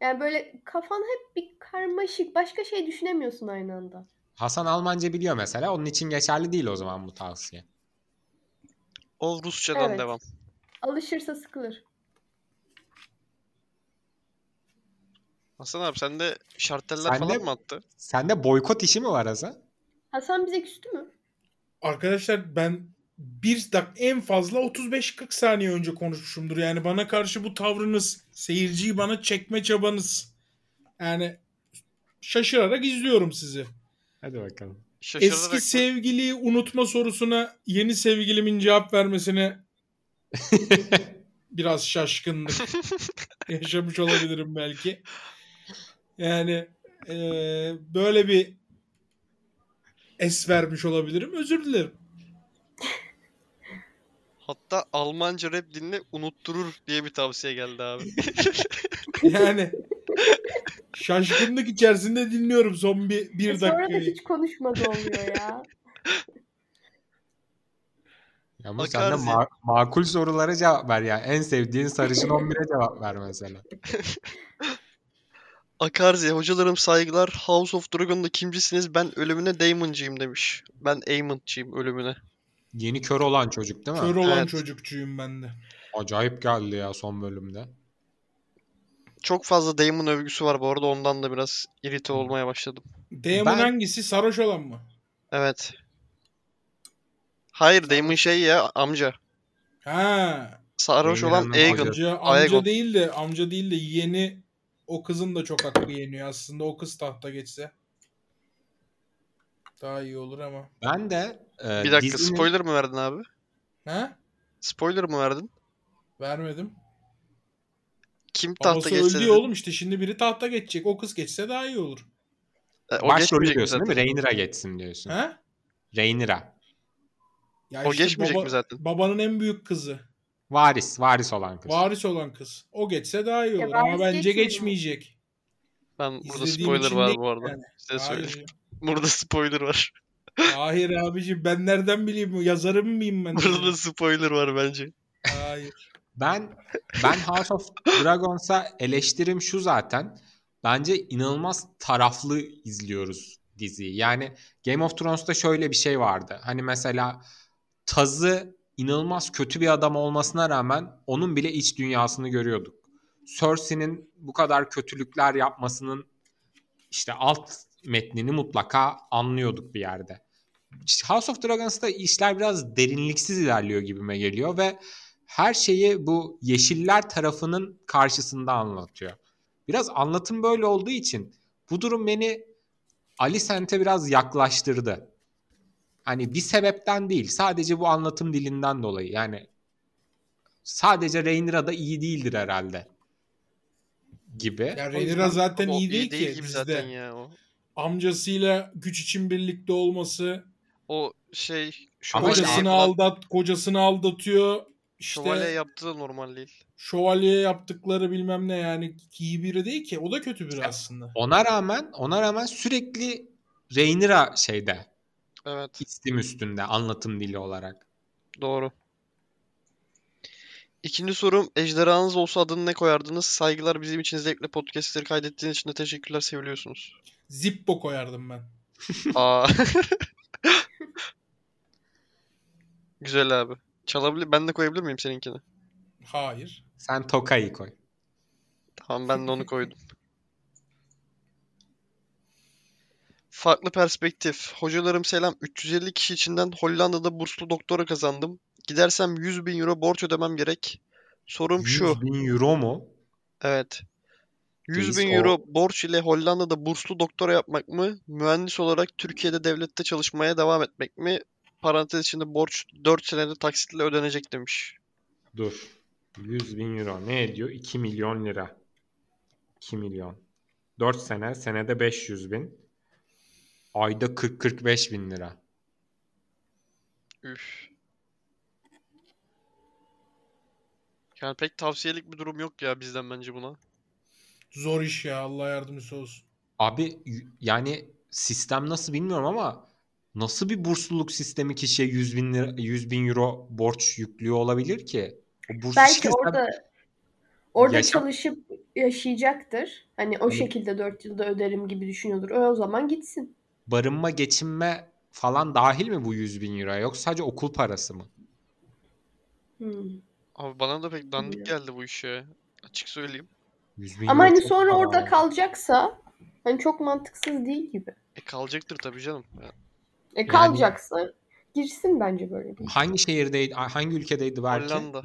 S4: Yani böyle kafan hep bir karmaşık. Başka şey düşünemiyorsun aynı anda.
S2: Hasan Almanca biliyor mesela. Onun için geçerli değil o zaman bu tavsiye.
S1: O Rusçadan
S4: Evet.
S1: devam.
S4: Alışırsa sıkılır.
S1: Hasan abi sende şarteller
S2: Sende-
S1: falan mı attı?
S2: Sende boykot işi mi var Hasan?
S4: Hasan bize küstü mü?
S3: Arkadaşlar ben bir dak en fazla 35-40 saniye önce konuşmuşumdur. Yani bana karşı bu tavrınız, seyirciyi bana çekme çabanız. Yani şaşırarak izliyorum sizi.
S2: Hadi bakalım.
S1: Şaşırarak
S3: Eski
S1: mı?
S3: sevgiliyi unutma sorusuna yeni sevgilimin cevap vermesine biraz şaşkınlık yaşamış olabilirim belki. Yani eee, böyle bir es vermiş olabilirim. Özür dilerim.
S1: Hatta Almanca rap dinle unutturur diye bir tavsiye geldi abi.
S3: Yani şaşkınlık içerisinde dinliyorum son bir,
S4: E
S3: bir
S4: Sonra da
S3: dakikayı.
S4: hiç konuşmadı oluyor ya.
S2: Ya ama sen de
S1: Bakarsın.
S2: ma- makul sorulara cevap ver ya. En sevdiğin sarışın 11'e cevap ver mesela.
S1: Akarzi, hocalarım saygılar. House of Dragon'da kimcisiniz? Ben ölümüne Daemon'cıyım demiş. Ben Aemon'cıyım ölümüne.
S2: Yeni kör olan çocuk değil mi?
S3: Kör olan
S1: Evet.
S3: çocukçuyum ben de.
S2: Acayip geldi ya son bölümde.
S1: Çok fazla Daemon övgüsü var bu arada. Ondan da biraz irite olmaya başladım.
S3: Demon
S2: Ben-
S3: hangisi? Sarhoş olan mı?
S1: Evet. Hayır Daemon şey ya amca.
S3: Ha.
S1: Sarhoş
S2: Daemon'un
S1: olan
S2: amcası.
S1: Aegon.
S3: Amca,
S1: Aegon.
S3: amca değil de amca değil de yeni o kızın da çok hakkı yeniyor aslında. O kız tahta geçse. Daha iyi olur ama.
S2: Ben de e,
S1: Bir dakika
S2: dizinin-
S1: spoiler mı verdin abi?
S3: Ha?
S1: Spoiler mı verdin?
S3: Vermedim.
S1: Kim tahta
S3: Babası öldü
S1: geçse
S3: ya
S1: dedin?
S3: oğlum işte şimdi biri tahta geçecek. O kız geçse daha iyi olur.
S1: E, o
S2: başrolü
S1: geçmeyecek mi
S2: diyorsun
S1: zaten?
S2: değil mi? Rhaenyra geçsin diyorsun.
S3: Ha?
S2: Rhaenyra.
S3: Ya
S1: O
S3: işte
S1: geçmeyecek
S3: baba-
S1: mi zaten?
S3: Babanın en büyük kızı.
S2: Varis, varis olan kız.
S3: Varis olan kız. O geçse daha iyi
S4: Ya
S3: olur
S4: varis
S3: ama bence
S4: geçmiyor.
S3: geçmeyecek.
S1: Ben burada
S3: İzlediğim
S1: spoiler
S3: için
S1: var
S3: değil
S1: bu arada.
S3: yani.
S1: Size
S3: Hayır.
S1: söyleyeyim. Burada spoiler var.
S3: Hayır abiciğim ben nereden bileyim? Yazarım mıyım ben?
S1: Burada spoiler var bence.
S3: Hayır.
S2: Ben ben House of Dragons'a eleştirim şu zaten. Bence inanılmaz taraflı izliyoruz diziyi. Yani Game of Thrones'ta şöyle bir şey vardı. Hani mesela Taz'ı inanılmaz kötü bir adam olmasına rağmen onun bile iç dünyasını görüyorduk. Cersei'nin bu kadar kötülükler yapmasının işte alt metnini mutlaka anlıyorduk bir yerde. House of Dragons'ta işler biraz derinliksiz ilerliyor gibime geliyor ve her şeyi bu yeşiller tarafının karşısında anlatıyor. Biraz anlatım böyle olduğu için bu durum beni Ali Sente biraz yaklaştırdı. Hani bir sebepten değil sadece bu anlatım dilinden dolayı yani sadece Rhaenyra da iyi değildir herhalde gibi.
S3: Ya Rhaenyra zaten
S1: O
S3: iyi değil,
S1: değil
S3: ki.
S1: gibi
S3: bizde.
S1: zaten ya o.
S3: Amcasıyla güç için birlikte olması,
S1: O şey şu
S2: Ama işte
S3: kocasını
S2: Şövalye-
S3: aldat, kocasını aldatıyor. İşte
S1: Şövalye yaptığı da normal değil.
S3: şövalye yaptıkları bilmem ne yani iyi biri değil ki. O da kötü biri aslında.
S2: Ona rağmen ona rağmen sürekli Rhaenyra şeyde
S1: Evet
S2: istim üstünde anlatım dili olarak.
S1: doğru. İkinci sorum ejderhanız olsa adını ne koyardınız? Saygılar bizim için zevkle podcastleri kaydettiğiniz için de teşekkürler seviliyorsunuz.
S3: Zippo koyardım ben.
S1: Aa. Güzel abi. Çalabilir. Ben de koyabilir miyim seninkini?
S3: Hayır.
S2: Sen Tokai'yi koy.
S1: Tamam ben de onu koydum. Farklı perspektif. Hocalarım selam. 350 kişi içinden Hollanda'da burslu doktora kazandım. Gidersem 100 bin euro borç ödemem gerek. Sorum şu.
S2: 100 bin euro mu?
S1: Evet. 100
S2: Reis,
S1: bin
S2: o-
S1: euro borç ile Hollanda'da burslu doktora yapmak mı? Mühendis olarak Türkiye'de devlette çalışmaya devam etmek mi? Parantez içinde borç 4 senede taksitle ödenecek demiş.
S2: Dur. 100 bin euro ne ediyor? 2 milyon lira. 2 milyon. 4 sene, senede 500 bin. Ayda 40-45 bin lira.
S1: Üf. Yani pek tavsiyelik bir durum yok ya bizden bence buna.
S3: Zor iş ya. Allah yardımcısı olsun.
S2: Abi y- yani sistem nasıl bilmiyorum ama nasıl bir bursluluk sistemi kişiye 100 bin, lira, 100 bin euro borç yüklüyor olabilir ki? O burs
S4: Belki
S2: işi-
S4: orada orada
S2: Yaşam-
S4: çalışıp yaşayacaktır. Hani o
S2: Tabii.
S4: şekilde 4 yılda öderim gibi düşünüyordur. O, o zaman gitsin.
S2: barınma, geçinme falan dahil mi bu 100 bin euro? Yoksa sadece okul parası mı?
S4: Hmm.
S1: Abi bana da pek dandik
S4: Bilmiyorum.
S1: geldi bu iş ya. Açık söyleyeyim.
S2: 100 bin
S4: Ama
S2: euro
S4: hani
S2: çok
S4: sonra
S2: para
S4: orada
S2: abi.
S4: kalacaksa hani çok mantıksız değil gibi.
S1: E kalacaktır tabii canım. Ya,
S4: E kalacaksa girsin bence böyle bir.
S2: Hangi şehirdeydi, hangi ülkedeydi belki?
S1: Hollanda.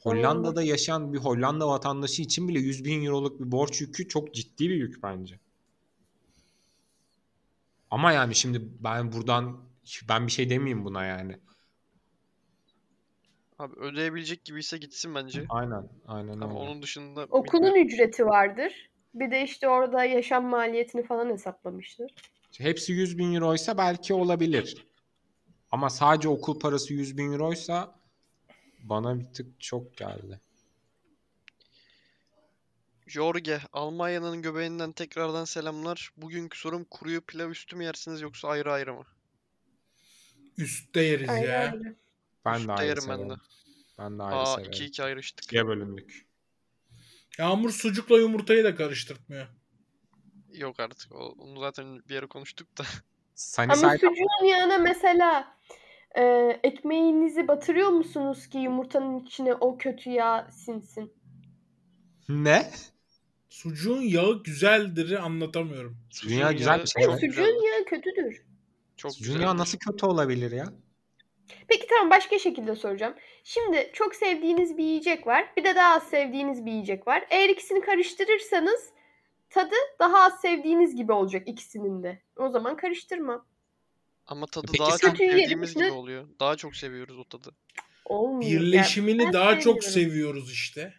S2: Hollanda'da yaşayan bir Hollanda vatandaşı için bile 100 bin euroluk bir borç yükü çok ciddi bir yük bence. Ama yani şimdi ben buradan ben bir şey demeyeyim buna yani.
S1: Abi ödeyebilecek gibi ise gitsin bence.
S2: Aynen, aynen
S1: Ama
S2: öyle.
S1: onun dışında
S4: Okulun
S1: bilmiyorum.
S4: ücreti vardır. Bir de işte orada yaşam maliyetini falan hesaplamıştır.
S2: Hepsi 100 bin euroysa belki olabilir. Ama sadece okul parası 100 bin euroysa bana bir tık çok geldi.
S1: Jorge, Almanya'nın göbeğinden tekrardan selamlar. Bugünkü sorum kuruyu pilav üstü mü yersiniz yoksa ayrı ayrı mı?
S3: Üstte yeriz
S4: Ayrı
S3: ya.
S4: ayrı.
S2: Ben
S1: Üstte
S2: de ayrı
S1: yerim ben de.
S2: severim. Ben de ayrı
S1: Aa
S2: severim.
S1: 2-2 ayrıştık.
S2: İkiye bölündük.
S3: Yağmur sucukla yumurtayı da karıştırtmıyor.
S1: Yok artık. o- Onu zaten bir yere konuştuk da.
S2: Sunny
S4: Ama
S2: Side
S4: sucuğun yanına mesela e, ekmeğinizi batırıyor musunuz ki yumurtanın içine o kötü yağ sinsin?
S2: ne?
S3: Sucuğun yağı güzeldir'i anlatamıyorum.
S1: Sucuğun
S2: Dünya güzel
S1: yağı
S2: bir şey.
S1: çok
S2: evet.
S4: Sucuğun
S1: güzeldir.
S4: yağı kötüdür.
S1: Çok
S2: Dünya
S1: güzeldir.
S2: nasıl kötü olabilir ya?
S4: Peki tamam başka şekilde soracağım. Şimdi çok sevdiğiniz bir yiyecek var. Bir de daha az sevdiğiniz bir yiyecek var. Eğer ikisini karıştırırsanız tadı daha az sevdiğiniz gibi olacak ikisinin de. O zaman karıştırma.
S1: Ama tadı
S2: Peki
S1: daha
S2: sen-
S1: çok
S4: Kötüyü yedim
S1: sevdiğimiz
S4: içine-
S1: gibi oluyor. Daha çok seviyoruz o tadı.
S4: Olmuyor. yani.
S3: Birleşimini
S4: Ben
S3: daha çok
S4: sevmiyorum.
S3: seviyoruz işte.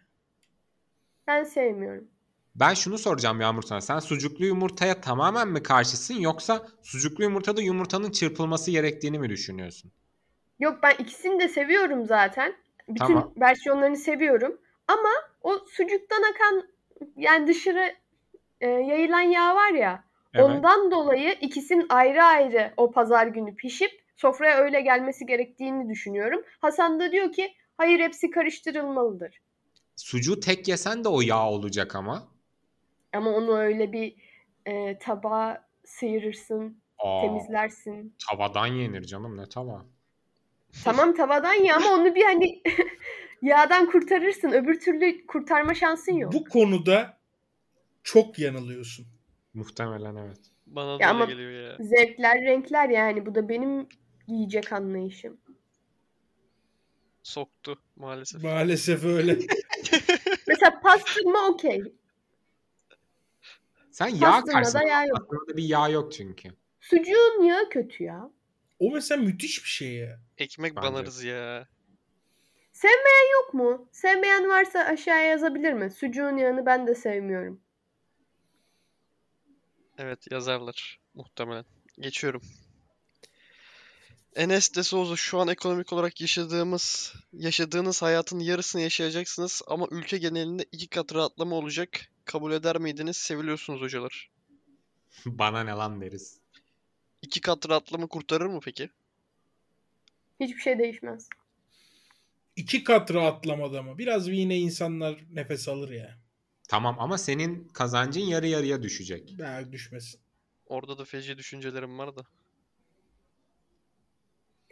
S4: Ben sevmiyorum.
S2: Ben şunu soracağım Yağmur sana. Sen sucuklu yumurtaya tamamen mi karşısın yoksa sucuklu yumurtada yumurtanın çırpılması gerektiğini mi düşünüyorsun?
S4: Yok ben ikisini de seviyorum zaten. Bütün
S2: Tamam.
S4: versiyonlarını seviyorum. Ama o sucuktan akan yani dışarı e, yayılan yağ var ya. Ondan dolayı ikisinin ayrı ayrı o pazar günü pişip sofraya öyle gelmesi gerektiğini düşünüyorum. Hasan da diyor ki hayır hepsi karıştırılmalıdır.
S2: Sucuğu tek yesen de o yağ olacak ama.
S4: Ama onu öyle bir e, tabağa sıyırırsın,
S2: Aa,
S4: temizlersin.
S2: tavadan yenir canım ne tava.
S4: Tamam tavadan ya ama onu bir hani yağdan kurtarırsın. Öbür türlü kurtarma şansın yok.
S3: Bu konuda çok yanılıyorsun.
S2: Muhtemelen evet.
S1: Bana da öyle
S4: Ya ama-
S1: geliyor ya.
S4: Zevkler, renkler yani. Bu da benim yiyecek anlayışım.
S1: Soktu maalesef.
S3: Maalesef öyle.
S4: Mesela pastırma okey.
S2: Sen yağ karşısında
S4: Pastırmada yağ yok.
S2: Pastırmada bir yağ yok çünkü.
S4: Sucuğun yağı kötü ya.
S3: o mesela müthiş bir şey ya.
S1: Ekmek
S2: Bence de.
S1: banarız ya.
S4: Sevmeyen yok mu? Sevmeyen varsa aşağıya yazabilir mi? Sucuğun yağını ben de sevmiyorum.
S1: Evet yazarlar muhtemelen. Geçiyorum. Enes de Souza şu an ekonomik olarak yaşadığımız, yaşadığınız hayatın yarısını yaşayacaksınız ama ülke genelinde iki kat rahatlama olacak. Kabul eder miydiniz? Seviliyorsunuz hocalar.
S2: Bana ne lan deriz.
S1: İki kat rahatlama kurtarır mı peki?
S4: Hiçbir şey değişmez.
S3: İki kat rahatlamada mı? Biraz bir yine insanlar nefes alır ya.
S2: Tamam ama senin kazancın yarı yarıya düşecek.
S3: Daha düşmesin.
S1: Orada da feci düşüncelerim var da.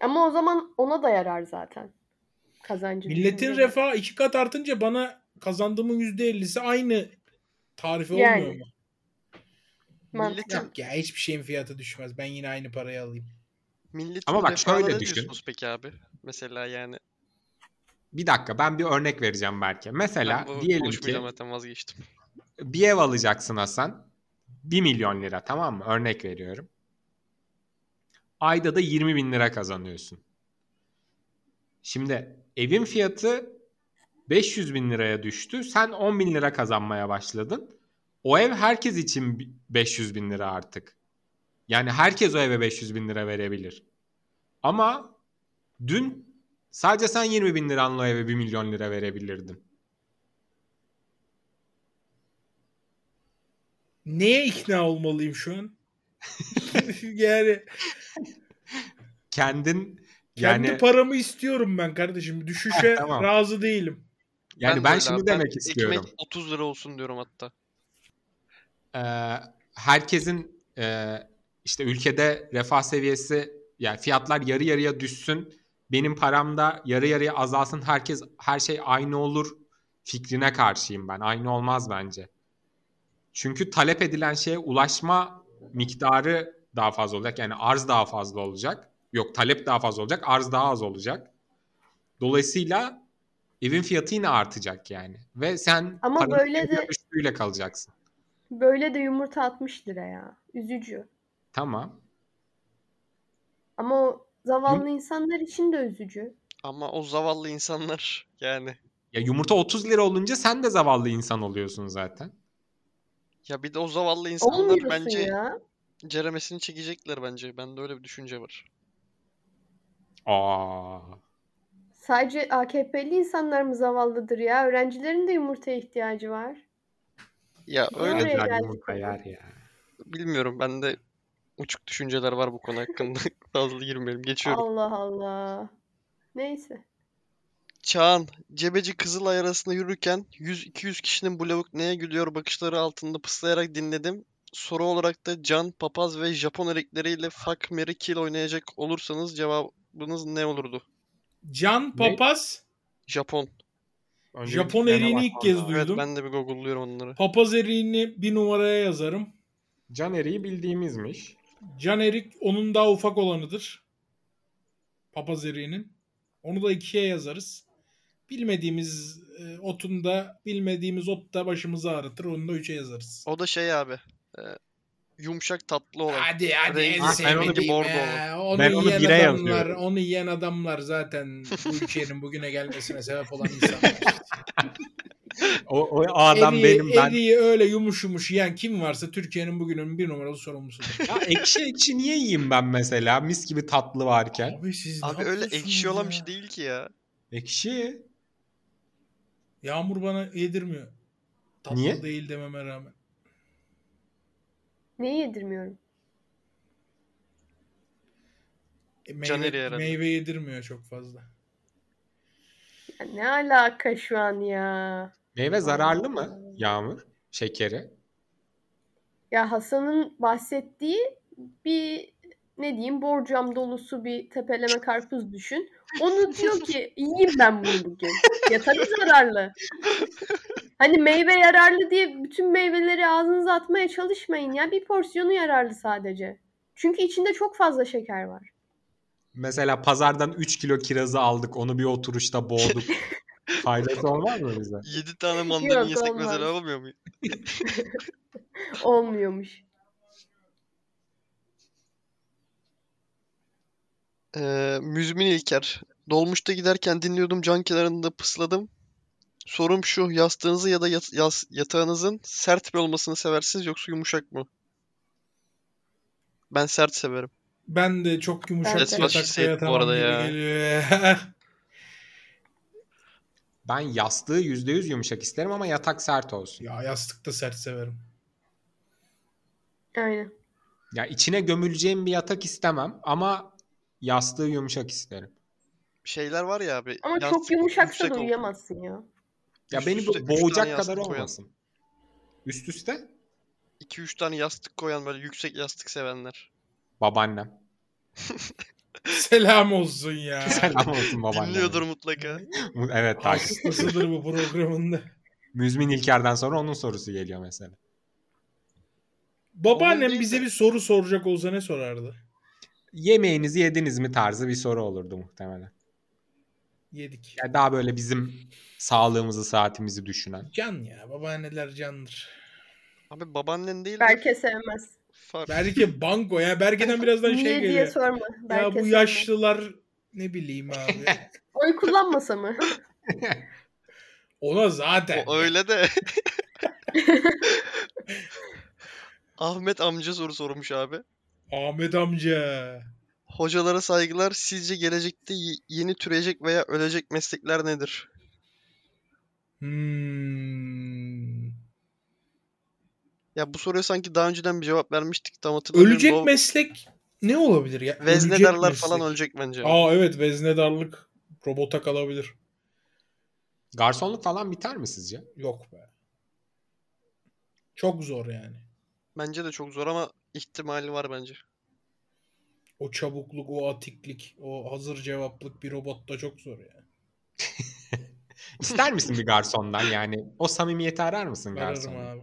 S4: Ama o zaman ona da yarar zaten. Kazancı.
S3: Milletin
S4: düşününce.
S3: refahı iki kat artınca bana kazandığımın yüzde ellisi aynı tarife
S4: Yani.
S3: olmuyor mu?
S4: Mantıklı.
S3: Yok ya hiçbir şeyin fiyatı düşmez. Ben yine aynı parayı alayım.
S1: Milletin
S2: Ama bak
S1: refahına
S2: şöyle
S1: ne
S2: düşün.
S1: diyorsunuz peki abi? Mesela yani
S2: Bir dakika ben bir örnek vereceğim belki.
S1: ben
S2: Mesela
S1: bu
S2: diyelim ki
S1: konuşmayacağım zaten vazgeçtim.
S2: bir ev alacaksın Hasan. 1 milyon lira tamam mı? Örnek veriyorum. Ayda da 20 bin lira kazanıyorsun. Şimdi evin fiyatı 500 bin liraya düştü. Sen 10 bin lira kazanmaya başladın. O ev herkes için bi- 500 bin lira artık. Yani herkes o eve 500 bin lira verebilir. Ama dün sadece sen 20 bin liranla o eve 1 milyon lira verebilirdin.
S3: Neye ikna olmalıyım şu an? yani
S2: Kendin
S3: kendi
S2: yani
S3: paramı istiyorum ben kardeşim. Düşüşe
S2: Tamam.
S3: razı değilim.
S2: yani ben,
S1: de öyle
S2: şimdi
S1: abi, ben
S2: demek istiyorum.
S1: Ekmek 30 lira olsun diyorum hatta.
S2: Ee, herkesin e, işte ülkede refah seviyesi yani fiyatlar yarı yarıya düşsün. Benim param da yarı yarıya azalsın. Herkes her şey aynı olur fikrine karşıyım ben. Aynı olmaz bence. Çünkü talep edilen şeye ulaşma miktarı daha fazla olacak. Yani arz daha fazla olacak. Yok talep daha fazla olacak. Arz daha az olacak. Dolayısıyla evin fiyatı yine artacak yani. Ve sen
S4: Ama
S2: paranın
S4: böyle
S2: yarı
S4: de-
S2: üstüyle kalacaksın.
S4: Böyle de yumurta 60 lira ya. Üzücü.
S2: Tamam.
S4: Ama o zavallı insanlar için de üzücü.
S1: Ama o zavallı insanlar yani.
S2: Ya yumurta 30 lira olunca sen de zavallı insan oluyorsun zaten.
S1: Ya bir de o zavallı insanlar
S4: Olmuyorsun
S1: bence
S4: ya.
S1: ceremesini çekecekler bence. Bende öyle bir düşünce var.
S2: Aa.
S4: Sadece AKP'li insanlar mı zavallıdır ya? Öğrencilerin de yumurtaya ihtiyacı var.
S1: Ya öyle
S4: Oraya
S2: Özel
S4: geldik
S2: yumurta
S4: konu.
S2: yer ya.
S1: bilmiyorum. Bende uçuk düşünceler var bu konu hakkında. Fazla girmeyelim. Geçiyorum.
S4: Allah Allah. Neyse.
S1: Çağan, Cebeci Kızılay arasında yürürken 100-200 kişinin bu lavuk neye gülüyor bakışları altında pıslayarak dinledim. Soru olarak da Can, Papaz ve Japon erikleriyle Fuck, Mary, Kill oynayacak olursanız cevabınız ne olurdu?
S3: Can
S2: Ne?
S3: Papaz
S1: Japon.
S2: Önce
S3: Japon
S2: bir
S3: eriğini ilk
S2: bakmam
S3: kez
S2: lazım.
S1: Evet
S3: duydum.
S1: ben de bir google'luyorum onları.
S3: Papaz eriğini bir numaraya yazarım.
S2: Can eriği bildiğimizmiş.
S3: Can erik onun daha ufak olanıdır. Papaz eriğinin. Onu da ikiye yazarız. Bilmediğimiz e, otun da bilmediğimiz ot da başımızı ağrıtır. Onu da üçe yazarız.
S1: O da şey abi. e, yumuşak tatlı olan.
S3: Hadi hadi
S1: Rengi-
S3: en
S1: Ben onu
S3: sevmediğim
S1: bir bordo
S3: ya. Onu
S2: Ben onu
S3: yiyen
S2: bire
S3: adamlar,
S2: yazıyorum.
S3: onu yiyen adamlar zaten bu ülkenin bugüne gelmesine sebep olan insanlar.
S2: O, o adam
S3: eriği,
S2: benim ben.
S3: eriği öyle yumuş yumuş yiyen kim varsa Türkiye'nin bugünün bir numaralı sorumlusudur.
S2: Ya ekşi ekşi niye yiyeyim ben mesela? Mis gibi tatlı varken.
S3: Abi siz ne
S1: Abi öyle
S3: yapıyorsunuz
S1: ekşi olan bir
S3: ya?
S1: şey değil ki ya.
S2: Ekşi.
S3: Yağmur bana yedirmiyor. Tatlı
S2: Niye?
S3: değil dememe rağmen.
S4: Neyi yedirmiyorum?
S3: E,
S1: Caner'e
S3: Meyve,
S1: yaradı.
S3: meyve yedirmiyor çok fazla.
S4: Ya ne alaka şu an ya?
S2: Meyve zararlı mı Yağmur? Şekeri.
S4: Ya Hasan'ın bahsettiği bir ne diyeyim borcam dolusu bir tepeleme karpuz düşün. Onu diyor ki yiyeyim ben bunu bugün. Ya tabii zararlı. Hani meyve yararlı diye bütün meyveleri ağzınıza atmaya çalışmayın ya. Bir porsiyonu yararlı sadece. Çünkü içinde çok fazla şeker var.
S2: Mesela pazardan 3 kilo kirazı aldık. Onu bir oturuşta boğduk. Faydası olmaz mı bize?
S1: 7 tane mandalina
S4: Yok,
S1: yesek
S4: olmaz.
S1: mesela olmuyor mu?
S4: Olmuyormuş.
S1: Ee, Müzmin İlker. Dolmuşta giderken dinliyordum can kenarında pısladım. Sorum şu yastığınızı ya da yat- yas- yatağınızın sert mi olmasını seversiniz yoksa yumuşak mı? Ben sert severim.
S3: Ben de çok yumuşak
S4: Ben de.
S3: yatakta
S1: Espresso
S3: yatamam
S1: bu arada
S3: gibi
S1: ya.
S3: geliyor.
S2: Ben yastığı %100 yumuşak isterim ama yatak sert olsun.
S3: ya yastıkta sert severim.
S4: Aynen.
S2: Ya içine gömüleceğim bir yatak istemem ama yastığı yumuşak isterim.
S1: Şeyler var ya abi.
S4: Ama çok
S1: yastık
S4: yumuşaksa
S1: yüksek
S4: da
S1: ol-
S4: uyuyamazsın ya.
S2: Ya
S1: Üst
S2: beni
S1: üste üç
S2: bu
S1: tane
S2: boğacak
S1: yastık
S2: kadar
S1: koyan.
S2: olmasın. Üst üste
S1: 2-3 tane yastık koyan böyle yüksek yastık sevenler.
S2: babaannem.
S3: Selam olsun ya.
S2: Selam olsun babaannem.
S1: Dinliyordur mutlaka.
S2: Evet takip.
S3: Hastasıdır bu programında.
S2: Müzmin İlker'den sonra onun sorusu geliyor mesela.
S1: Onun
S3: Babaannem
S1: değil
S3: bize
S1: de-
S3: bir soru soracak olsa ne sorardı?
S2: Yemeğinizi yediniz mi tarzı bir soru olurdu muhtemelen.
S3: Yedik.
S2: Ya daha böyle bizim sağlığımızı, saatimizi düşünen.
S3: Can ya. Babaanneler candır.
S1: Abi babaannen değil de
S4: Berke sevmez.
S1: far-
S3: Belki banko ya. Berke'den birazdan
S4: Niye
S3: şey
S4: diye
S3: geliyor.
S4: sorma.
S3: Ya
S4: Berke
S3: bu
S4: sevmez.
S3: yaşlılar ne bileyim abi.
S4: Oy kullanmasa mı?
S3: Ona zaten.
S1: O öyle de. Ahmet amca soru sormuş abi.
S3: Ahmet amca.
S1: Hocalara saygılar. Sizce gelecekte y- yeni türeyecek veya ölecek meslekler nedir?
S3: Hmm.
S1: Ya bu soruya sanki daha önceden bir cevap vermiştik tam hatırlamıyorum.
S3: Ölecek
S1: Lo-
S3: meslek ne olabilir ya?
S1: Veznedarlar
S3: Ölecek
S1: falan
S3: meslek.
S1: ölecek bence.
S3: Aa evet veznedarlık robota kalabilir.
S2: Garsonluk falan biter mi sizce?
S3: Yok be. Çok zor yani.
S1: Bence de çok zor ama ihtimali var bence.
S3: O çabukluk, o atiklik, o hazır cevaplık bir robotta çok zor yani.
S2: İster misin bir garsondan yani? O samimiyeti arar mısın
S3: Ararım
S2: garsondan?
S3: abi.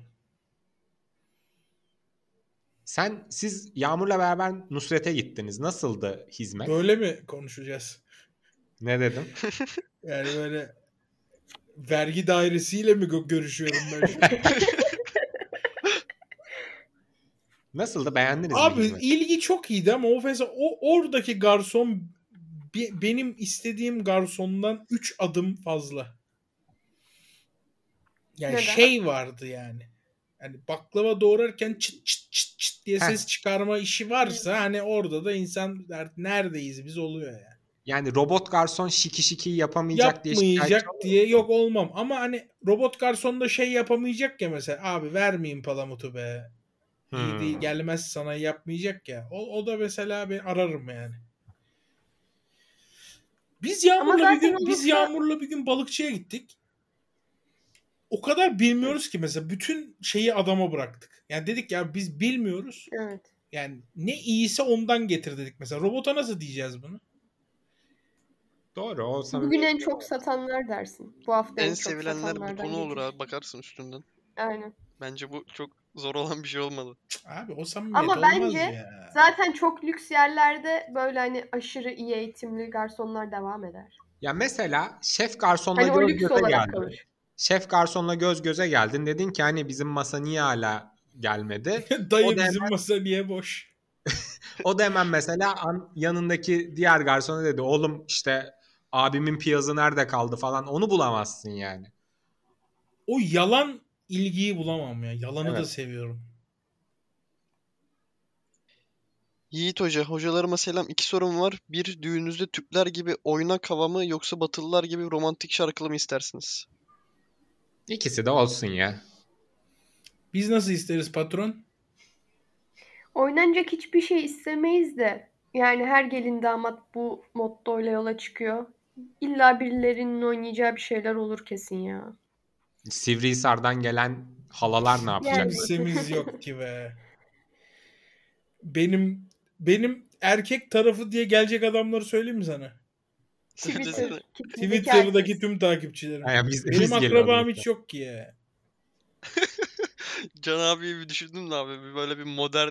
S2: Sen siz Yağmur'la beraber Nusret'e gittiniz. Nasıldı hizmet?
S3: Böyle mi konuşacağız?
S2: Ne dedim?
S3: Yani böyle vergi dairesiyle mi gö- görüşüyorum ben şu an?
S2: Nasıldı? Beğendiniz mi
S3: Abi
S2: hizmeti?
S3: ilgi çok iyiydi ama o, mesela, o oradaki garson bi- benim istediğim garsondan 3 adım fazla. Yani
S4: Neden?
S3: şey vardı yani. Yani baklava doğrarken çıt çıt çıt çıt diye
S2: Heh.
S3: ses çıkarma işi varsa hani orada da insan der, neredeyiz biz oluyor yani.
S2: Yani robot garson şiki şiki yapamayacak diye şikayetçi
S3: Yapmayacak diye yok olmam ama hani robot garson da şey yapamayacak ya mesela abi vermeyin palamutu be.
S2: Hmm.
S3: İyi şey değil, gelmez sana yapmayacak ya. O, o da mesela ben ararım yani. Biz
S4: Ama
S3: Yağmur'la bir
S4: zaten
S3: gün biz
S4: olursa-
S3: Yağmur'la bir gün balıkçıya gittik. O kadar bilmiyoruz ki mesela bütün şeyi adama bıraktık. Yani dedik ya biz bilmiyoruz.
S4: Evet.
S3: Yani ne iyiyse ondan getir dedik mesela. Robota nasıl diyeceğiz bunu?
S2: Doğru. O samimi-
S4: Bugün en çok satanlar dersin. Bu hafta en,
S1: en
S4: çok
S1: sevilenler
S4: satanlardan
S1: butonu olur
S4: gelir.
S1: abi bakarsın üstünden.
S4: Aynen.
S1: Bence bu çok zor olan bir şey olmadı.
S3: Cık, Abi o samimiyet
S4: Ama
S3: olmaz
S4: bence
S3: ya.
S4: Zaten çok lüks yerlerde böyle hani aşırı iyi eğitimli garsonlar devam eder.
S2: Ya mesela şef garsonla
S4: Hani o
S2: göz
S4: lüks
S2: göze
S4: olarak
S2: geldin.
S4: kalır.
S2: Şef garsonla göz göze geldin. Dedin ki hani bizim masa niye hala gelmedi?
S3: Dayı
S2: O da
S3: bizim masa niye boş?
S2: O da hemen mesela an- yanındaki diğer garsona dedi oğlum işte abimin piyazı nerede kaldı falan onu bulamazsın yani.
S3: O yalan ilgiyi bulamam ya. Yalanı da
S2: Evet.
S3: seviyorum.
S1: Yiğit Hoca, hocalarıma selam. İki sorum var. Bir, düğününüzde Türkler gibi oynak hava mı yoksa Batılılar gibi romantik şarkılı mı istersiniz?
S2: İkisi de olsun ya.
S3: Biz nasıl isteriz patron?
S4: Oynanacak hiçbir şey istemeyiz de. Yani her gelin damat bu mottoyla yola çıkıyor. İlla birilerinin oynayacağı bir şeyler olur kesin ya.
S2: Sivrihisar'dan gelen halalar ne yapacak?
S4: Yani.
S3: Kimsemiz yok ki be. Benim benim erkek tarafı diye gelecek adamları söyleyeyim mi sana?
S1: Söylesene.
S4: Twitter, kitlemizdeki
S3: Twitter'daki
S4: herkes.
S3: tüm takipçilerim.
S2: Ha, biz, biz
S3: Benim
S2: geliyoruz.
S3: akrabam hiç yok ki ya.
S1: Can abiyi bir düşündüm de abi. bir Böyle bir modern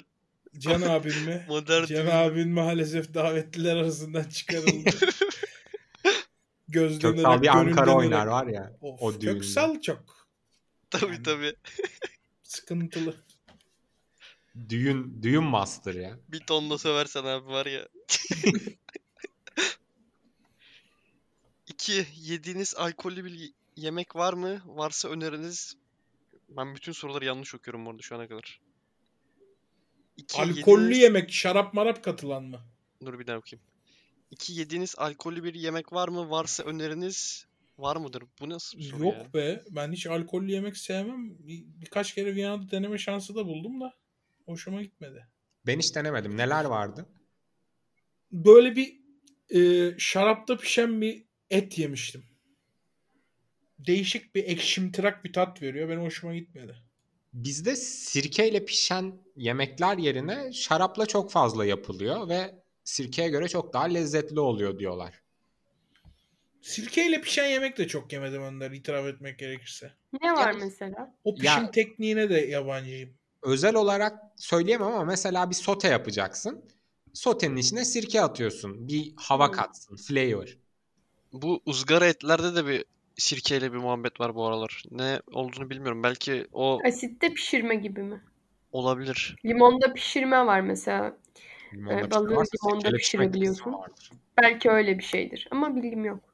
S3: Can abim mi?
S1: modern
S3: Can
S1: düğün-
S3: abim maalesef davetliler arasından çıkarıldı. Gözlenerek,
S2: Köksal bir Ankara
S3: gönüllenerek.
S2: oynar var ya.
S3: Of,
S2: o düğünde.
S3: Köksal çok
S1: tabii tabii.
S3: sıkıntılı.
S2: Düğün, düğün master ya.
S1: Bir tonla söversen abi var ya. 2. Yediğiniz alkollü bir yemek var mı? Varsa öneriniz. Ben bütün soruları yanlış okuyorum bu arada şu ana kadar. 2.
S3: Alkollü yemek, şarap marap katılan mı?
S1: Dur bir daha okuyayım. 2. Yediğiniz alkollü bir yemek var mı? Varsa öneriniz var mıdır? Bu nasıl bir soru
S3: Yok
S1: ya?
S3: be. Ben hiç alkollü yemek sevmem. Bir- birkaç kere Viyana'da deneme şansı da buldum da hoşuma gitmedi.
S2: Ben hiç denemedim. Neler vardı?
S3: Böyle bir e, şarapta pişen bir et yemiştim. Değişik bir ekşimtırak bir tat veriyor. Benim hoşuma gitmedi.
S2: Bizde sirkeyle pişen yemekler yerine şarapla çok fazla yapılıyor ve sirkeye göre çok daha lezzetli oluyor diyorlar.
S3: Sirkeyle pişen yemek de çok yemedim Önder itiraf etmek gerekirse.
S4: Ne var
S2: Ya-
S4: mesela?
S3: O pişim
S2: Ya-
S3: tekniğine de yabancıyım.
S2: Özel olarak söyleyemem ama mesela bir sote yapacaksın. Sotenin içine sirke atıyorsun. Bir hava
S4: Hmm.
S2: katsın. Flavor.
S1: Bu ızgara etlerde de bir sirkeyle bir muhabbet var bu aralar. Ne olduğunu bilmiyorum. Belki o
S4: Asitte pişirme gibi mi?
S1: olabilir.
S4: Limonda pişirme var mesela.
S2: Limonla
S4: Evet,
S2: pişirme
S4: balığı
S2: varsa
S4: limonda
S2: sirkeyle pişirme kesin
S4: pişirebiliyorsun.
S2: vardır.
S4: Belki öyle bir şeydir ama bilgim yok.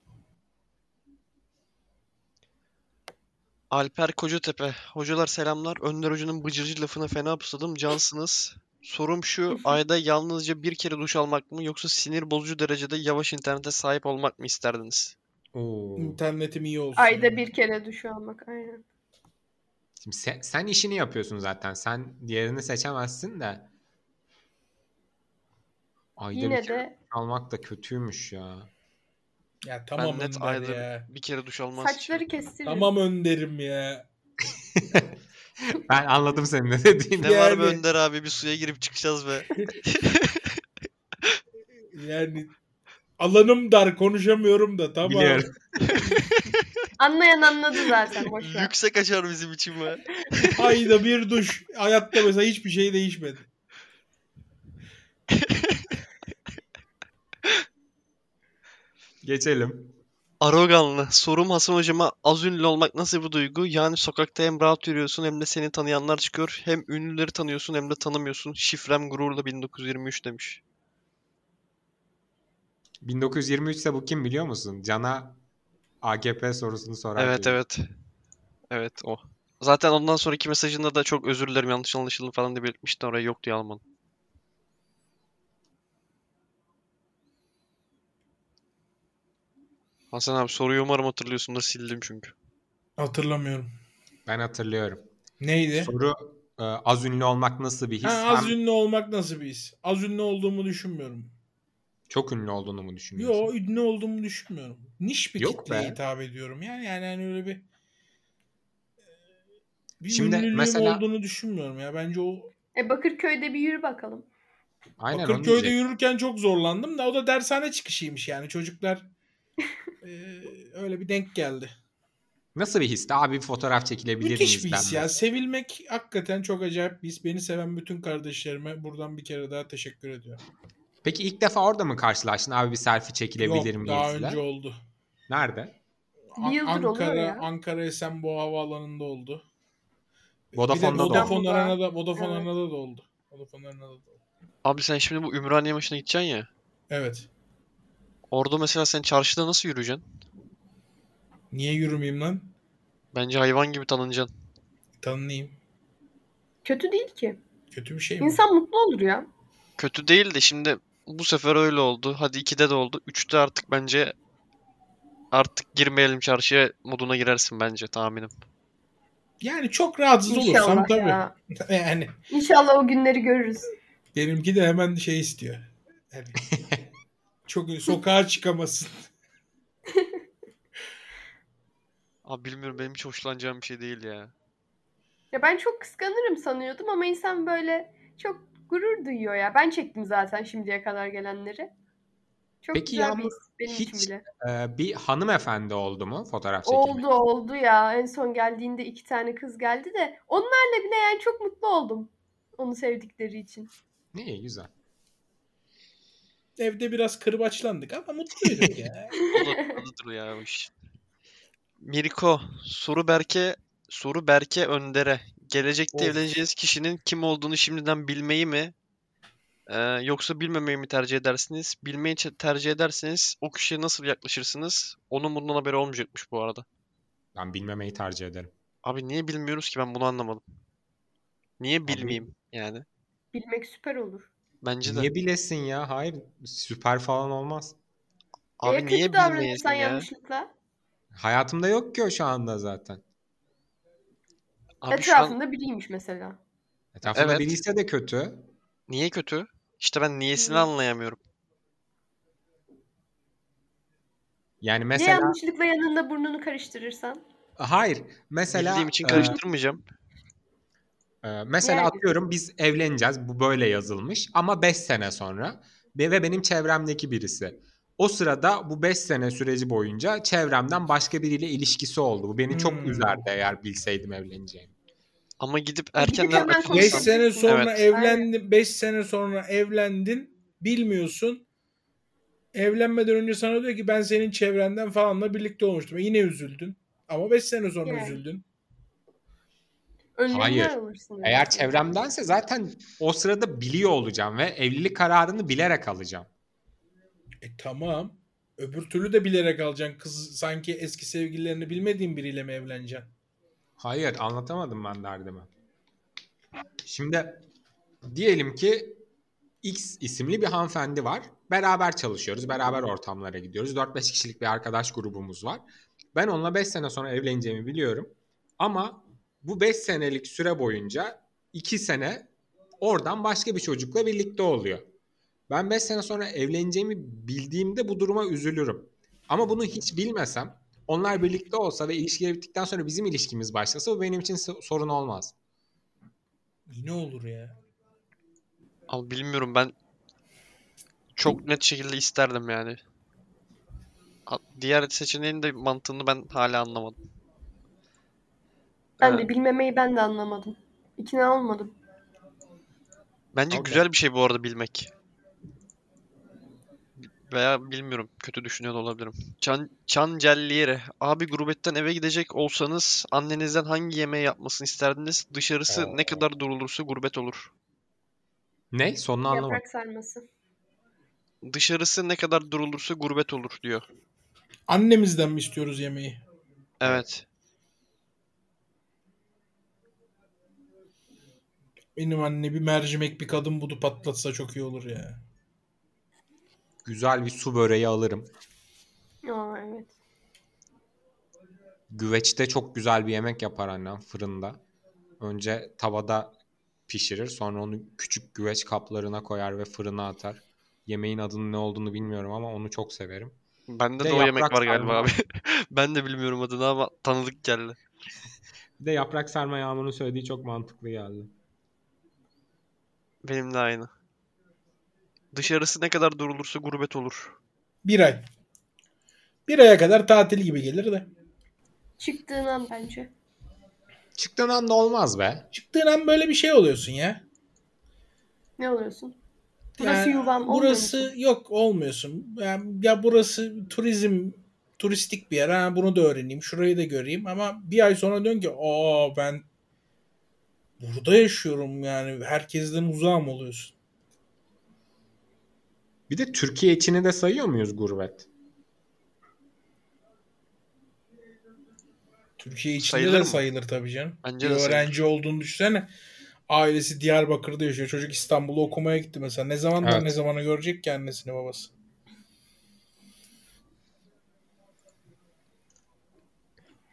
S1: Alper Kocatepe. Hocalar selamlar. Önder Hoca'nın bıcırcı lafına fena pusladım. Cansınız. Sorum şu, ayda yalnızca bir kere duş almak mı yoksa sinir bozucu derecede yavaş internete sahip olmak mı isterdiniz?
S2: Oo.
S4: Hmm.
S3: İnternetim iyi olsun.
S4: Ayda bir kere duş almak aynen.
S2: Şimdi sen, sen işini yapıyorsun zaten. Sen diğerini seçemezsin de. Ayda bir
S4: Yine
S2: kere
S4: de
S2: almak da kötüymüş ya.
S3: Ya
S1: Ben
S3: tamam
S1: net
S3: Önder
S1: ayda
S3: ya.
S1: bir kere duş almaz için.
S4: saçları kestiririm.
S3: Tamam Önder'im ya.
S2: Ben anladım senin ne dediğini.
S1: Ne var be
S3: Yani-
S1: Önder abi bir suya girip çıkacağız be.
S3: Yani alanım dar konuşamıyorum da tamam.
S2: Biliyorum.
S4: Anlayan anladı zaten boş ver.
S1: Yüksek açar bizim için be.
S3: Ayda bir duş. Hayatta mesela hiçbir şey değişmedi.
S2: Geçelim.
S1: Aroganlı. Sorum Hasan hocama az ünlü olmak nasıl bir duygu? Yani sokakta hem rahat yürüyorsun hem de seni tanıyanlar çıkıyor. Hem ünlüleri tanıyorsun hem de tanımıyorsun. Şifrem gururla 1923 demiş.
S2: 1923 ise bu kim biliyor musun? Can'a AKP sorusunu sorar.
S1: Evet
S2: diyor.
S1: evet. Evet o. Zaten ondan sonraki mesajında da çok özür dilerim yanlış anlaşıldı falan diye belirtmiştin oraya yok diye alman. Hasan abi soruyu umarım hatırlıyorsundur sildim çünkü.
S3: Hatırlamıyorum.
S2: Ben hatırlıyorum.
S3: Neydi?
S2: Soru e, az ünlü olmak nasıl bir his?
S3: Ha, az
S2: Hem
S3: ünlü olmak nasıl bir his? Az ünlü olduğumu düşünmüyorum.
S2: Çok ünlü olduğunu mu düşünüyorsun?
S3: Yo ünlü olduğumu düşünmüyorum. Niş bir
S2: Yok
S3: kitleye
S2: be.
S3: hitap ediyorum. Yani yani hani öyle bir e, bir
S2: Şimdi
S3: ünlülüğüm
S2: mesela-
S3: olduğunu düşünmüyorum ya. Bence o
S4: E Bakırköy'de bir yürü bakalım.
S2: Aynen onu
S3: Bakırköy'de
S2: diyecektim.
S3: yürürken çok zorlandım da o da dershane çıkışıymış yani. Çocuklar e, öyle bir denk geldi.
S2: Nasıl bir histi? Abi bir fotoğraf çekilebilir
S3: Müthiş
S2: miyiz
S3: bir his
S2: ben?
S3: ya. Sevilmek hakikaten çok acayip bir his. Beni seven bütün kardeşlerime buradan bir kere daha teşekkür ediyorum.
S2: Peki ilk defa orada mı karşılaştın? Abi bir selfie çekilebilir
S3: Yok
S2: miyiz?
S3: daha
S2: ile?
S3: önce oldu.
S2: Nerede?
S4: Bir yıldır
S3: Ankara,
S4: oluyor ya.
S3: Ankara Esenboğa Havaalanı'nda oldu.
S2: Vodafone'da da
S3: bir
S2: oldu.
S3: de Vodafone Arena'da, Vodafone
S4: Evet.
S3: Arena'da da oldu. Vodafone Arena'da da oldu.
S1: Abi sen şimdi bu Ümraniye maçına gideceksin ya.
S3: Evet.
S1: Orada mesela sen çarşıda nasıl yürüyeceksin?
S3: Niye yürümeyeyim lan?
S1: Bence hayvan gibi tanınacaksın.
S3: Tanınayım.
S4: Kötü değil ki.
S3: Kötü bir şey mi?
S4: İnsan mutlu olur ya.
S1: Kötü değil de şimdi bu sefer öyle oldu. Hadi 2'de de oldu. 3'te artık bence artık girmeyelim çarşıya moduna girersin bence tahminim.
S3: Yani çok rahatsız olursam
S4: İnşallah
S3: tabii.
S4: ya.
S3: yani
S4: İnşallah o günleri görürüz.
S3: Benimki de hemen şey istiyor. Yani çok sokağa çıkamasın.
S1: Abi bilmiyorum benim hiç hoşlanacağım bir şey değil ya.
S4: Ya ben çok kıskanırım sanıyordum ama insan böyle çok gurur duyuyor ya. Ben çektim zaten şimdiye kadar gelenleri. Çok
S2: Peki
S4: güzel
S2: Yağmur,
S4: bir his benim
S2: hiç
S4: için bile.
S2: Ee, bir hanımefendi oldu mu fotoğraf çekimi?
S4: Oldu oldu ya. En son geldiğinde iki tane kız geldi de onlarla bile yani çok mutlu oldum. Onu sevdikleri için.
S2: İyi güzel.
S3: Evde biraz kırbaçlandık ama mutluyduk ya.
S1: O da tadıdır ya o iş. Mirko, Suru Berke, Suru Berke Önder'e. Gelecekte
S3: Of.
S1: evleneceğiniz kişinin kim olduğunu şimdiden bilmeyi mi e, yoksa bilmemeyi mi tercih edersiniz? Bilmeyi çe- tercih ederseniz o kişiye nasıl yaklaşırsınız? Onun bundan haberi olmayacakmış bu arada.
S2: Ben bilmemeyi tercih ederim.
S1: Abi niye bilmiyoruz ki ben bunu anlamadım. Niye bilmeyeyim yani?
S4: Bilmek süper olur.
S1: Bence de.
S2: Niye bilesin ya? Hayır süper falan olmaz.
S1: Abi
S4: e,
S1: niye
S4: kötü davranırsan
S1: bilmeyesin ya?
S4: yanlışlıkla
S2: Hayatımda yok ki o şu anda zaten.
S1: Abi şu an
S4: etrafında biriymiş mesela.
S2: Etrafımda
S1: Evet.
S2: biriyse de kötü.
S1: niye kötü? İşte ben niyesini
S4: Hı.
S1: anlayamıyorum.
S2: Yani
S4: Ya
S2: mesela
S4: yanlışlıkla yanında burnunu karıştırırsan?
S2: hayır mesela
S1: Bildiğim için
S2: e,
S1: karıştırmayacağım.
S2: Ee, mesela
S4: Yani.
S2: atıyorum biz evleneceğiz. Bu böyle yazılmış ama 5 sene sonra ve ve benim çevremdeki birisi. O sırada bu 5 sene süreci boyunca çevremden başka biriyle ilişkisi oldu. Bu beni çok
S3: Hmm.
S2: üzerdi eğer bilseydim evleneceğimi.
S1: Ama gidip
S4: E, gidip
S1: erkenden
S4: hemen
S1: açılırsan-
S3: 5
S4: konuşalım.
S3: sene sonra
S1: Evet.
S3: evlendin. 5 sene sonra evlendin. Bilmiyorsun. Evlenmeden önce sana diyor ki ben senin çevrenden falanla birlikte olmuştum. E yine üzüldün. Ama 5 sene sonra
S4: Yani.
S3: üzüldün.
S4: Önlemler
S2: Hayır.
S4: alırsın.
S2: Eğer çevremdense zaten o sırada biliyor olacağım ve evlilik kararını bilerek alacağım.
S3: E tamam. Öbür türlü de bilerek alacaksın. Kız sanki eski sevgililerini bilmediğin biriyle mi evleneceksin?
S2: Hayır anlatamadım ben derdimi. Şimdi diyelim ki X isimli bir hanımefendi var. Beraber çalışıyoruz, beraber ortamlara gidiyoruz. 4-5 kişilik bir arkadaş grubumuz var. Ben onunla 5 sene sonra evleneceğimi biliyorum. Ama bu 5 senelik süre boyunca 2 sene oradan başka bir çocukla birlikte oluyor. Ben 5 sene sonra evleneceğimi bildiğimde bu duruma üzülürüm. Ama bunu hiç bilmesem onlar birlikte olsa ve ilişkileri bittikten sonra bizim ilişkimiz başlasa bu benim için so- sorun olmaz.
S3: Yine olur ya.
S1: Abi bilmiyorum ben çok net şekilde isterdim yani. A- Diğer seçeneğin de mantığını ben hala anlamadım.
S4: Ben
S1: Ee,
S4: de bilmemeyi ben de anlamadım. İkna olmadım.
S1: bence
S2: Okey.
S1: güzel bir şey bu arada bilmek. Veya bilmiyorum kötü düşünüyor da olabilirim. Çan, Çancelliyere. Abi gurbetten eve gidecek olsanız annenizden hangi yemeği yapmasını isterdiniz? Dışarısı ne
S2: Oo.
S1: kadar durulursa gurbet olur.
S2: Ne? Sonunu anlamadım.
S4: Yaprak sarması.
S1: Dışarısı ne kadar durulursa gurbet olur diyor.
S3: Annemizden mi istiyoruz yemeği?
S1: Evet.
S3: Benim anne bir mercimek bir kadın budu patlatsa çok iyi olur ya.
S2: Güzel bir su böreği alırım.
S4: Aa evet.
S2: Güveçte çok güzel bir yemek yapar annem fırında. Önce tavada pişirir. Sonra onu küçük güveç kaplarına koyar ve fırına atar. Yemeğin adının ne olduğunu bilmiyorum ama onu çok severim.
S1: Bende de
S2: Bir de
S1: o yemek
S2: yaprak
S1: var galiba
S2: sarma.
S1: abi. Ben de bilmiyorum adını ama tanıdık geldi.
S2: Bir de yaprak sarma Yağmur'un söylediği çok mantıklı geldi.
S1: Benim de aynı. Dışarısı ne kadar durulursa gurbet olur.
S3: Bir ay. Bir aya kadar tatil gibi gelir de.
S4: Çıktığın an bence.
S2: Çıktığın anda olmaz be.
S3: Çıktığın an böyle bir şey oluyorsun ya.
S4: Ne oluyorsun? Burası
S3: Yani
S4: yuvam olmuyor
S3: Burası
S4: musun?
S3: yok olmuyorsun. Yani ya burası turizm turistik bir yer. Ha, bunu da öğreneyim. Şurayı da göreyim. Ama bir ay sonra dön ki aa ben burada yaşıyorum yani. Herkesten uzağım oluyorsun.
S2: Bir de Türkiye içini de sayıyor muyuz gurbet?
S3: Türkiye içinde
S1: Sayılır
S3: de
S1: mı?
S3: sayılır tabii canım.
S1: Bence
S3: bir
S1: de sayılır.
S3: öğrenci olduğunu düşünsene. Ailesi Diyarbakır'da yaşıyor. Çocuk İstanbul'a okumaya gitti mesela. Ne zamandan
S2: Evet.
S3: ne zamana görecek ki annesini babası.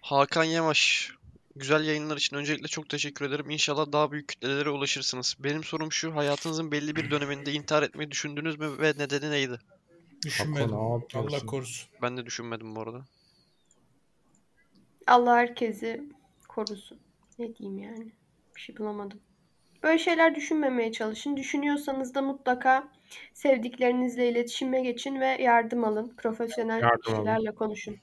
S1: Hakan Yamaç. Güzel yayınlar için öncelikle çok teşekkür ederim. İnşallah daha büyük kitlelere ulaşırsınız. Benim sorum şu, hayatınızın belli bir döneminde intihar etmeyi düşündünüz mü ve nedeni neydi?
S3: Düşünmedim.
S2: Hakko, ne
S3: Allah
S2: yapıyorsun?
S3: korusun.
S1: Ben de düşünmedim bu arada.
S4: Allah herkesi korusun. Ne diyeyim yani? Bir şey bulamadım. Böyle şeyler düşünmemeye çalışın. Düşünüyorsanız da mutlaka sevdiklerinizle iletişime geçin ve yardım alın. Profesyonel
S2: Yardım alın.
S4: kişilerle konuşun.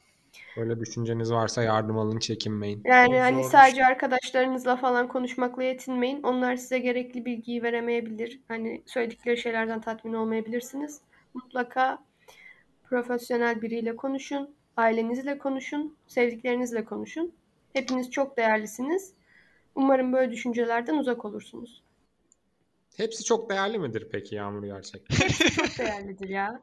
S2: Böyle düşünceniz varsa yardım alın çekinmeyin.
S4: Yani
S3: Çok
S4: hani
S3: zormuş.
S4: sadece arkadaşlarınızla falan konuşmakla yetinmeyin. Onlar size gerekli bilgiyi veremeyebilir. Hani söyledikleri şeylerden tatmin olmayabilirsiniz. Mutlaka profesyonel biriyle konuşun, ailenizle konuşun, sevdiklerinizle konuşun. Hepiniz çok değerlisiniz. Umarım böyle düşüncelerden uzak olursunuz.
S2: Hepsi çok değerli midir peki Yağmur gerçekten?
S4: Çok değerlidir ya.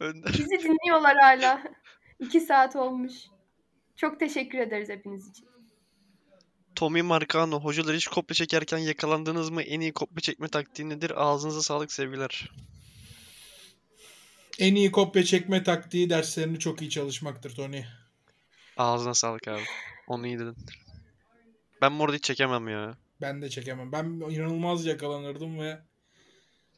S1: Önder.
S4: Bizi dinliyorlar hala. İki saat olmuş. Çok teşekkür ederiz hepiniz için.
S1: Tommy Marcano, hocalar hiç kopya çekerken yakalandınız mı? En iyi kopya çekme taktiği nedir? Ağzınıza sağlık sevgiler.
S3: En iyi kopya çekme taktiği derslerini çok iyi çalışmaktır Tony.
S1: Ağzına sağlık abi. Onu iyi dedin. Ben bu arada hiç çekemem ya.
S3: Ben de çekemem. Ben inanılmaz yakalanırdım ve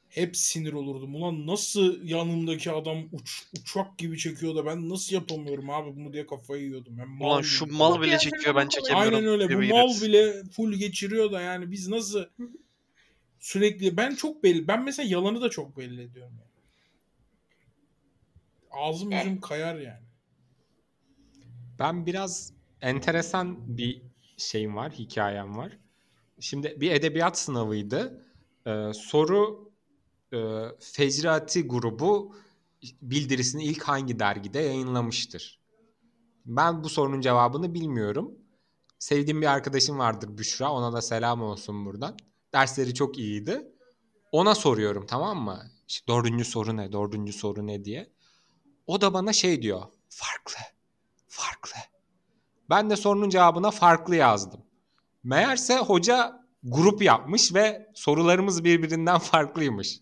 S3: hep sinir olurdum. Ulan nasıl yanımdaki adam uç, uçak gibi çekiyor da ben nasıl yapamıyorum abi bunu diye kafayı yiyordum. Ben mal
S1: Ulan şu
S3: miyim
S1: mal
S3: falan.
S1: bile çekiyor ben çekemiyorum.
S3: Aynen öyle. Bu
S1: gibi
S3: mal
S1: gideriz.
S3: bile full geçiriyor da yani biz nasıl sürekli ben çok belli. Ben mesela yalanı da çok belli ediyorum. Yani. Ağzım
S4: Eh.
S3: yüzüm kayar yani.
S2: Ben biraz enteresan bir şeyim var, hikayem var. Şimdi bir edebiyat sınavıydı. Ee, soru e, Fecrati grubu bildirisini ilk hangi dergide yayınlamıştır? Ben bu sorunun cevabını bilmiyorum. Sevdiğim bir arkadaşım vardır Büşra. Ona da selam olsun buradan. Dersleri çok iyiydi. Ona soruyorum tamam mı? İşte dördüncü soru ne, dördüncü soru ne diye. O da bana şey diyor. Farklı, farklı. Ben de sorunun cevabına farklı yazdım. Meğerse hoca grup yapmış ve sorularımız birbirinden farklıymış.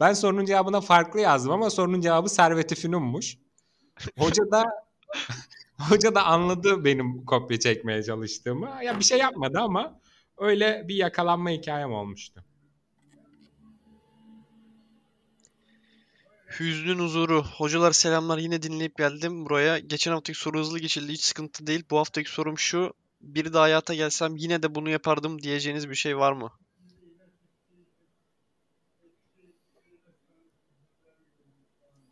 S2: Ben sorunun cevabına farklı yazdım ama sorunun cevabı serveti fünunmuş. Hoca da hoca da anladı benim kopya çekmeye çalıştığımı. Ya bir şey yapmadı ama öyle bir yakalanma hikayem olmuştu.
S1: Hüznün huzuru. Hocalar selamlar yine dinleyip geldim buraya. Geçen haftaki soru hızlı geçildi hiç sıkıntı değil. Bu haftaki sorum şu. Bir de hayata gelsem yine de bunu yapardım diyeceğiniz bir şey var mı?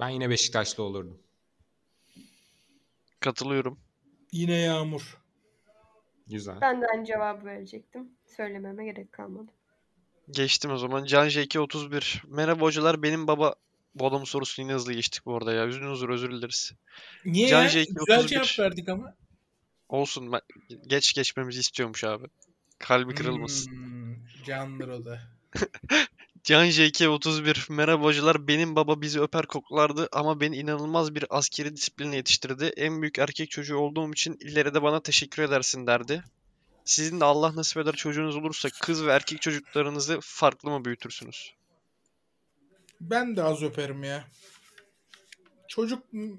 S2: Ben yine Beşiktaşlı olurdum.
S1: Katılıyorum.
S3: Yine yağmur.
S2: Güzel.
S4: Ben de aynı cevabı verecektim. Söylememe gerek kalmadı.
S1: Geçtim o zaman. Can JK 31. Merhaba hocalar benim baba... Bu adamın sorusunu yine hızlı geçtik bu arada ya. Hüznün huzuru özür dileriz.
S3: Niye
S1: Can
S3: ya?
S1: Jake
S3: Güzel
S1: 31.
S3: cevap verdik ama.
S1: Olsun ben- geç geçmemizi istiyormuş abi. Kalbi kırılmasın.
S3: Hmm, candır o da.
S1: Can JK 31. Merhaba hocalar. Benim baba bizi öper koklardı ama beni inanılmaz bir askeri disipline yetiştirdi. En büyük erkek çocuğu olduğum için ileride bana teşekkür edersin derdi. Sizin de Allah nasip eder çocuğunuz olursa kız ve erkek çocuklarınızı farklı mı büyütürsünüz?
S3: Ben de az öperim ya. Çocuk m-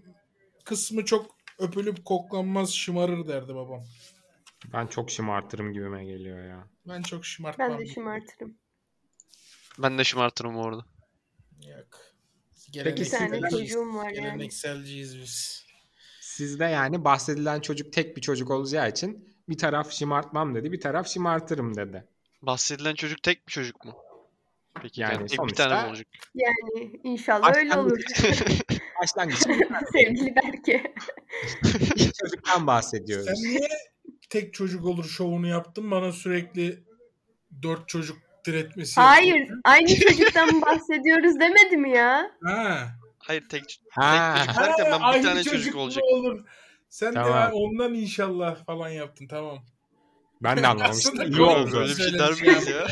S3: kısmı çok öpülüp koklanmaz şımarır derdi babam.
S2: Ben çok şımartırım gibime geliyor ya.
S3: Ben çok şımartmam.
S4: Ben de şımartırım.
S1: Ben de şımartırım orada.
S3: Yok.
S4: Bir tane
S2: Gelenekselciyiz.
S4: çocuğum var yani.
S3: Gelenekselciyiz biz.
S2: Sizde yani bahsedilen çocuk tek bir çocuk olacağı için bir taraf şımartmam dedi, bir taraf şımartırım dedi.
S1: Bahsedilen çocuk tek bir çocuk mu? Peki yani,
S2: Yani
S1: tek bir tane mi
S2: sonuçta-
S1: olacak?
S4: Yani inşallah öyle olur.
S2: Başlangıç
S4: Sevgili belki.
S2: bir çocuktan
S3: Sen
S2: bahsediyoruz.
S3: niye tek çocuk olur şovunu yaptın bana sürekli dört çocuk diretmesi
S4: Hayır. Aynı çocuktan bahsediyoruz demedi mi ya?
S3: Ha.
S1: Hayır tek,
S2: Ha,
S1: tek çocuk derken ben bir
S3: aynı
S1: tane çocuk
S3: mu
S1: olacak.
S3: Olur. Sen de
S2: Tamam.
S3: ha, ondan inşallah falan yaptın tamam.
S2: ben de anlamamıştım.
S3: Aslında
S2: İyi
S3: korkuyorum.
S2: oldu.
S1: Böyle bir şey der
S3: Söylemiş
S1: miyiz
S3: ya.
S1: ya?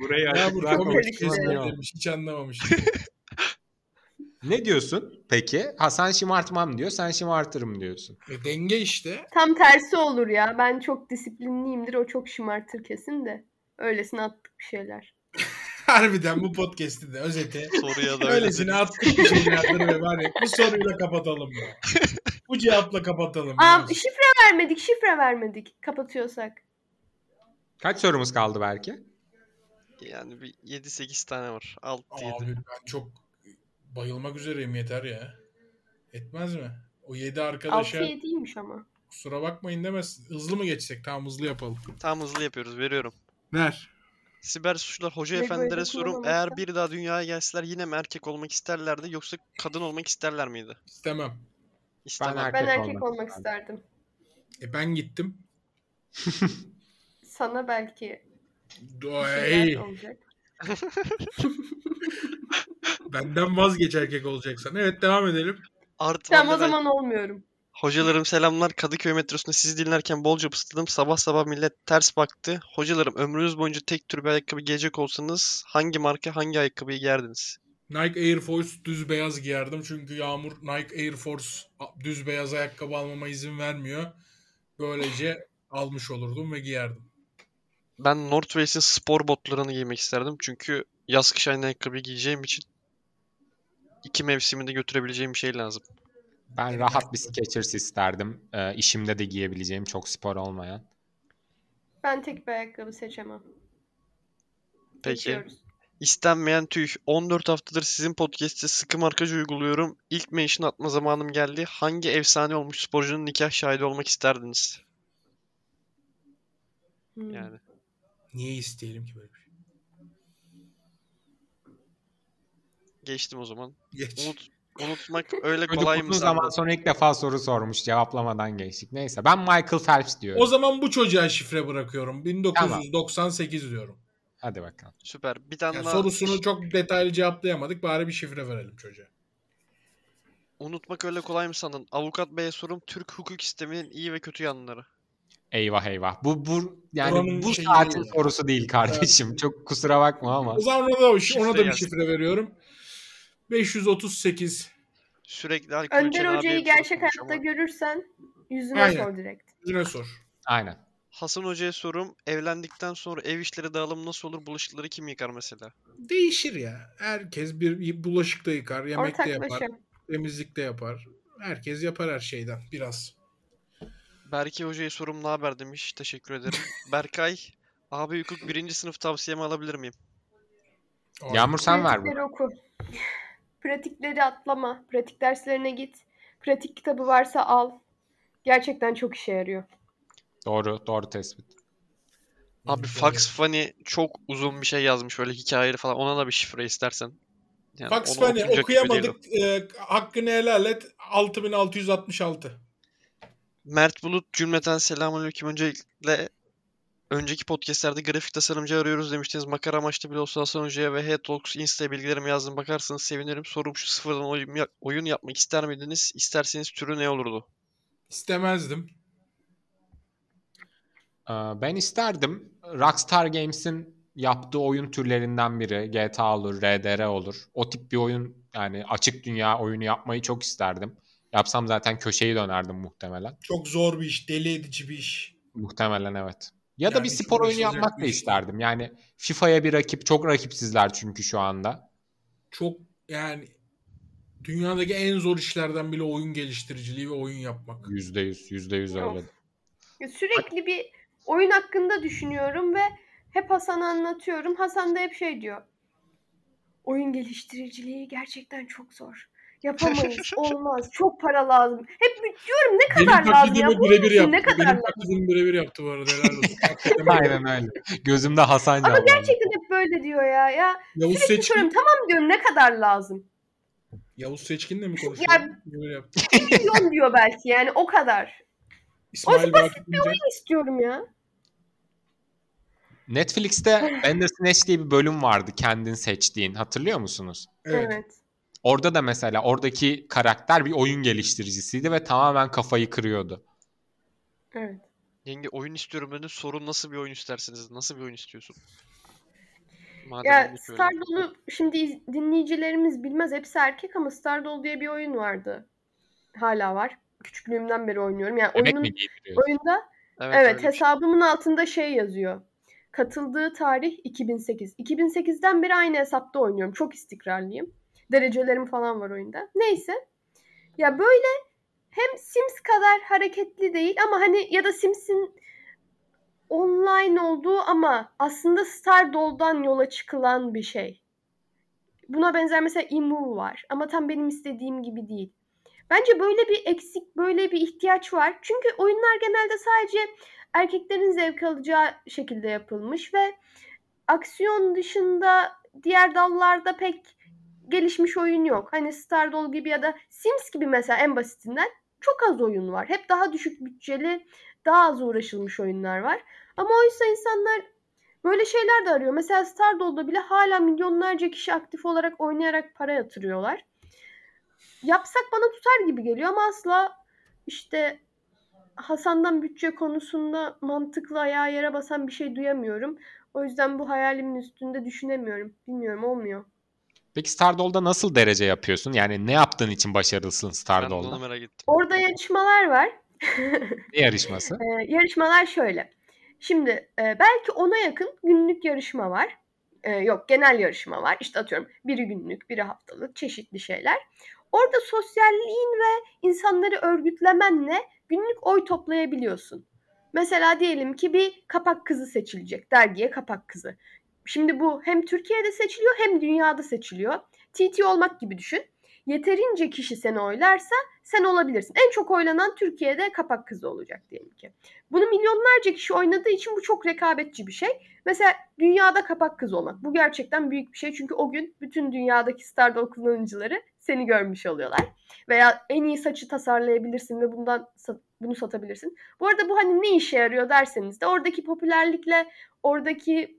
S2: Burayı
S3: Ya bu
S2: açıklar
S3: çok
S4: komik
S2: konuşmaz
S4: bir
S2: ne
S4: şey.
S2: oldu?
S3: demiş. Hiç anlamamış.
S2: Ne diyorsun peki? Hasan şımartmam diyor, sen şımartırım diyorsun.
S3: E, denge işte.
S4: Tam tersi olur ya. Ben çok disiplinliyimdir. O çok şımartır kesin de. Öylesine attık bir şeyler.
S3: Harbiden bu podcast'in de özeti.
S1: Soruya da öyle
S3: Öylesine
S1: dedim.
S3: attık bir şeylerdir ve var ya bu soruyu da kapatalım ya. Bu cevapla kapatalım.
S4: Aa, şifre vermedik, şifre vermedik kapatıyorsak.
S2: Kaç sorumuz kaldı belki?
S1: Yani bir 7-8 tane var. 6-7.
S3: Abi ben çok bayılmak üzereyim yeter ya. Etmez mi? O 7 arkadaşa
S4: 6-7'ymiş ama.
S3: kusura bakmayın demez. Hızlı mı geçsek? Tamam hızlı yapalım.
S1: Tam hızlı yapıyoruz. Veriyorum.
S3: Ver.
S1: Siber suçlar hoca
S4: Ve
S1: efendilere
S4: böyle
S1: sorum.
S4: kullanılırsa-
S1: Eğer bir daha dünyaya gelseler yine mi erkek olmak isterlerdi yoksa kadın olmak isterler miydi?
S3: İstemem.
S1: İstemem.
S2: erkek-
S4: Ben erkek
S2: olmak
S4: olmak
S2: isterdim.
S4: isterdim.
S3: E ben gittim.
S4: Sana belki bir şey şeyler
S3: Ay,
S4: olacak.
S3: benden vazgeç erkek olacaksan. Evet devam edelim.
S1: Artı
S4: Tamam o
S1: anneler-
S4: zaman olmuyorum.
S1: Hocalarım selamlar. Kadıköy metrosunda sizi dinlerken bolca pısıtladım. Sabah sabah millet ters baktı. Hocalarım ömrünüz boyunca tek tür bir ayakkabı giyecek olsanız hangi marka hangi ayakkabıyı giyerdiniz?
S3: Nike Air Force düz beyaz giyerdim. Çünkü Yağmur Nike Air Force a- düz beyaz ayakkabı almama izin vermiyor. Böylece almış olurdum ve giyerdim.
S1: Ben North Face'in spor botlarını giymek isterdim. Çünkü yaz kış aynı ayakkabı giyeceğim için iki mevsimi de götürebileceğim bir şey lazım.
S2: Ben rahat bir Skechers isterdim. Ee, işimde de giyebileceğim çok spor olmayan.
S4: Ben tek bir ayakkabı seçemem.
S1: Peki.
S4: Seçiyoruz.
S1: İstenmeyen tüy. 14 haftadır sizin podcast'te sıkı markaj uyguluyorum. İlk mention atma zamanım geldi. Hangi efsane olmuş sporcunun nikah şahidi olmak isterdiniz?
S4: Hmm.
S1: Yani
S3: Niye isteyelim ki böyle bir şey?
S1: geçtim o zaman.
S3: Geç.
S1: Unut, unutmak öyle
S2: Çocuk
S1: kolay
S2: uzun
S1: mı
S2: zaman
S1: sandın?
S2: sonra ilk defa soru sormuş cevaplamadan geçtik. Neyse ben Michael Phelps diyorum.
S3: O zaman bu çocuğa şifre bırakıyorum. 1998 diyorum.
S2: Hadi bakalım.
S1: Süper. Bir tane
S3: Yani
S1: daha
S3: sorusunu çok detaylı cevaplayamadık. Bari bir şifre verelim çocuğa.
S1: unutmak öyle kolay mı sandın? Avukat beye sorum Türk hukuk sisteminin iyi ve kötü yanları.
S2: Eyvah eyvah. Bu bu yani
S3: Buranın
S2: bu
S3: şeyi
S2: saatin
S3: değil.
S2: sorusu değil kardeşim. Çok kusura bakma ama.
S3: O zaman ona da, ona da bir
S1: gelsin.
S3: şifre veriyorum. 538.
S1: Sürekli alkol
S4: Önder
S1: içen abiye
S4: Hoca'yı
S1: bir
S4: gerçek
S1: sorulmuş
S4: hayatta
S1: ama.
S4: görürsen yüzüne
S3: Aynen.
S4: sor direkt.
S3: Yüzüne sor.
S2: Aynen.
S1: Hasan Hoca'ya sorum evlendikten sonra ev işleri dağılımı nasıl olur? Bulaşıkları kim yıkar mesela?
S3: Değişir ya. Herkes bir bulaşık da yıkar, yemek de yapar,
S4: Ortaklaşa.
S3: temizlik de yapar. Herkes yapar her şeyden biraz.
S1: Berkay Hoca'ya sorum ne haber demiş. Teşekkür ederim. Berkay abi hukuk birinci sınıf tavsiyemi alabilir miyim?
S3: Abi,
S2: Yağmur sen ver bu.
S4: Pratikleri oku. Pratikleri atlama. Pratik derslerine git. Pratik kitabı varsa al. Gerçekten çok işe yarıyor.
S2: Doğru, doğru tespit.
S1: Abi Fax Funny çok uzun bir şey yazmış. Böyle hikayeli falan. Ona da bir şifre istersen. Yani
S3: Fax
S1: onu
S3: Fani
S1: okuyacak gibi değil o.
S3: okuyamadık. Ee, hakkını helal et. 6666.
S1: Mert Bulut cümleten selamünaleyküm. Öncelikle önceki podcastlerde grafik tasarımcı arıyoruz demiştiniz. Makara amaçlı bile olsa Hasan Hoca'ya ve Head Talks Insta'ya bilgilerimi yazdım. Bakarsanız sevinirim. Sorum şu sıfırdan oyun, yap- oyun yapmak ister miydiniz? İsterseniz türü ne olurdu?
S3: İstemezdim.
S2: Ee, Ben isterdim. Rockstar Games'in yaptığı oyun türlerinden biri. GTA olur, RDR olur. O tip bir oyun yani açık dünya oyunu yapmayı çok isterdim. Yapsam zaten köşeyi dönerdim muhtemelen.
S3: Çok zor bir iş. Deli edici bir iş.
S2: Muhtemelen evet. Ya da
S3: Yani
S2: bir
S3: hiç
S2: spor oyunu
S3: uğraşılacak
S2: yapmak
S3: bir
S2: da
S3: şey. iş değil.
S2: isterdim. Yani FIFA'ya bir rakip, çok rakipsizler çünkü şu anda.
S3: Çok yani dünyadaki en zor işlerden bile oyun geliştiriciliği ve oyun yapmak.
S2: Yüzde yüz, yüzde yüz
S4: Yok.
S2: öyle.
S4: Ya Sürekli bir oyun hakkında düşünüyorum ve hep Hasan'a anlatıyorum. Hasan da hep şey diyor. Oyun geliştiriciliği gerçekten çok zor. Yapamayız, olmaz, çok para lazım. Hep bir- diyorum ne kadar
S3: Benim
S4: lazım ya,
S3: taklidimi
S4: bunun
S3: birebir
S4: için
S3: yaptı.
S4: ne kadar
S3: Benim
S4: lazım?
S3: taklidimi birebir yaptı bu arada helal olsun. Hakikaten
S2: Aynen öyle. Gözümde Hasan
S4: Ama
S2: canlandı.
S4: gerçekten hep böyle diyor ya. Ya
S3: Yavuz
S4: sürekli
S3: Seçkin,
S4: soruyorum tamam diyorum ne kadar lazım?
S3: Yavuz Seçkin'le mi konuşuyor?
S4: Ya-
S3: Böyle yaptı.
S4: Milyon diyor belki yani o kadar.
S3: İsmail Vakit Bilge,
S4: Ne istiyorum ya?
S2: Netflix'te Bandersnatch diye bir bölüm vardı kendin seçtiğin. Hatırlıyor musunuz?
S3: evet.
S2: Orada da mesela oradaki karakter bir oyun geliştiricisiydi ve tamamen kafayı kırıyordu.
S4: Evet.
S1: Yenge oyun istiyorum dedi. Sorun nasıl bir oyun istersiniz? Nasıl bir oyun istiyorsun? Madem
S4: Ya
S1: öyle.
S4: Stardoll'u şimdi iz- dinleyicilerimiz bilmez hepsi erkek ama Stardoll diye bir oyun vardı. Hala var. Küçüklüğümden beri oynuyorum. Yani
S2: Bebek
S4: oyunun
S2: mi giydiriyordu?
S4: oyunda
S1: Evet,
S4: evet,
S1: öyle bir şey.
S4: hesabımın altında şey yazıyor. Katıldığı tarih 2008. 2008'den beri aynı hesapta oynuyorum. Çok istikrarlıyım. Derecelerim falan var oyunda. Neyse. Ya böyle hem Sims kadar hareketli değil ama hani ya da Sims'in online olduğu ama aslında Stardoll'dan yola çıkılan bir şey. Buna benzer mesela Imu var ama tam benim istediğim gibi değil. Bence böyle bir eksik, böyle bir ihtiyaç var. Çünkü oyunlar genelde sadece erkeklerin zevk alacağı şekilde yapılmış ve aksiyon dışında diğer dallarda pek gelişmiş oyun yok. Hani Stardoll gibi ya da Sims gibi mesela en basitinden çok az oyun var. Hep daha düşük bütçeli, daha az uğraşılmış oyunlar var. Ama oysa insanlar böyle şeyler de arıyor. Mesela Stardoll'da bile hala milyonlarca kişi aktif olarak oynayarak para yatırıyorlar. Yapsak bana tutar gibi geliyor ama asla işte Hasan'dan bütçe konusunda mantıklı ayağı yere basan bir şey duyamıyorum. O yüzden bu hayalimin üstünde düşünemiyorum. Bilmiyorum olmuyor.
S2: Peki Stardoll'da nasıl derece yapıyorsun? Yani ne yaptığın için başarılısın
S1: Ben de onu
S2: Stardoll'da?
S1: merak ettim.
S4: Orada yarışmalar var.
S2: Ne yarışması?
S4: Ee, yarışmalar şöyle. Şimdi e, belki ona yakın günlük yarışma var. E, yok genel yarışma var. İşte atıyorum biri günlük, biri haftalık çeşitli şeyler. Orada sosyalliğin ve insanları örgütlemenle günlük oy toplayabiliyorsun. Mesela diyelim ki bir kapak kızı seçilecek. Dergiye kapak kızı. Şimdi bu hem Türkiye'de seçiliyor hem dünyada seçiliyor. TT olmak gibi düşün. Yeterince kişi seni oylarsa sen olabilirsin. En çok oylanan Türkiye'de kapak kızı olacak diyelim ki. Bunu milyonlarca kişi oynadığı için bu çok rekabetçi bir şey. Mesela dünyada kapak kız olmak. Bu gerçekten büyük bir şey. Çünkü o gün bütün dünyadaki Stardoll kullanıcıları seni görmüş oluyorlar. Veya en iyi saçı tasarlayabilirsin ve bundan sa- bunu satabilirsin. Bu arada bu hani ne işe yarıyor derseniz de oradaki popülerlikle oradaki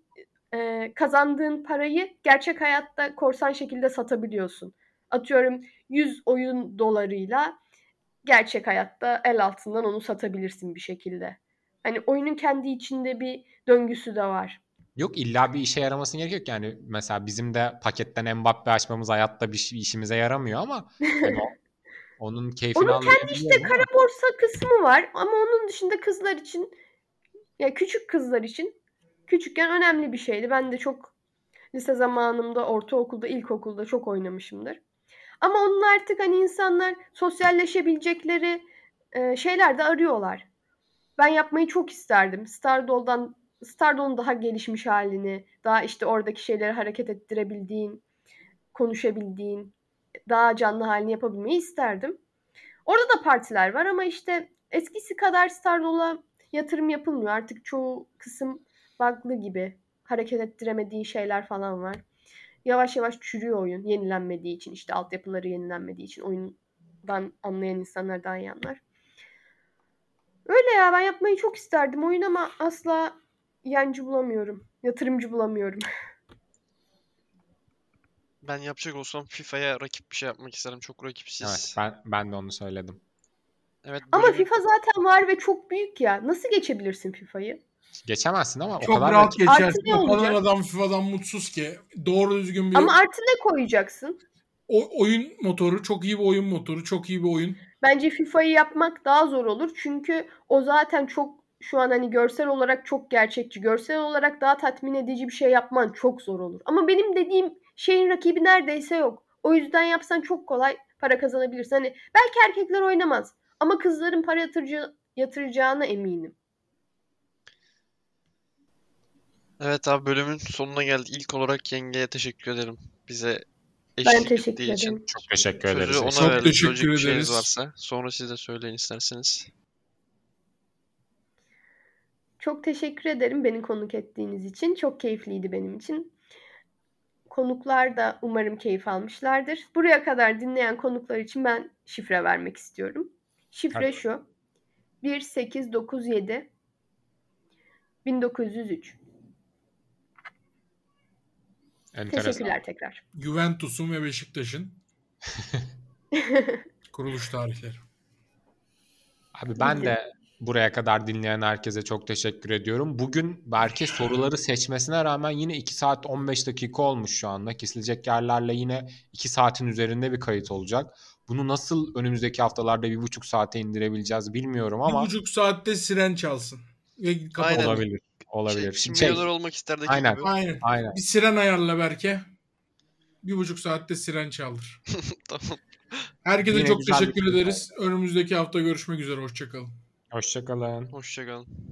S4: e, kazandığın parayı gerçek hayatta korsan şekilde satabiliyorsun. Atıyorum 100 oyun dolarıyla gerçek hayatta el altından onu satabilirsin bir şekilde. Hani oyunun kendi içinde bir döngüsü de var.
S2: Yok illa bir işe yaramasını gerek yok. Yani mesela bizim de paketten Mbappe açmamız hayatta bir şey- işimize yaramıyor ama hani o- onun keyfini
S4: Onun
S2: anlayabiliyorum.
S4: İşte
S2: ama-
S4: kara borsa kısmı var ama onun dışında kızlar için ya küçük kızlar için küçükken önemli bir şeydi. Ben de çok lise zamanımda, ortaokulda, ilkokulda çok oynamışımdır. Ama onun artık hani insanlar sosyalleşebilecekleri e, şeyler de arıyorlar. Ben yapmayı çok isterdim. Stardoll'dan Stardoll'un daha gelişmiş halini, daha işte oradaki şeyleri hareket ettirebildiğin, konuşabildiğin, daha canlı halini yapabilmeyi isterdim. Orada da partiler var ama işte eskisi kadar Stardoll'a yatırım yapılmıyor. Artık çoğu kısım bug'lı gibi. Hareket ettiremediği şeyler falan var. Yavaş yavaş çürüyor oyun. Yenilenmediği için işte altyapıları yenilenmediği için oyundan anlayan insanlar daha iyi anlar. Öyle ya ben yapmayı çok isterdim oyun ama asla yancı bulamıyorum. Yatırımcı bulamıyorum.
S1: Ben yapacak olsam FIFA'ya rakip bir şey yapmak isterim. Çok rakipsiz.
S2: Evet, ben, ben de onu söyledim.
S1: Evet,
S4: Ama
S1: bölümün-
S4: FIFA zaten var ve çok büyük ya. Nasıl geçebilirsin FIFA'yı?
S2: Geçemezsin ama o
S3: Çok
S2: kadar
S3: rahat
S2: rakip-
S4: Artı
S3: geçersin.
S4: ne
S3: O kadar
S4: olacak?
S3: adam FIFA'dan mutsuz ki. Doğru düzgün bir
S4: Ama artı ne koyacaksın?
S3: o- oyun motoru. Çok iyi bir oyun motoru. Çok iyi bir oyun.
S4: Bence FIFA'yı yapmak daha zor olur. Çünkü o zaten çok şu an hani görsel olarak çok gerçekçi. Görsel olarak daha tatmin edici bir şey yapman çok zor olur. Ama benim dediğim şeyin rakibi neredeyse yok. O yüzden yapsan çok kolay para kazanabilirsin. Hani belki erkekler oynamaz ama kızların para yatırıcı, yatıracağına eminim.
S1: Evet abi bölümün sonuna geldik. İlk olarak yengeye teşekkür ederim. Bize
S4: Ben
S1: eşlik
S4: teşekkür
S1: ettiği için.
S4: ederim.
S2: Çok teşekkür ederiz.
S1: Sözü ona
S3: Çok
S1: verelim.
S3: teşekkür
S1: Söyleyecek bir şeyiniz
S3: ederiz.
S1: varsa. Sonra siz de söyleyin isterseniz. Şey,
S4: Çok teşekkür ederim beni konuk ettiğiniz için. Çok keyifliydi benim için. Konuklar da umarım keyif almışlardır. Buraya kadar dinleyen konuklar için ben şifre vermek istiyorum. Şifre
S2: Tabii.
S4: şu. 1897 1903.
S2: Enteresan.
S4: Teşekkürler tekrar.
S3: Juventus'un ve Beşiktaş'ın kuruluş tarihleri.
S2: Abi ben de buraya kadar dinleyen herkese çok teşekkür ediyorum. Bugün Berke soruları seçmesine rağmen yine 2 saat 15 dakika olmuş şu anda. Kesilecek yerlerle yine 2 saatin üzerinde bir kayıt olacak. Bunu nasıl önümüzdeki haftalarda bir buçuk saate indirebileceğiz bilmiyorum
S3: Bir
S2: ama
S3: buçuk saatte siren çalsın. Ve kapat.
S1: Aynen.
S2: olabilir. Olabilir.
S1: Şey, kim
S2: Şimdi şey,
S1: milyoner olmak isterdeki
S2: Aynen.
S1: gibi.
S3: Aynen.
S2: aynen.
S3: Bir siren ayarla Berke. Bir buçuk saatte siren çaldır.
S1: tamam.
S3: Herkese
S2: Yine
S3: çok
S2: güzel bir şey.
S3: teşekkür
S2: konuşma
S3: ederiz. Önümüzdeki hafta görüşmek üzere. Hoşçakalın.
S2: Hoşçakalın.
S1: Hoşçakalın.